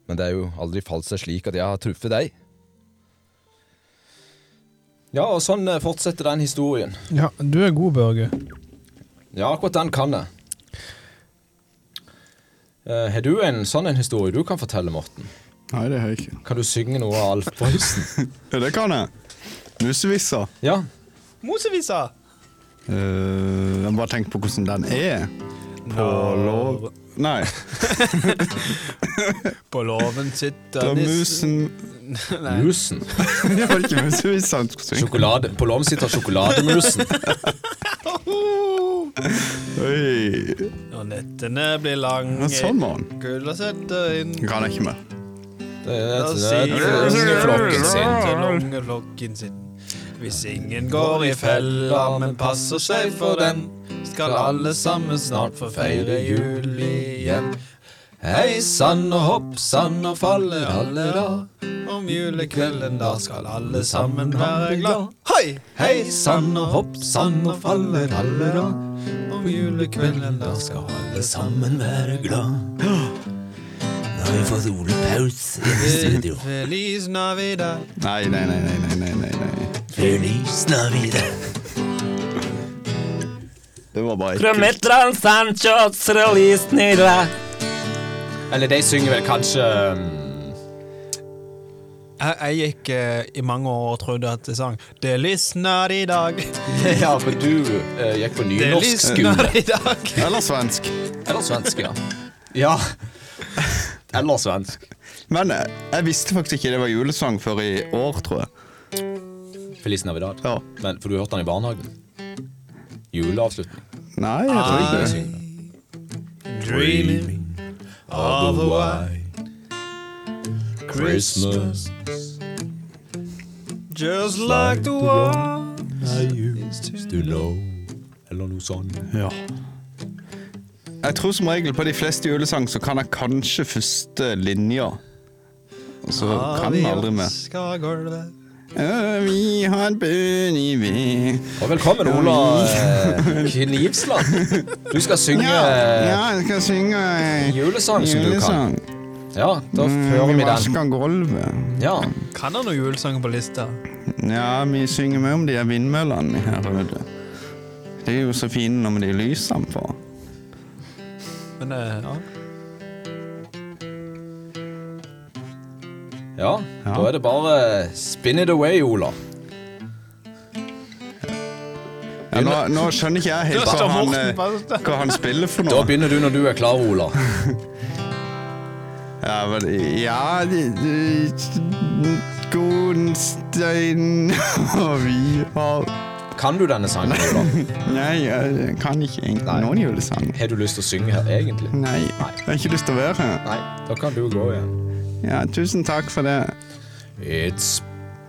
Speaker 3: men det er jo aldri falt seg slik at jeg har truffet deg. Ja, og sånn eh, fortsetter den historien.
Speaker 11: Ja, du er god, Børge.
Speaker 3: Ja, akkurat den kan jeg. Eh, har du en sånn en historie du kan fortelle, Morten?
Speaker 1: Nei, det har jeg ikke.
Speaker 3: Kan du synge noe av Alf Prøysen?
Speaker 1: Ja, det kan jeg. Musevissa.
Speaker 3: Ja.
Speaker 4: Mosevisa!
Speaker 1: Eh, jeg må bare tenke på hvordan den er. På lov... Nei.
Speaker 4: På låven
Speaker 1: Da
Speaker 4: sitter
Speaker 1: musen
Speaker 3: Musen.
Speaker 1: Det var ikke musevissa han skulle synge.
Speaker 3: Sjokolade. På lommen sitter sjokolademusen.
Speaker 1: Oi.
Speaker 4: Når nettene blir lange,
Speaker 1: Men sånn var han.
Speaker 4: kulda setter inn
Speaker 1: Den kan jeg ikke mer.
Speaker 3: Det er,
Speaker 4: Da
Speaker 3: det er,
Speaker 4: sier
Speaker 3: flokken sin.
Speaker 4: til ungeflokken sin. Hvis ingen går i fella, men passer seg for den, skal alle sammen snart få feire jul igjen.
Speaker 3: Hei sann og hopp sann.
Speaker 4: Nå faller alle da, om julekvelden da skal alle sammen være glad. Hei! Hei sann og hopp sann, nå faller alle da, om julekvelden da skal alle
Speaker 12: sammen være glad. Nå har vi fått Ole Paus i studio.
Speaker 4: Feliz Navidad.
Speaker 1: Nei, nei, nei, nei, nei, nei, nei.
Speaker 12: Feliz Navidad.
Speaker 1: Det var bare ekkelt.
Speaker 13: Krometran Sanchos releasenira.
Speaker 3: Eller de synger vel kanskje um,
Speaker 4: Jeg, jeg gikk eh, i mange år og trodde at det sang Det lysner i dag,
Speaker 3: Ja, for du eh, gikk på
Speaker 4: det
Speaker 3: nynorsk skole.
Speaker 4: lysner i dag.
Speaker 1: Eller svensk.
Speaker 3: Eller svensk, ja. Ja. Eller svensk.
Speaker 1: Men eh, jeg visste faktisk ikke det var julesang før i år, tror jeg.
Speaker 3: Feliz Navidad.
Speaker 1: Ja.
Speaker 3: Men, for du hørte den i barnehagen. Juleavslutning.
Speaker 1: Nei, jeg tror ikke det.
Speaker 4: Dreaming of a white
Speaker 3: Christmas
Speaker 4: Just like the one
Speaker 3: to know Eller noe sånt.
Speaker 1: Jeg tror som regel på de fleste julesang så kan jeg kanskje første linja. Og så kan jeg aldri mer.
Speaker 4: elsker gulvet.
Speaker 1: Ja, Vi har bunn i ved
Speaker 3: Og velkommen, Ola eh, Knivsland. Du skal synge
Speaker 1: ja,
Speaker 3: eh,
Speaker 1: ja, jeg skal synge eh,
Speaker 3: julesang som du kan.
Speaker 1: julesang. Mm,
Speaker 3: Ja, da fører vi den.
Speaker 1: vasker gulvet.
Speaker 3: Ja.
Speaker 4: Kan han noen julesanger på lista?
Speaker 1: Ja, vi synger mye om de her vindmøllene her ute. De er jo så fine når de lyser på.
Speaker 4: Men eh, ja.
Speaker 3: ja. Da er det bare eh, spin it away, Ola.
Speaker 1: Ja, nå, nå skjønner ikke jeg helt hva han, eh,
Speaker 4: bare
Speaker 1: hva han spiller for
Speaker 3: Da
Speaker 1: noe.
Speaker 3: begynner du når du er klar, Ola.
Speaker 1: Ja, vel, ja de- de- Gunstein og vi har
Speaker 3: Kan du denne sangen, Ola?
Speaker 1: Nei, jeg kan ikke egentlig noen julesang.
Speaker 3: Har du lyst til å synge her, egentlig?
Speaker 1: Nei, jeg har ikke lyst til å være her.
Speaker 3: Nei. Da kan du gå igjen.
Speaker 1: Ja, tusen takk for det.
Speaker 3: It's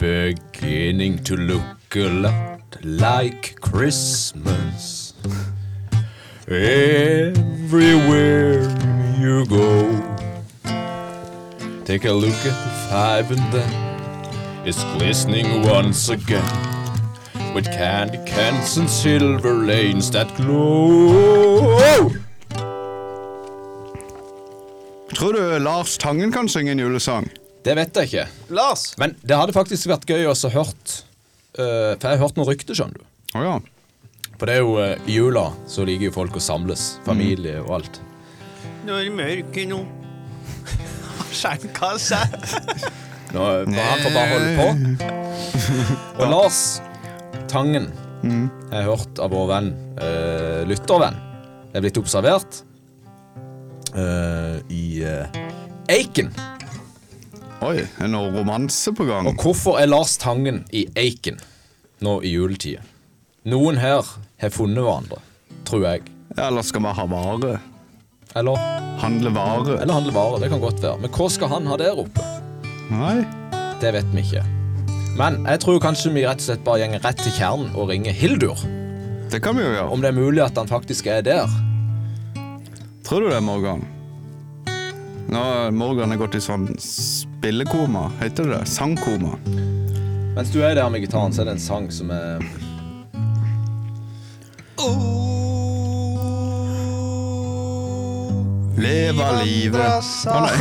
Speaker 3: beginning to look a lot like Christmas. Everywhere you go, take a look at the five and then it's glistening once again with candy cans and silver lanes that glow.
Speaker 1: Tror du Lars Tangen kan synge en julesang?
Speaker 3: Det vet jeg ikke,
Speaker 4: Lars!
Speaker 3: men det hadde faktisk vært gøy å så hørt, eh, for jeg har hørt noen rykter, skjønner du.
Speaker 1: Å ja.
Speaker 3: For det er jo eh, i jula så liker jo folk å samles. Familie og alt.
Speaker 4: Nå er det mørke nå. Skjenka seg.
Speaker 3: Nå, eh, bare han får bare holde på. Og Lars Tangen jeg har hørt av vår venn, eh, lyttervenn, det er blitt observert eh, i eh, Eiken.
Speaker 1: Oi, er det noe romanse på gang?
Speaker 3: Og hvorfor er Lars Tangen i Eiken nå i juletida? Noen her har funnet hverandre, tror jeg.
Speaker 1: Eller skal vi ha vare?
Speaker 3: Eller,
Speaker 1: Handle vare?
Speaker 3: eller handle varer. Det kan godt være. Men hva skal han ha der oppe?
Speaker 1: Nei.
Speaker 3: Det vet vi ikke. Men jeg tror kanskje vi rett og slett bare gjenger rett til kjernen og ringer Hildur.
Speaker 1: Det kan vi jo gjøre.
Speaker 3: Om det er mulig at han faktisk er der.
Speaker 1: Tror du det, Morgan? Nå Morgan er gått i sånn spillekoma. Heter det det? Sangkoma.
Speaker 3: Mens du er der med gitaren, så er det en sang som er
Speaker 1: Leve livet Å nei.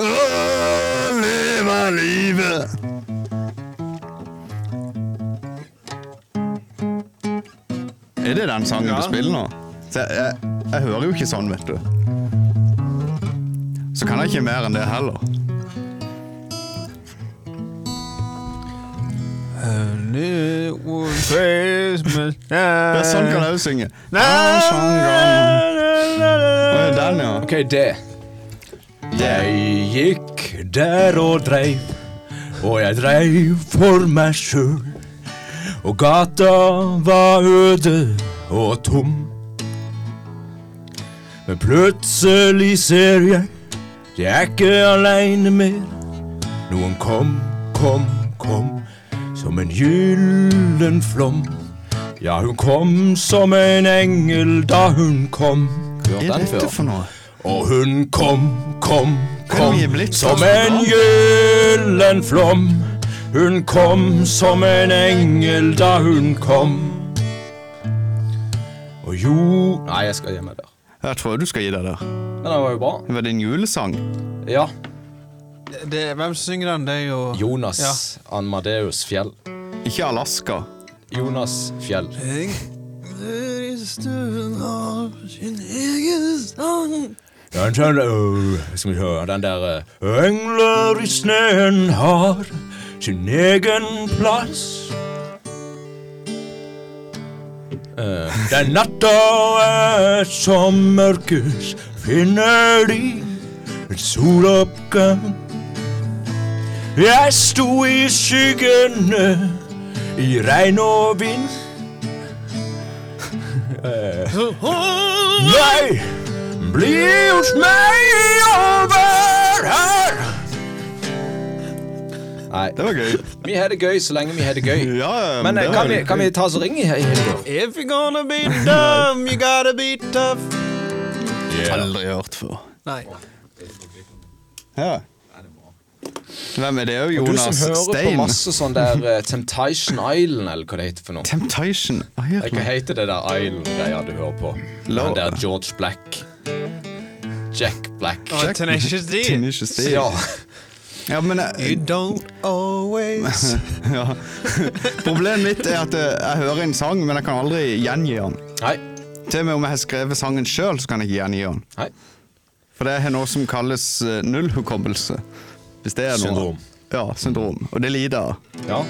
Speaker 1: Åh, Leve livet. Er det den sangen du spiller nå? Så jeg, jeg, jeg hører jo ikke sånn, vet du. Så kan jeg ikke mer enn det heller.
Speaker 4: Christmas
Speaker 1: Ja, sånn kan jeg òg synge. Å, den, ja.
Speaker 3: OK, det. Jeg gikk der og dreiv, og jeg dreiv for meg sjøl. Og gata var øde og tom. Men plutselig ser jeg, jeg er ikke aleine mer. Noen kom, kom, kom, som en gyllen flom. Ja, hun kom som en engel da hun kom.
Speaker 1: Hva er dette for noe?
Speaker 3: Og hun kom, kom,
Speaker 1: Hvem
Speaker 3: kom
Speaker 1: gir blitt
Speaker 3: som
Speaker 1: sånn?
Speaker 3: en gyllen flom. Hun kom som en engel da hun kom. Og jo Nei, jeg skal gi meg der.
Speaker 1: Jeg tror du skal gi deg der.
Speaker 3: Men den var jo bra.
Speaker 1: Det var din julesang.
Speaker 3: Ja.
Speaker 4: Hvem synger den? Det er jo
Speaker 3: Jonas Anmadeus Fjell.
Speaker 1: Ikke Alaska.
Speaker 3: Jonas Fjell.
Speaker 4: i stuen har sin egen sang.
Speaker 3: Den, den, øh, skal vi høre, den der øh, Engler i sneen har sin egen plass. Eh, den natta er som mørkest, finner de en soloppgang. Jeg sto i skyggene, i regn og vind. Eh, nei! Bli hos meg og vær her. Nei,
Speaker 1: Det var gøy.
Speaker 3: vi har det gøy så lenge vi har det gøy.
Speaker 1: Ja,
Speaker 3: Men
Speaker 1: det
Speaker 3: eh,
Speaker 1: var
Speaker 3: kan vi,
Speaker 1: veldig
Speaker 3: kan vi
Speaker 1: gøy.
Speaker 3: ta oss og ringe i helga?
Speaker 4: If you're gonna be dumb, you gotta be tough.
Speaker 1: Aldri hørt før.
Speaker 4: Nei.
Speaker 1: Ja. Hvem er det òg?
Speaker 3: Du som
Speaker 1: Jonas
Speaker 3: hører på
Speaker 1: Stein?
Speaker 3: masse sånn der eh, Temptation Island, eller hva det heter for noe.
Speaker 1: Temptation
Speaker 3: Eh, Hva
Speaker 1: Island.
Speaker 3: heter det der Island-greia du hører på?
Speaker 1: La-
Speaker 3: Den der George Black. Jack Black.
Speaker 4: Og Tenacious D.
Speaker 1: Tenacious D.
Speaker 3: Ja.
Speaker 1: Ja, men
Speaker 4: You
Speaker 1: eh,
Speaker 4: don't always
Speaker 1: ja. Problemet mitt er at eh, jeg hører en sang, men jeg kan aldri gjengi den.
Speaker 3: Nei.
Speaker 1: Til og med om jeg har skrevet sangen sjøl, så kan jeg ikke gjengi den.
Speaker 3: Nei.
Speaker 1: For det er noe som kalles eh, nullhukommelse. Hvis det er noe.
Speaker 3: Syndrom.
Speaker 1: Ja, syndrom. Og det lider jeg.
Speaker 3: Ja.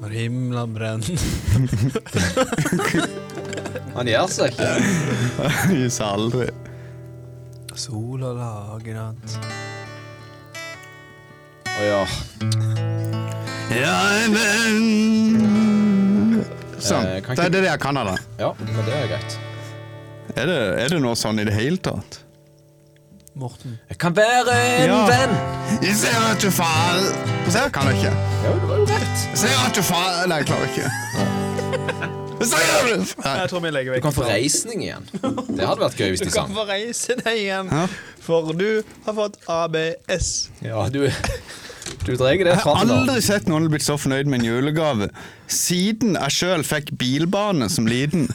Speaker 4: Når himla brenner.
Speaker 3: Han gjør seg ikke.
Speaker 1: Jeg Gir seg aldri.
Speaker 4: Sola lager natt.
Speaker 3: Å ja.
Speaker 1: Ja, men Sånn.
Speaker 3: Eh, kan
Speaker 1: Det
Speaker 3: ikke-
Speaker 1: er det jeg kan av det.
Speaker 3: Ja, men det er greit.
Speaker 1: Er det, er det noe sånn i det hele tatt?
Speaker 4: Morten.
Speaker 3: Jeg kan være en
Speaker 1: Ja.
Speaker 3: venn.
Speaker 1: Jeg ser at du faller Se, jeg kan ikke.
Speaker 3: Ja, det var jo rett.
Speaker 1: Jeg ser at du faller Nei, jeg klarer ikke. Jeg ser at du Nei.
Speaker 4: Jeg tror vi legger
Speaker 3: Du
Speaker 4: vekk.
Speaker 3: kan få reisning igjen. Det hadde vært gøy hvis de sang.
Speaker 4: få reise deg igjen,
Speaker 1: Hæ?
Speaker 4: for du har fått ABS.
Speaker 3: Ja, du, du dreier det
Speaker 1: Jeg har
Speaker 3: fram da.
Speaker 1: aldri sett noen blitt så fornøyd med en julegave siden jeg sjøl fikk bilbane som liten.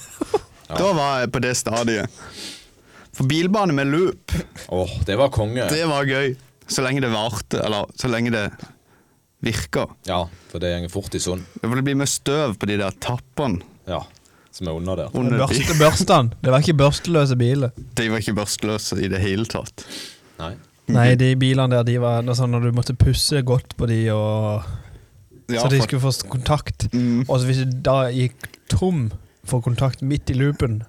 Speaker 1: Da var jeg på det stadiet. For bilbane med loop,
Speaker 3: Åh, det var konge.
Speaker 1: det var gøy. Så lenge det varte, eller så lenge det virka.
Speaker 3: Ja, for det går fort i sund.
Speaker 1: Det vil bli mye støv på de der tappene.
Speaker 3: Ja, som er under der.
Speaker 1: Under de.
Speaker 4: Børste børsten. Det var ikke børsteløse biler.
Speaker 1: de var ikke børsteløse i det hele tatt.
Speaker 3: Nei.
Speaker 4: Nei, de bilene der, de var noe sånn når du måtte pusse godt på de, og
Speaker 1: Ja,
Speaker 4: så de
Speaker 1: for-
Speaker 4: skulle få s- kontakt.
Speaker 1: Mm.
Speaker 4: Og så hvis de da gikk tom for kontakt midt i loopen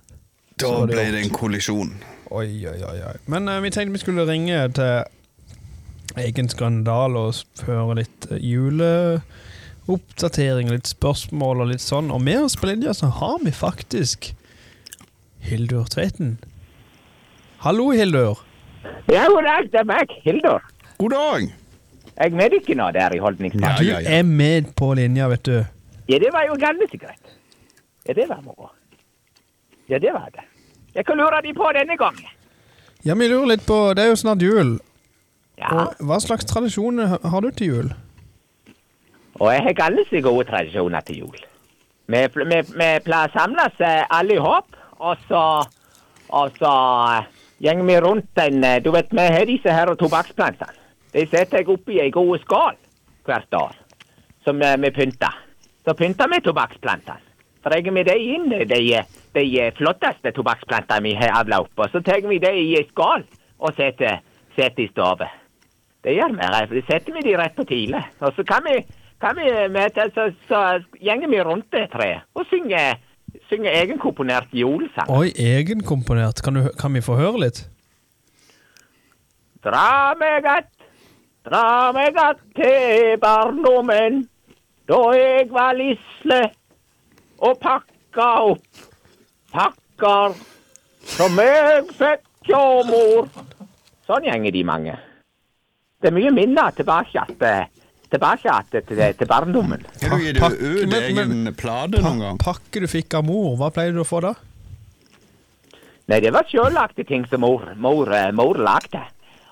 Speaker 1: Da
Speaker 4: så var det
Speaker 1: ble det en kollisjon.
Speaker 4: Oi, oi, oi. oi. Men eh, vi tenkte vi skulle ringe til egen skandale og s- høre litt eh, juleoppdatering, litt spørsmål og litt sånn. Og med oss på linja så har vi faktisk Hildur Tveiten. Hallo, Hildur.
Speaker 6: Ja, god dag, det er meg, Hildur.
Speaker 1: God dag!
Speaker 6: Jeg er ikke nå der i Holdningsparken.
Speaker 4: Du er med på linja, vet du.
Speaker 6: Ja, det var jo ganske greit. Ja, det var moro. Ja, det var det. Jeg kan lure de på denne gangen.
Speaker 4: Ja, vi lurer litt på Det er jo snart jul.
Speaker 6: Ja,
Speaker 4: Og hva slags tradisjoner ha- har du til jul?
Speaker 6: og jeg har ganske gode tradisjoner til jul. Vi, pl- vi, vi pleier å samles eh, alle i hop, og så, og så eh, gjenger vi rundt en eh, Du vet, vi har disse her tobakksplantene. De setter jeg oppi ei god skål hvert år, som eh, vi pynter. Så pynter vi tobakksplantene. Så legger vi dem inn, eh, de, eh, de eh, flotteste tobakksplantene vi har avla opp. Og så tar vi dem i ei skål og setter, setter i stove. Det gjør vi. Ralf. Det setter vi de rett på tidlig. Og så kan vi, kan vi med, til- så, så gjenger vi rundt det treet og synger, synger egenkomponert julesang.
Speaker 4: Oi, egenkomponert. Kan, du, kan vi få høre litt?
Speaker 6: Dra meg att, dra meg att til barndommen, da jeg var lisle og pakka opp pakker som jeg fikk hjå mor. Sånn gjenger de mange. Det er mye minner tilbake att, tilbake att til, til barndommen.
Speaker 1: Har du gitt
Speaker 4: Pakk-
Speaker 1: ut
Speaker 4: men- men-
Speaker 1: egen plate noen gang?
Speaker 4: Pakke du fikk av mor, hva pleier du å få da?
Speaker 6: Nei, det var sjøllagte ting som mor, mor, eh, mor lagde.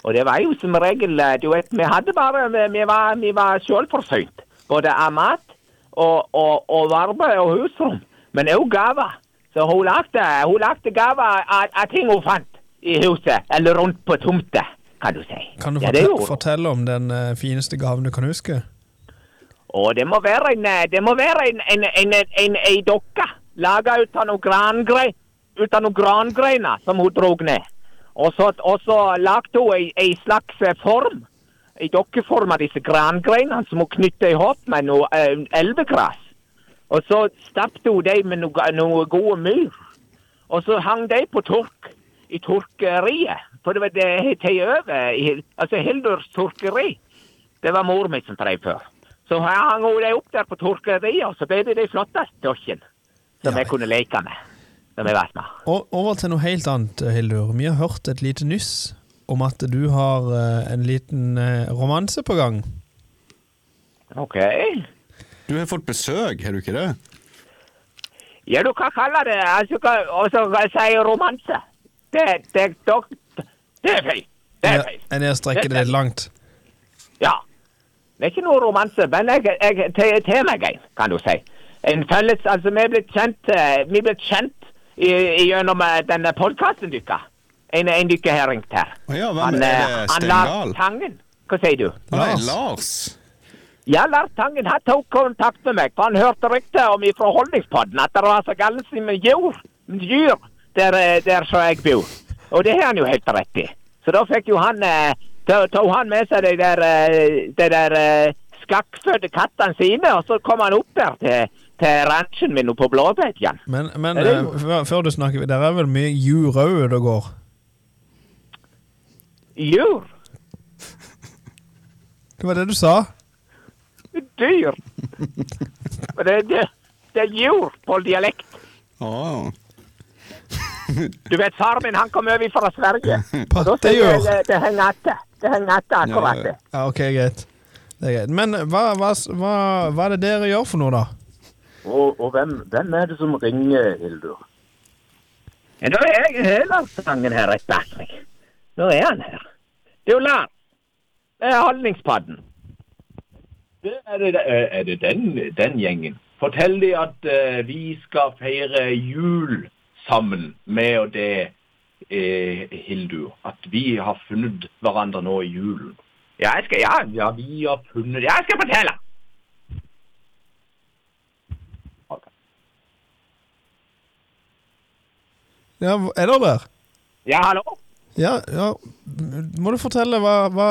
Speaker 6: Og det var jo som regel eh, Du vet, vi hadde bare Vi, vi var, vi var sjølforsynt. Både av mat og, og, og varme og husrom. Men òg gaver. Så hun lagde, hun lagde gaver av, av ting hun fant i huset. Eller rundt på tomta, kan du si.
Speaker 4: Kan du
Speaker 6: ja, det
Speaker 4: fortel-
Speaker 6: gjorde hun.
Speaker 4: fortelle om den eh, fineste gaven du kan huske?
Speaker 6: Og det må være en, eh, det må være en, en, en, en, en, ei dokke laga ut av noen grangre, ut av noen grangreiner som hun drog ned. Og så, og så lagde hun ei, ei slags eh, form, ei dokkeform av disse grangreinene som hun knytta i hopp med noe eh, elvegras. Og så stappet hun dem med noe, noe gode myr. Og så hang de på tork i torkeriet. For det var det jeg tok over. i- Altså Hildurs torkeri. Det var mor mi som drev før. Så her hang hun de opp der på torkeriet, og så ble det de flotteste dokkene som jeg kunne leke med. Som jeg var med.
Speaker 4: O- Over til noe helt annet, eh, Hildur. Vi har hørt et lite nyss om at du har eh, en liten eh, romanse på gang.
Speaker 6: OK.
Speaker 1: Du har fått besøk, har du ikke det?
Speaker 6: Ja, du kan kalle det altså, hva- Og så hva sier romanse. Det, det, dok, det er feil. Det er
Speaker 4: Er
Speaker 6: feil.
Speaker 4: er det å strekke det litt langt?
Speaker 6: Ja. Det er ikke noe romanse, men jeg, jeg tar til meg en, kan du si. En felles, altså Vi er blitt kjent, eh, vi er blitt kjent i, i gjennom eh, denne podkasten deres. En, en dykker har ringt her.
Speaker 1: Å ja, hvem er
Speaker 6: eh,
Speaker 1: det? altså,
Speaker 6: han Lars
Speaker 1: Stendal?
Speaker 6: Tangen. Hva sier du?
Speaker 1: Nei,
Speaker 4: Lars.
Speaker 1: Lars.
Speaker 6: Ja, Lars Tangen han tok kontakt med meg, for han hørte rykter om ifra Holdningspodden at det var så galt med dyr, dyr der, eh, der så jeg bor. Og det har han jo helt rett i. Så da fikk jo han eh, da tok han med seg de der, eh, de der eh, skakkfødde kattene sine, og så kom han opp der til, til ranchen min oppe på Blåbedjan.
Speaker 4: Men, men
Speaker 6: Er det
Speaker 4: eh,
Speaker 6: jo-
Speaker 4: før, før du snakker videre, Der er vel mye jur òg ute og går?
Speaker 6: Dyr.
Speaker 4: Hva var det du sa?
Speaker 6: Dyr. Og Det, det, det er jord på dialekt.
Speaker 1: Å.
Speaker 6: Du vet, far min han kom over fra Sverige. Og da sier
Speaker 4: Pattejur?
Speaker 6: jeg, eh, Det henger etter. Det henger etter
Speaker 1: Ja,
Speaker 6: akkurat
Speaker 1: ja.
Speaker 6: det.
Speaker 4: Ja, OK, greit. Det er greit. Men eh, hva, hva, hva, hva er det dere gjør for noe, da?
Speaker 6: Og, og hvem, hvem er det som ringer, Hildur? Ja, da er jeg Helarstangen her rett bak meg. Nå er han her. Det er jo Lars. Det er holdningspadden.
Speaker 14: Det er, det, er er det den, den gjengen? Fortell de at eh, vi skal feire jul sammen med og det, eh, Hildur. At vi har funnet hverandre nå i julen. Ja, jeg skal, ja, ja, vi har funnet Ja, jeg skal fortelle!
Speaker 4: Ja, er dere der?
Speaker 6: Ja, hallo?
Speaker 4: Ja, ja. Må du fortelle hva, hva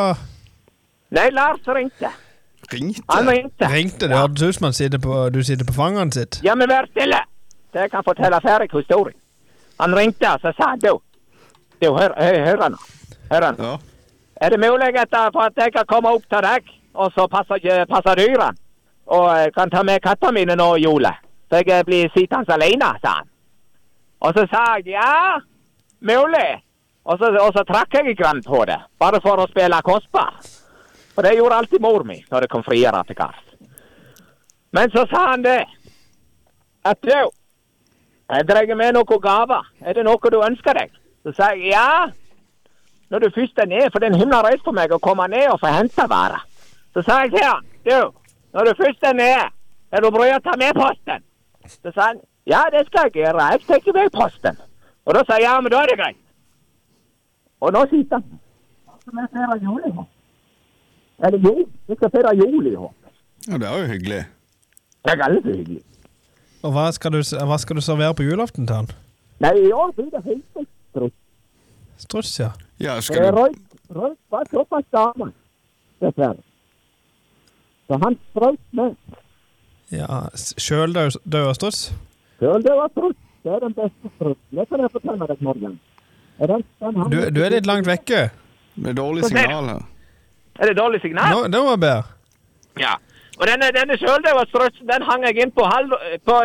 Speaker 6: Nei, Lars ringte. Han
Speaker 1: Ringte?
Speaker 6: ringte.
Speaker 4: Ringte det? Hørtes ut som han sitter på, du sitter på fanget hans sitt.
Speaker 6: Ja, men vær stille! Så jeg kan fortelle ferdig historien. Han ringte, og så sa han du Du, hør, hør, hør nå. Hør nå.
Speaker 1: Ja.
Speaker 6: Er det mulig at, for at jeg kan komme opp til deg, og så passer, eh, passer dyrene? Og eh, kan ta med kattene mine nå i jula? Så jeg eh, blir sittende alene, sa han. Og så sa jeg ja, mulig. Og så, og så trakk jeg grann på det, bare for å spille kostbar. Og det gjorde alltid mor mi når det kom friere til kast. Men så sa han det. At du, jeg dreier med noen gaver. Er det noe du ønsker deg? Så sa jeg ja når du først er ned, for den himla reis på meg å komme ned og få henta varer. Så sa jeg til han, du, når du først er nede, er du bry å ta med posten? Så sa han, ja, det skal jeg gjøre, jeg tar med posten. Og da sa jeg, ja, men da er det greit. Og nå sitter han. Som jeg feirer jul i år. Eller jo, vi skal feire jul i år.
Speaker 1: ja, det er jo hyggelig.
Speaker 6: Det er aldri så hyggelig.
Speaker 4: Og hva skal, du, hva skal du servere på julaften til han?
Speaker 6: Nei, i år blir det helt strutt.
Speaker 4: Struts, ja.
Speaker 1: Ja,
Speaker 6: Eh,
Speaker 1: skal du
Speaker 6: Røyk, røyk var såpass gammel, dessverre. Så han strøyk med.
Speaker 4: ja s- Sjøldau- død struts?
Speaker 6: Sjøl det var trutt. Det er den beste trutten. Det kan jeg fortelle deg, Morgan. Er, den, den han-
Speaker 4: Du, du er litt langt vekke.
Speaker 1: Det er dårlig signal her.
Speaker 6: er det dårlig signal?
Speaker 4: Nå, det var bedre.
Speaker 6: Ja. Og denne, denne sjøldevastrutten, den hang jeg inn på, halv, på,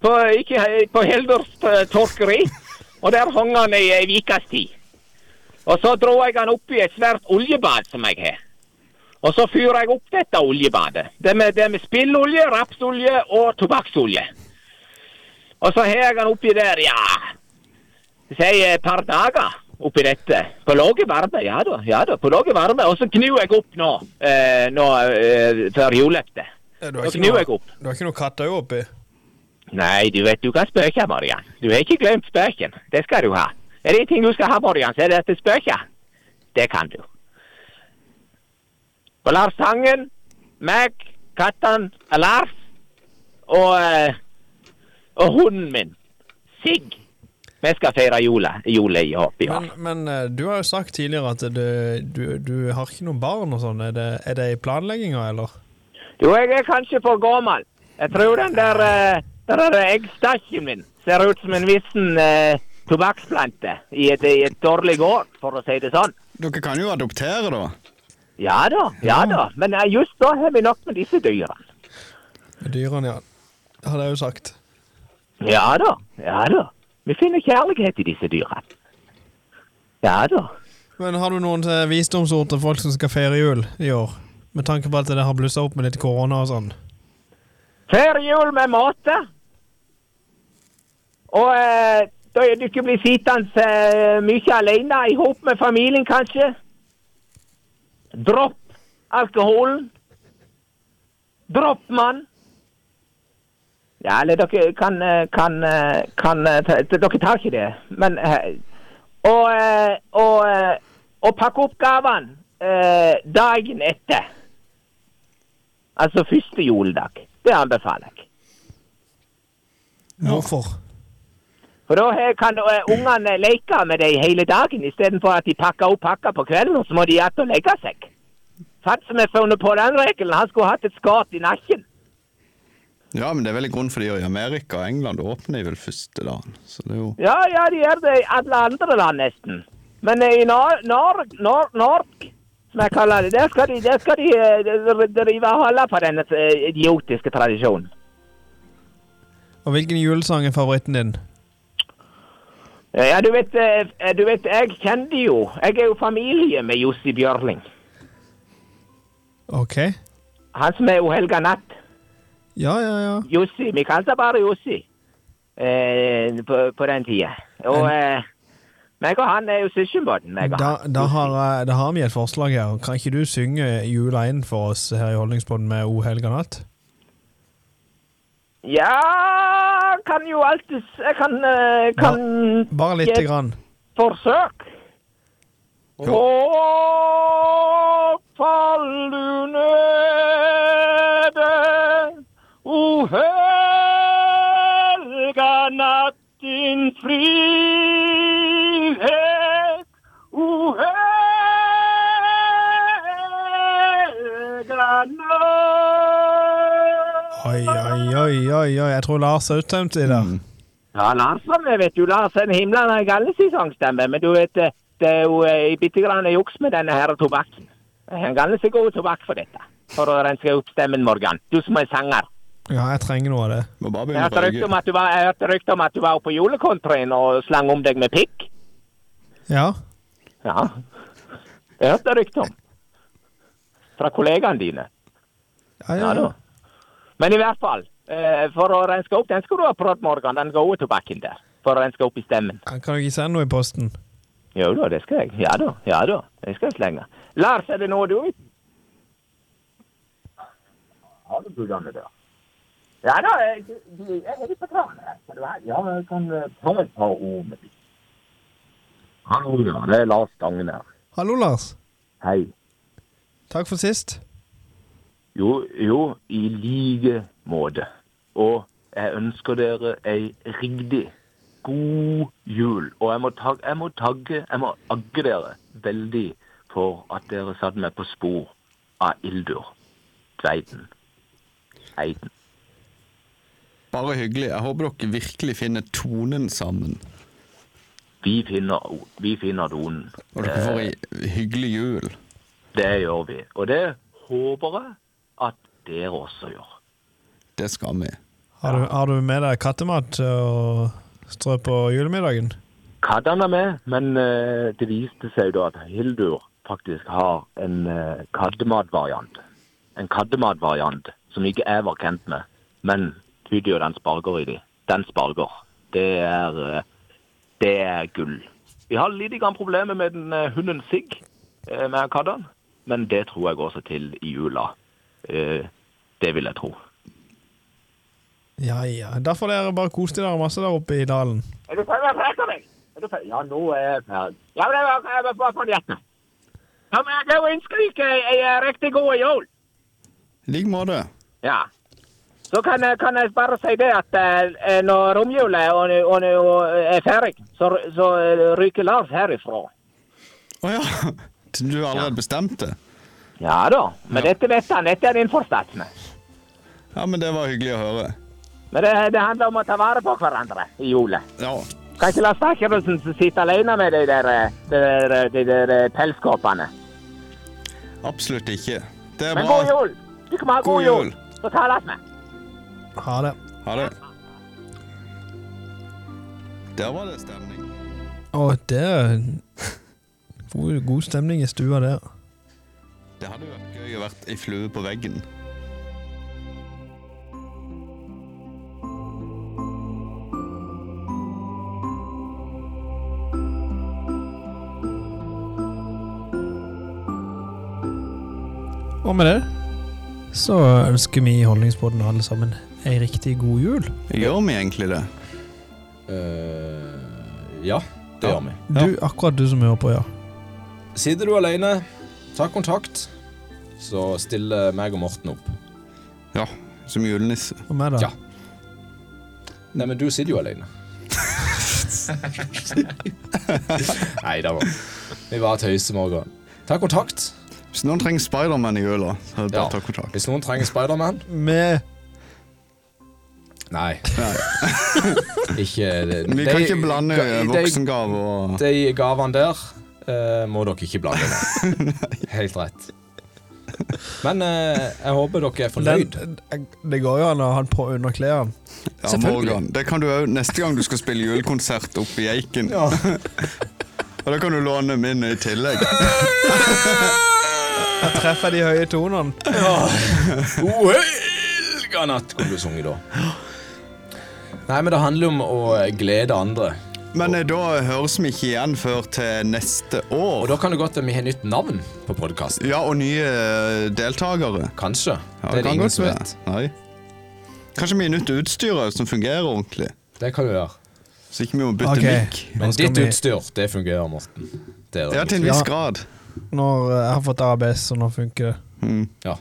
Speaker 6: på, ikke, på Hildurs eh, torkeri. Og der hang han i ei ukes tid. Og så dro jeg han opp i et svært oljebad som jeg har. Og så fyrer jeg opp dette oljebadet. Det med, det med spillolje, rapsolje og tobakksolje. Og så har jeg han oppi der, ja Si et par dager oppi dette. På lave varme, ja da. ja da, på lave varme. Og så knur jeg opp nå, eh, nå eh, før julaften.
Speaker 4: Du
Speaker 6: Så knur jeg opp.
Speaker 4: du har ikke noe kattøye oppi?
Speaker 6: Nei, du vet du kan spøke, Marian. Du har ikke glemt spøken. Det skal du ha. Er det en ting du skal ha, Marian, så er det at det spøker. Det kan du. Og Lars Tangen, meg, kattene eh, Lars og, eh, og hunden min, Sigg. Vi skal feire jula, jule i Håp i år.
Speaker 4: Men, men eh, du har jo sagt tidligere at du, du, du har ikke noen barn og sånn. Er det, er det i planlegginga, eller?
Speaker 6: Jo, jeg er kanskje for gammel. Jeg tror den der, eh, den der eggstasjen min ser ut som en vissen eh, tobakksplante i et, i et dårlig år, for å si det sånn.
Speaker 1: Dere kan jo adoptere, da.
Speaker 6: Ja da, ja da. Men eh, just da har vi nok med disse dyra.
Speaker 4: Med dyrene, ja. Har jeg jo sagt.
Speaker 6: Ja da, ja da. Vi finner kjærlighet i disse dyra. Ja da.
Speaker 4: Men har du noen eh, visdomsord til folk som skal feire jul i år? Med tanke på at det har blussa opp med litt korona og sånn.
Speaker 6: Feir jul med måte. Og eh, da er du ikke blir sittende eh, mye alene, i hop med familien kanskje. Dropp alkoholen. Dropp mann. Ja, eller dere kan, eh, kan, eh, kan eh, ta, Dere tar ikke det, men eh, Og, eh, og, eh, og pakke opp gavene eh, dagen etter. Altså første juledag. Det anbefaler jeg.
Speaker 4: Hvorfor?
Speaker 6: For da he- kan eh, ungene leke med dem hele dagen, istedenfor at de pakker opp pakker på kvelden, og så må de igjen og legge seg. Fatt som har funnet på den regelen, han skulle hatt et skart i nakken.
Speaker 1: Ja, men det er vel i grunn fordi i Amerika og England åpner vel første dagen. Så det er jo
Speaker 6: Ja, ja, de gjør det i alle andre land nesten. Men eh, i Nor Nor Nor Norge, som jeg kaller det, der skal de, der skal de eh, dr- drive og holde på denne eh, idiotiske tradisjonen.
Speaker 4: Og hvilken julesang er favoritten din?
Speaker 6: Eh, Ja, du vet, eh, du vet, jeg kjente jo Jeg er jo familie med Jussi Bjørling.
Speaker 4: OK?
Speaker 6: Han som er jo Helga Natt.
Speaker 4: Ja, ja, ja.
Speaker 6: Jussi. Vi kalte han bare Jussi eh, på, på den tida. Og eh, meg og han er jo søskenbarn. meg og
Speaker 4: Da,
Speaker 6: han.
Speaker 4: da, har, jeg- da har vi et forslag her. Kan ikke du synge jula inn for oss her i Holdningspodden med O helga natt?
Speaker 6: Ja, kan jo alltid s- Jeg kan, eh, kan
Speaker 4: Bare lite
Speaker 6: Jeg-
Speaker 4: grann.
Speaker 6: forsøk. Og fall du nøde, o helga natt, din frihet, o helga natt.
Speaker 4: Oi, oi, oi, oi, oi. Jeg tror Lars er uttømt i det.
Speaker 6: Ja, Lars var med, vet du. Lars en himlende gallesesongstemme. Men du vet, eh, det er jo eh, bitte grann juks med denne her tobakken. Eh, En galles er god tobakk for dette. For å renske opp stemmen, Morgan. Du som er sanger.
Speaker 4: Ja, jeg trenger noe av det.
Speaker 1: Må bare
Speaker 6: Jeg
Speaker 1: begynne å
Speaker 6: hørte rykte om
Speaker 1: røyke.
Speaker 6: at du var, jeg hørte rykte om at du var på julekontrien og slang om deg med pikk.
Speaker 4: Ja.
Speaker 6: Ja. Jeg hørte rykte om. Fra kollegaene dine.
Speaker 4: Ja, ja,
Speaker 6: Ja da.
Speaker 4: ja.
Speaker 6: Men i hvert fall, eh, for å renske opp, den skal du ha prøvd, Morgan. Den gode tobakken der. For å renske opp i stemmen.
Speaker 4: Kan du ikke sende noe i posten?
Speaker 6: Jo da, det skal jeg. Ja da, ja da. Det skal jeg slenge. Lars, er det noe du vet? Har du programmet der? Ja da, jeg, jeg jeg er litt på travelen her. Skal du ha- Ja, men jeg kan eh, ta et par ord med deg. Hallo, ja. Det er Lars Stangen her.
Speaker 4: Hallo, Lars.
Speaker 6: Hei.
Speaker 4: Takk for sist.
Speaker 6: Jo, jo, i like måte. Og jeg ønsker dere ei riktig god jul. Og jeg må, tag, jeg må tagge, jeg må agge dere veldig for at dere satte meg på spor av Ildur Tveiten. Heiden.
Speaker 1: Bare hyggelig. Jeg håper dere virkelig finner tonen sammen.
Speaker 6: Vi finner, vi finner donen.
Speaker 1: Og dere får ei hyggelig jul.
Speaker 6: Det gjør vi. Og det håper jeg at dere også gjør.
Speaker 1: Det skal vi.
Speaker 4: Har du, har du med deg kattemat til å strø på julemiddagen?
Speaker 6: kattene med, men eh, det viste seg da at Hildur faktisk har en eh, kattematvariant. En kattematvariant som ikke jeg var kjent med, men tyder jo den sparger i de. Den sparger. Det er, eh, det er gull. Vi har litt grann problemer med den, eh, hunden Sigg, eh, med kattene, men det tror jeg går seg til i jula. Eh, det vil jeg tro.
Speaker 4: Ja, ja. Da får dere bare kose dere masse der oppe i dalen.
Speaker 6: Er du ferdig med å prate meg? Er du ferdig? Ja, nå er jeg ferdig. Ja, men jeg var- jeg var bare på hjertet. Ja, men jeg kan jo ønske dere ei ei riktig god jul.
Speaker 1: I like måte.
Speaker 6: Ja. Så kan, jeg- kan jeg bare si det at eh, når romjula og, og, og eh, er ferdig, så, så eh, ryker Lars herifra.
Speaker 1: Å ja. Du har allerede bestemt det?
Speaker 6: Ja da. Men dette vet han, dette er innforstått med.
Speaker 1: Ja, men det var hyggelig å høre.
Speaker 6: Men det, det handler om å ta vare på hverandre i jula. Kan ikke Lars Bakkerudsen sitte alene med de der, eh, de der, eh, de der eh, pelskåpene.
Speaker 1: Absolutt ikke. Det er
Speaker 6: Men god
Speaker 1: bra.
Speaker 6: jul! Du kan ha
Speaker 1: God
Speaker 6: god
Speaker 1: jul.
Speaker 6: jul. Så tales vi.
Speaker 4: Ha det.
Speaker 1: Ha det. Der var det stemning.
Speaker 4: Å, det er god, god stemning i stua der.
Speaker 1: Det hadde jo vært gøy å vært ei flue på veggen.
Speaker 4: Og med det så ønsker vi i Holdningsbåten alle sammen ei riktig god jul.
Speaker 1: Gjør vi egentlig det?
Speaker 3: Eh, ja, det gjør vi.
Speaker 4: Du, akkurat du som hører på, ja.
Speaker 3: Sitter du alene, ta kontakt, så stiller meg og Morten opp.
Speaker 1: Ja, som julenisse.
Speaker 4: Og meg, da?
Speaker 3: Ja. Nei, men du sitter jo alene. Nei da, vi bare tøyser, Morgan. Ta kontakt.
Speaker 1: Hvis noen trenger Spiderman i jula, så er det bare å ta kontakt.
Speaker 3: Hvis noen trenger Spiderman
Speaker 4: Med
Speaker 3: Nei. ikke eh, det.
Speaker 1: Vi kan ikke blande voksengave og
Speaker 3: De, de gavene der eh, må dere ikke blande med. Helt rett. Men eh, jeg håper dere er fornøyd.
Speaker 4: Den, det går jo an å ha den på under klærne.
Speaker 1: Ja, Morgan, det kan du òg neste gang du skal spille julekonsert oppe i Eiken. Og da kan du låne min i tillegg.
Speaker 4: Jeg treffer de høye tonene.
Speaker 3: God helga natt, kunne du sunget da. Nei, men det handler om å glede andre.
Speaker 1: Men eh, da høres vi ikke igjen før til neste år.
Speaker 3: Og da kan det godt hende vi har nytt navn på podkasten.
Speaker 1: Ja, og nye eh, deltakere.
Speaker 3: Kanskje.
Speaker 1: Ja,
Speaker 3: Det er det
Speaker 1: kan
Speaker 3: ingen
Speaker 1: godt
Speaker 3: som
Speaker 1: være.
Speaker 3: vet.
Speaker 1: Nei. Kanskje vi er nytt utstyr også, som fungerer ordentlig.
Speaker 3: Det kan du gjøre.
Speaker 1: Så ikke vi må bytte
Speaker 4: Ok.
Speaker 1: mikk.
Speaker 3: Men
Speaker 4: Nå skal
Speaker 3: ditt
Speaker 4: vi-
Speaker 3: utstyr, det fungerer, Morten. Det er det
Speaker 1: Ja, til en
Speaker 3: ingen
Speaker 1: viss
Speaker 3: som-
Speaker 1: grad.
Speaker 4: Når eh, jeg har fått ABS, så nå funker det.
Speaker 1: Mm.
Speaker 3: Ja.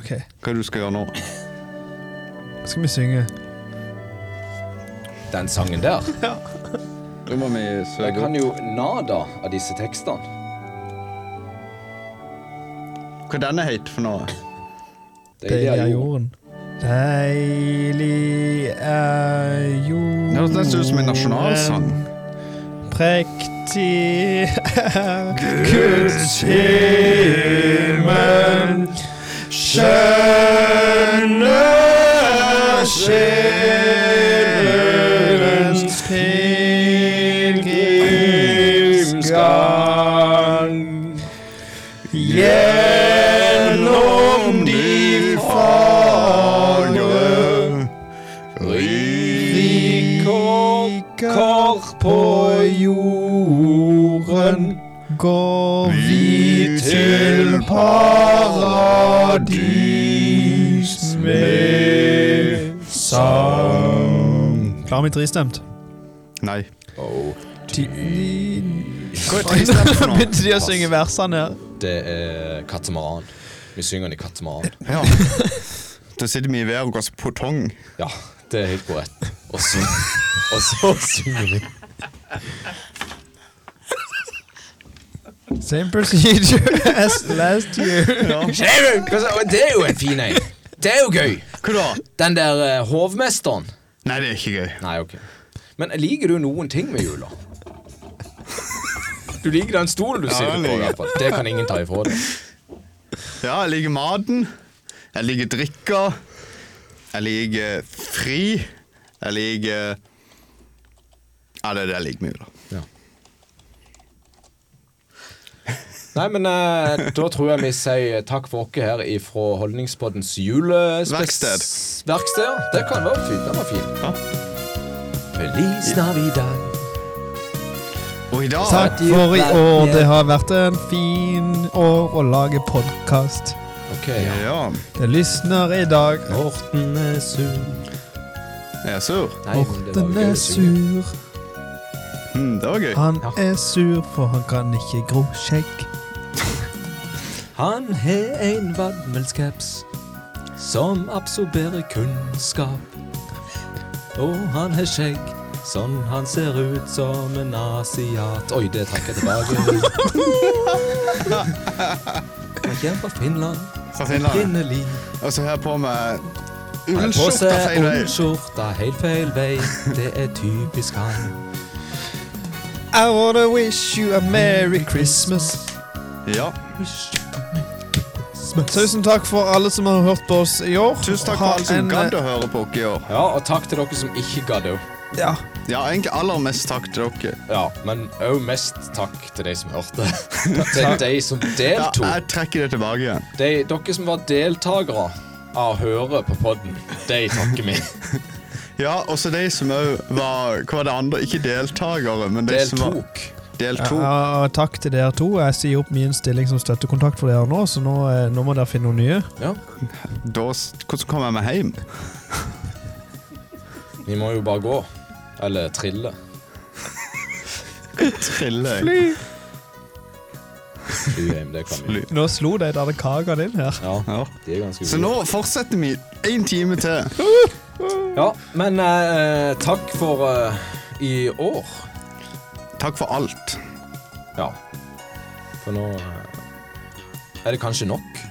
Speaker 4: Ok,
Speaker 1: Hva er det du skal gjøre nå?
Speaker 4: skal vi synge?
Speaker 3: Den sangen der.
Speaker 1: Nå må vi
Speaker 3: Jeg kan jo nada av disse tekstene.
Speaker 1: Hva denne het for noe?
Speaker 3: Deilig er jord.
Speaker 4: jorden. Deilig er jorden.
Speaker 1: Det høres nesten ut som en nasjonalsang.
Speaker 4: Prektig er Guds himmel. Skjønne er sjelens pilegrimsgang. Gjennom de fagre rikår på jorden går vi til paradis med sang. Klarer vi tristemt?
Speaker 1: Nei.
Speaker 4: Hva
Speaker 1: er tristemt for noe?
Speaker 4: Begynte de å synge versene her?
Speaker 3: Det er katamaran. Vi synger den i katamaran.
Speaker 1: Ja. Da sitter vi i været og går på tong.
Speaker 3: Ja, det er helt korrekt. Og så, og så synger vi.
Speaker 4: Same procedure as last year.
Speaker 3: Skjeven! Hva sa- Det er jo en fin en. Det er jo gøy.
Speaker 1: Hva da?
Speaker 3: Den der eh, hovmesteren.
Speaker 1: Nei, det er ikke gøy.
Speaker 3: Nei, ok. Men liker du noen ting med jula? Du liker den stolen du
Speaker 1: Ja,
Speaker 3: sitter
Speaker 1: den
Speaker 3: på, i
Speaker 1: liker jeg.
Speaker 3: hvert fall. Det kan ingen ta ifra deg.
Speaker 1: Ja, jeg liker maten. Jeg liker drikka. Jeg liker fri. Jeg liker Ja, det er det jeg liker med jula.
Speaker 3: Nei, men eh, da tror jeg vi sier takk for oss her ifra Holdningspoddens julespes...
Speaker 1: Verksted.
Speaker 3: Verksted, ja. Det kan være fint. Den var fin.
Speaker 1: Ja.
Speaker 3: Feliz Navidad.
Speaker 1: Og i dag
Speaker 4: Takk for i år. Det har vært en fin år å lage podkast.
Speaker 3: Ok,
Speaker 1: Ja,
Speaker 3: ja.
Speaker 4: Det lysner i dag.
Speaker 3: Morten er sur.
Speaker 1: jeg er sur.
Speaker 3: Nei, men det var
Speaker 4: Morten
Speaker 3: gøy å
Speaker 4: er
Speaker 3: synge.
Speaker 4: sur.
Speaker 1: Mm, det var gøy.
Speaker 4: Han er sur, for han kan ikke gro skjegg.
Speaker 3: Han har en vadmelskaps.
Speaker 15: som absorberer kunnskap. Og han har skjegg, sånn han ser ut som en asiat. Oi, det trakk jeg tilbake. Han kommer fra Finland.
Speaker 1: Fra Finland.
Speaker 15: Opprinnelig.
Speaker 1: Og så har jeg på meg
Speaker 15: Han har på
Speaker 1: ullskjorta
Speaker 15: seg
Speaker 1: feil vei.
Speaker 15: ullskjorta helt feil vei. Det er typisk han.
Speaker 4: I wanna wish you a merry Christmas.
Speaker 1: Ja.
Speaker 4: Tusen takk for alle som har hørt på oss i år. eh,
Speaker 1: Tusen takk for alle som gadd å høre på oss i år.
Speaker 3: Ja, og takk til dere som ikke gadd òg.
Speaker 4: Ja.
Speaker 1: ja, egentlig aller mest takk til dere.
Speaker 3: Ja, men òg mest takk til de som hørte. Til de som deltok.
Speaker 1: Ja, jeg trekker det tilbake igjen.
Speaker 3: De, dere som var deltakere av å høre på podden, de takker vi.
Speaker 1: Ja, og så de som òg var Hva var det andre? Ikke deltakere, men de som var Deltok.
Speaker 4: Ja, og takk til dere to. Jeg sier opp min stilling som støttekontakt for dere nå, så nå, eh, nå må dere finne noen nye.
Speaker 3: Ja.
Speaker 1: Da, s- hvordan kommer jeg meg hjem?
Speaker 3: Vi må jo bare gå. Eller trille.
Speaker 1: Trille.
Speaker 4: Fly!
Speaker 3: Fly hjem, det kan vi.
Speaker 4: Nå slo de denne kagan inn her.
Speaker 3: Ja, de er ganske
Speaker 1: Så nå fortsetter vi én time til.
Speaker 3: Ja, men eh, takk for eh, i år.
Speaker 1: Takk for alt.
Speaker 3: Ja. For nå eh, er det kanskje nok.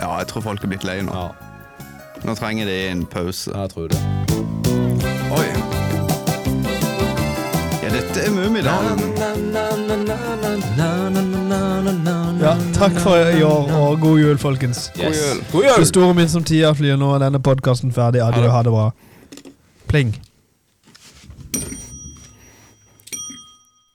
Speaker 1: Ja, jeg tror folk er blitt lei nå. Nå trenger de en pause.
Speaker 3: Jeg tror det.
Speaker 1: Oi. Ja, dette er Mummidalen.
Speaker 4: Ja, takk for i år, og god jul, folkens.
Speaker 1: God Yes. jul.
Speaker 3: God jul.
Speaker 4: Det store min som tida flyr nå, og denne podkasten ferdig. Adjø, ha det bra. Pling.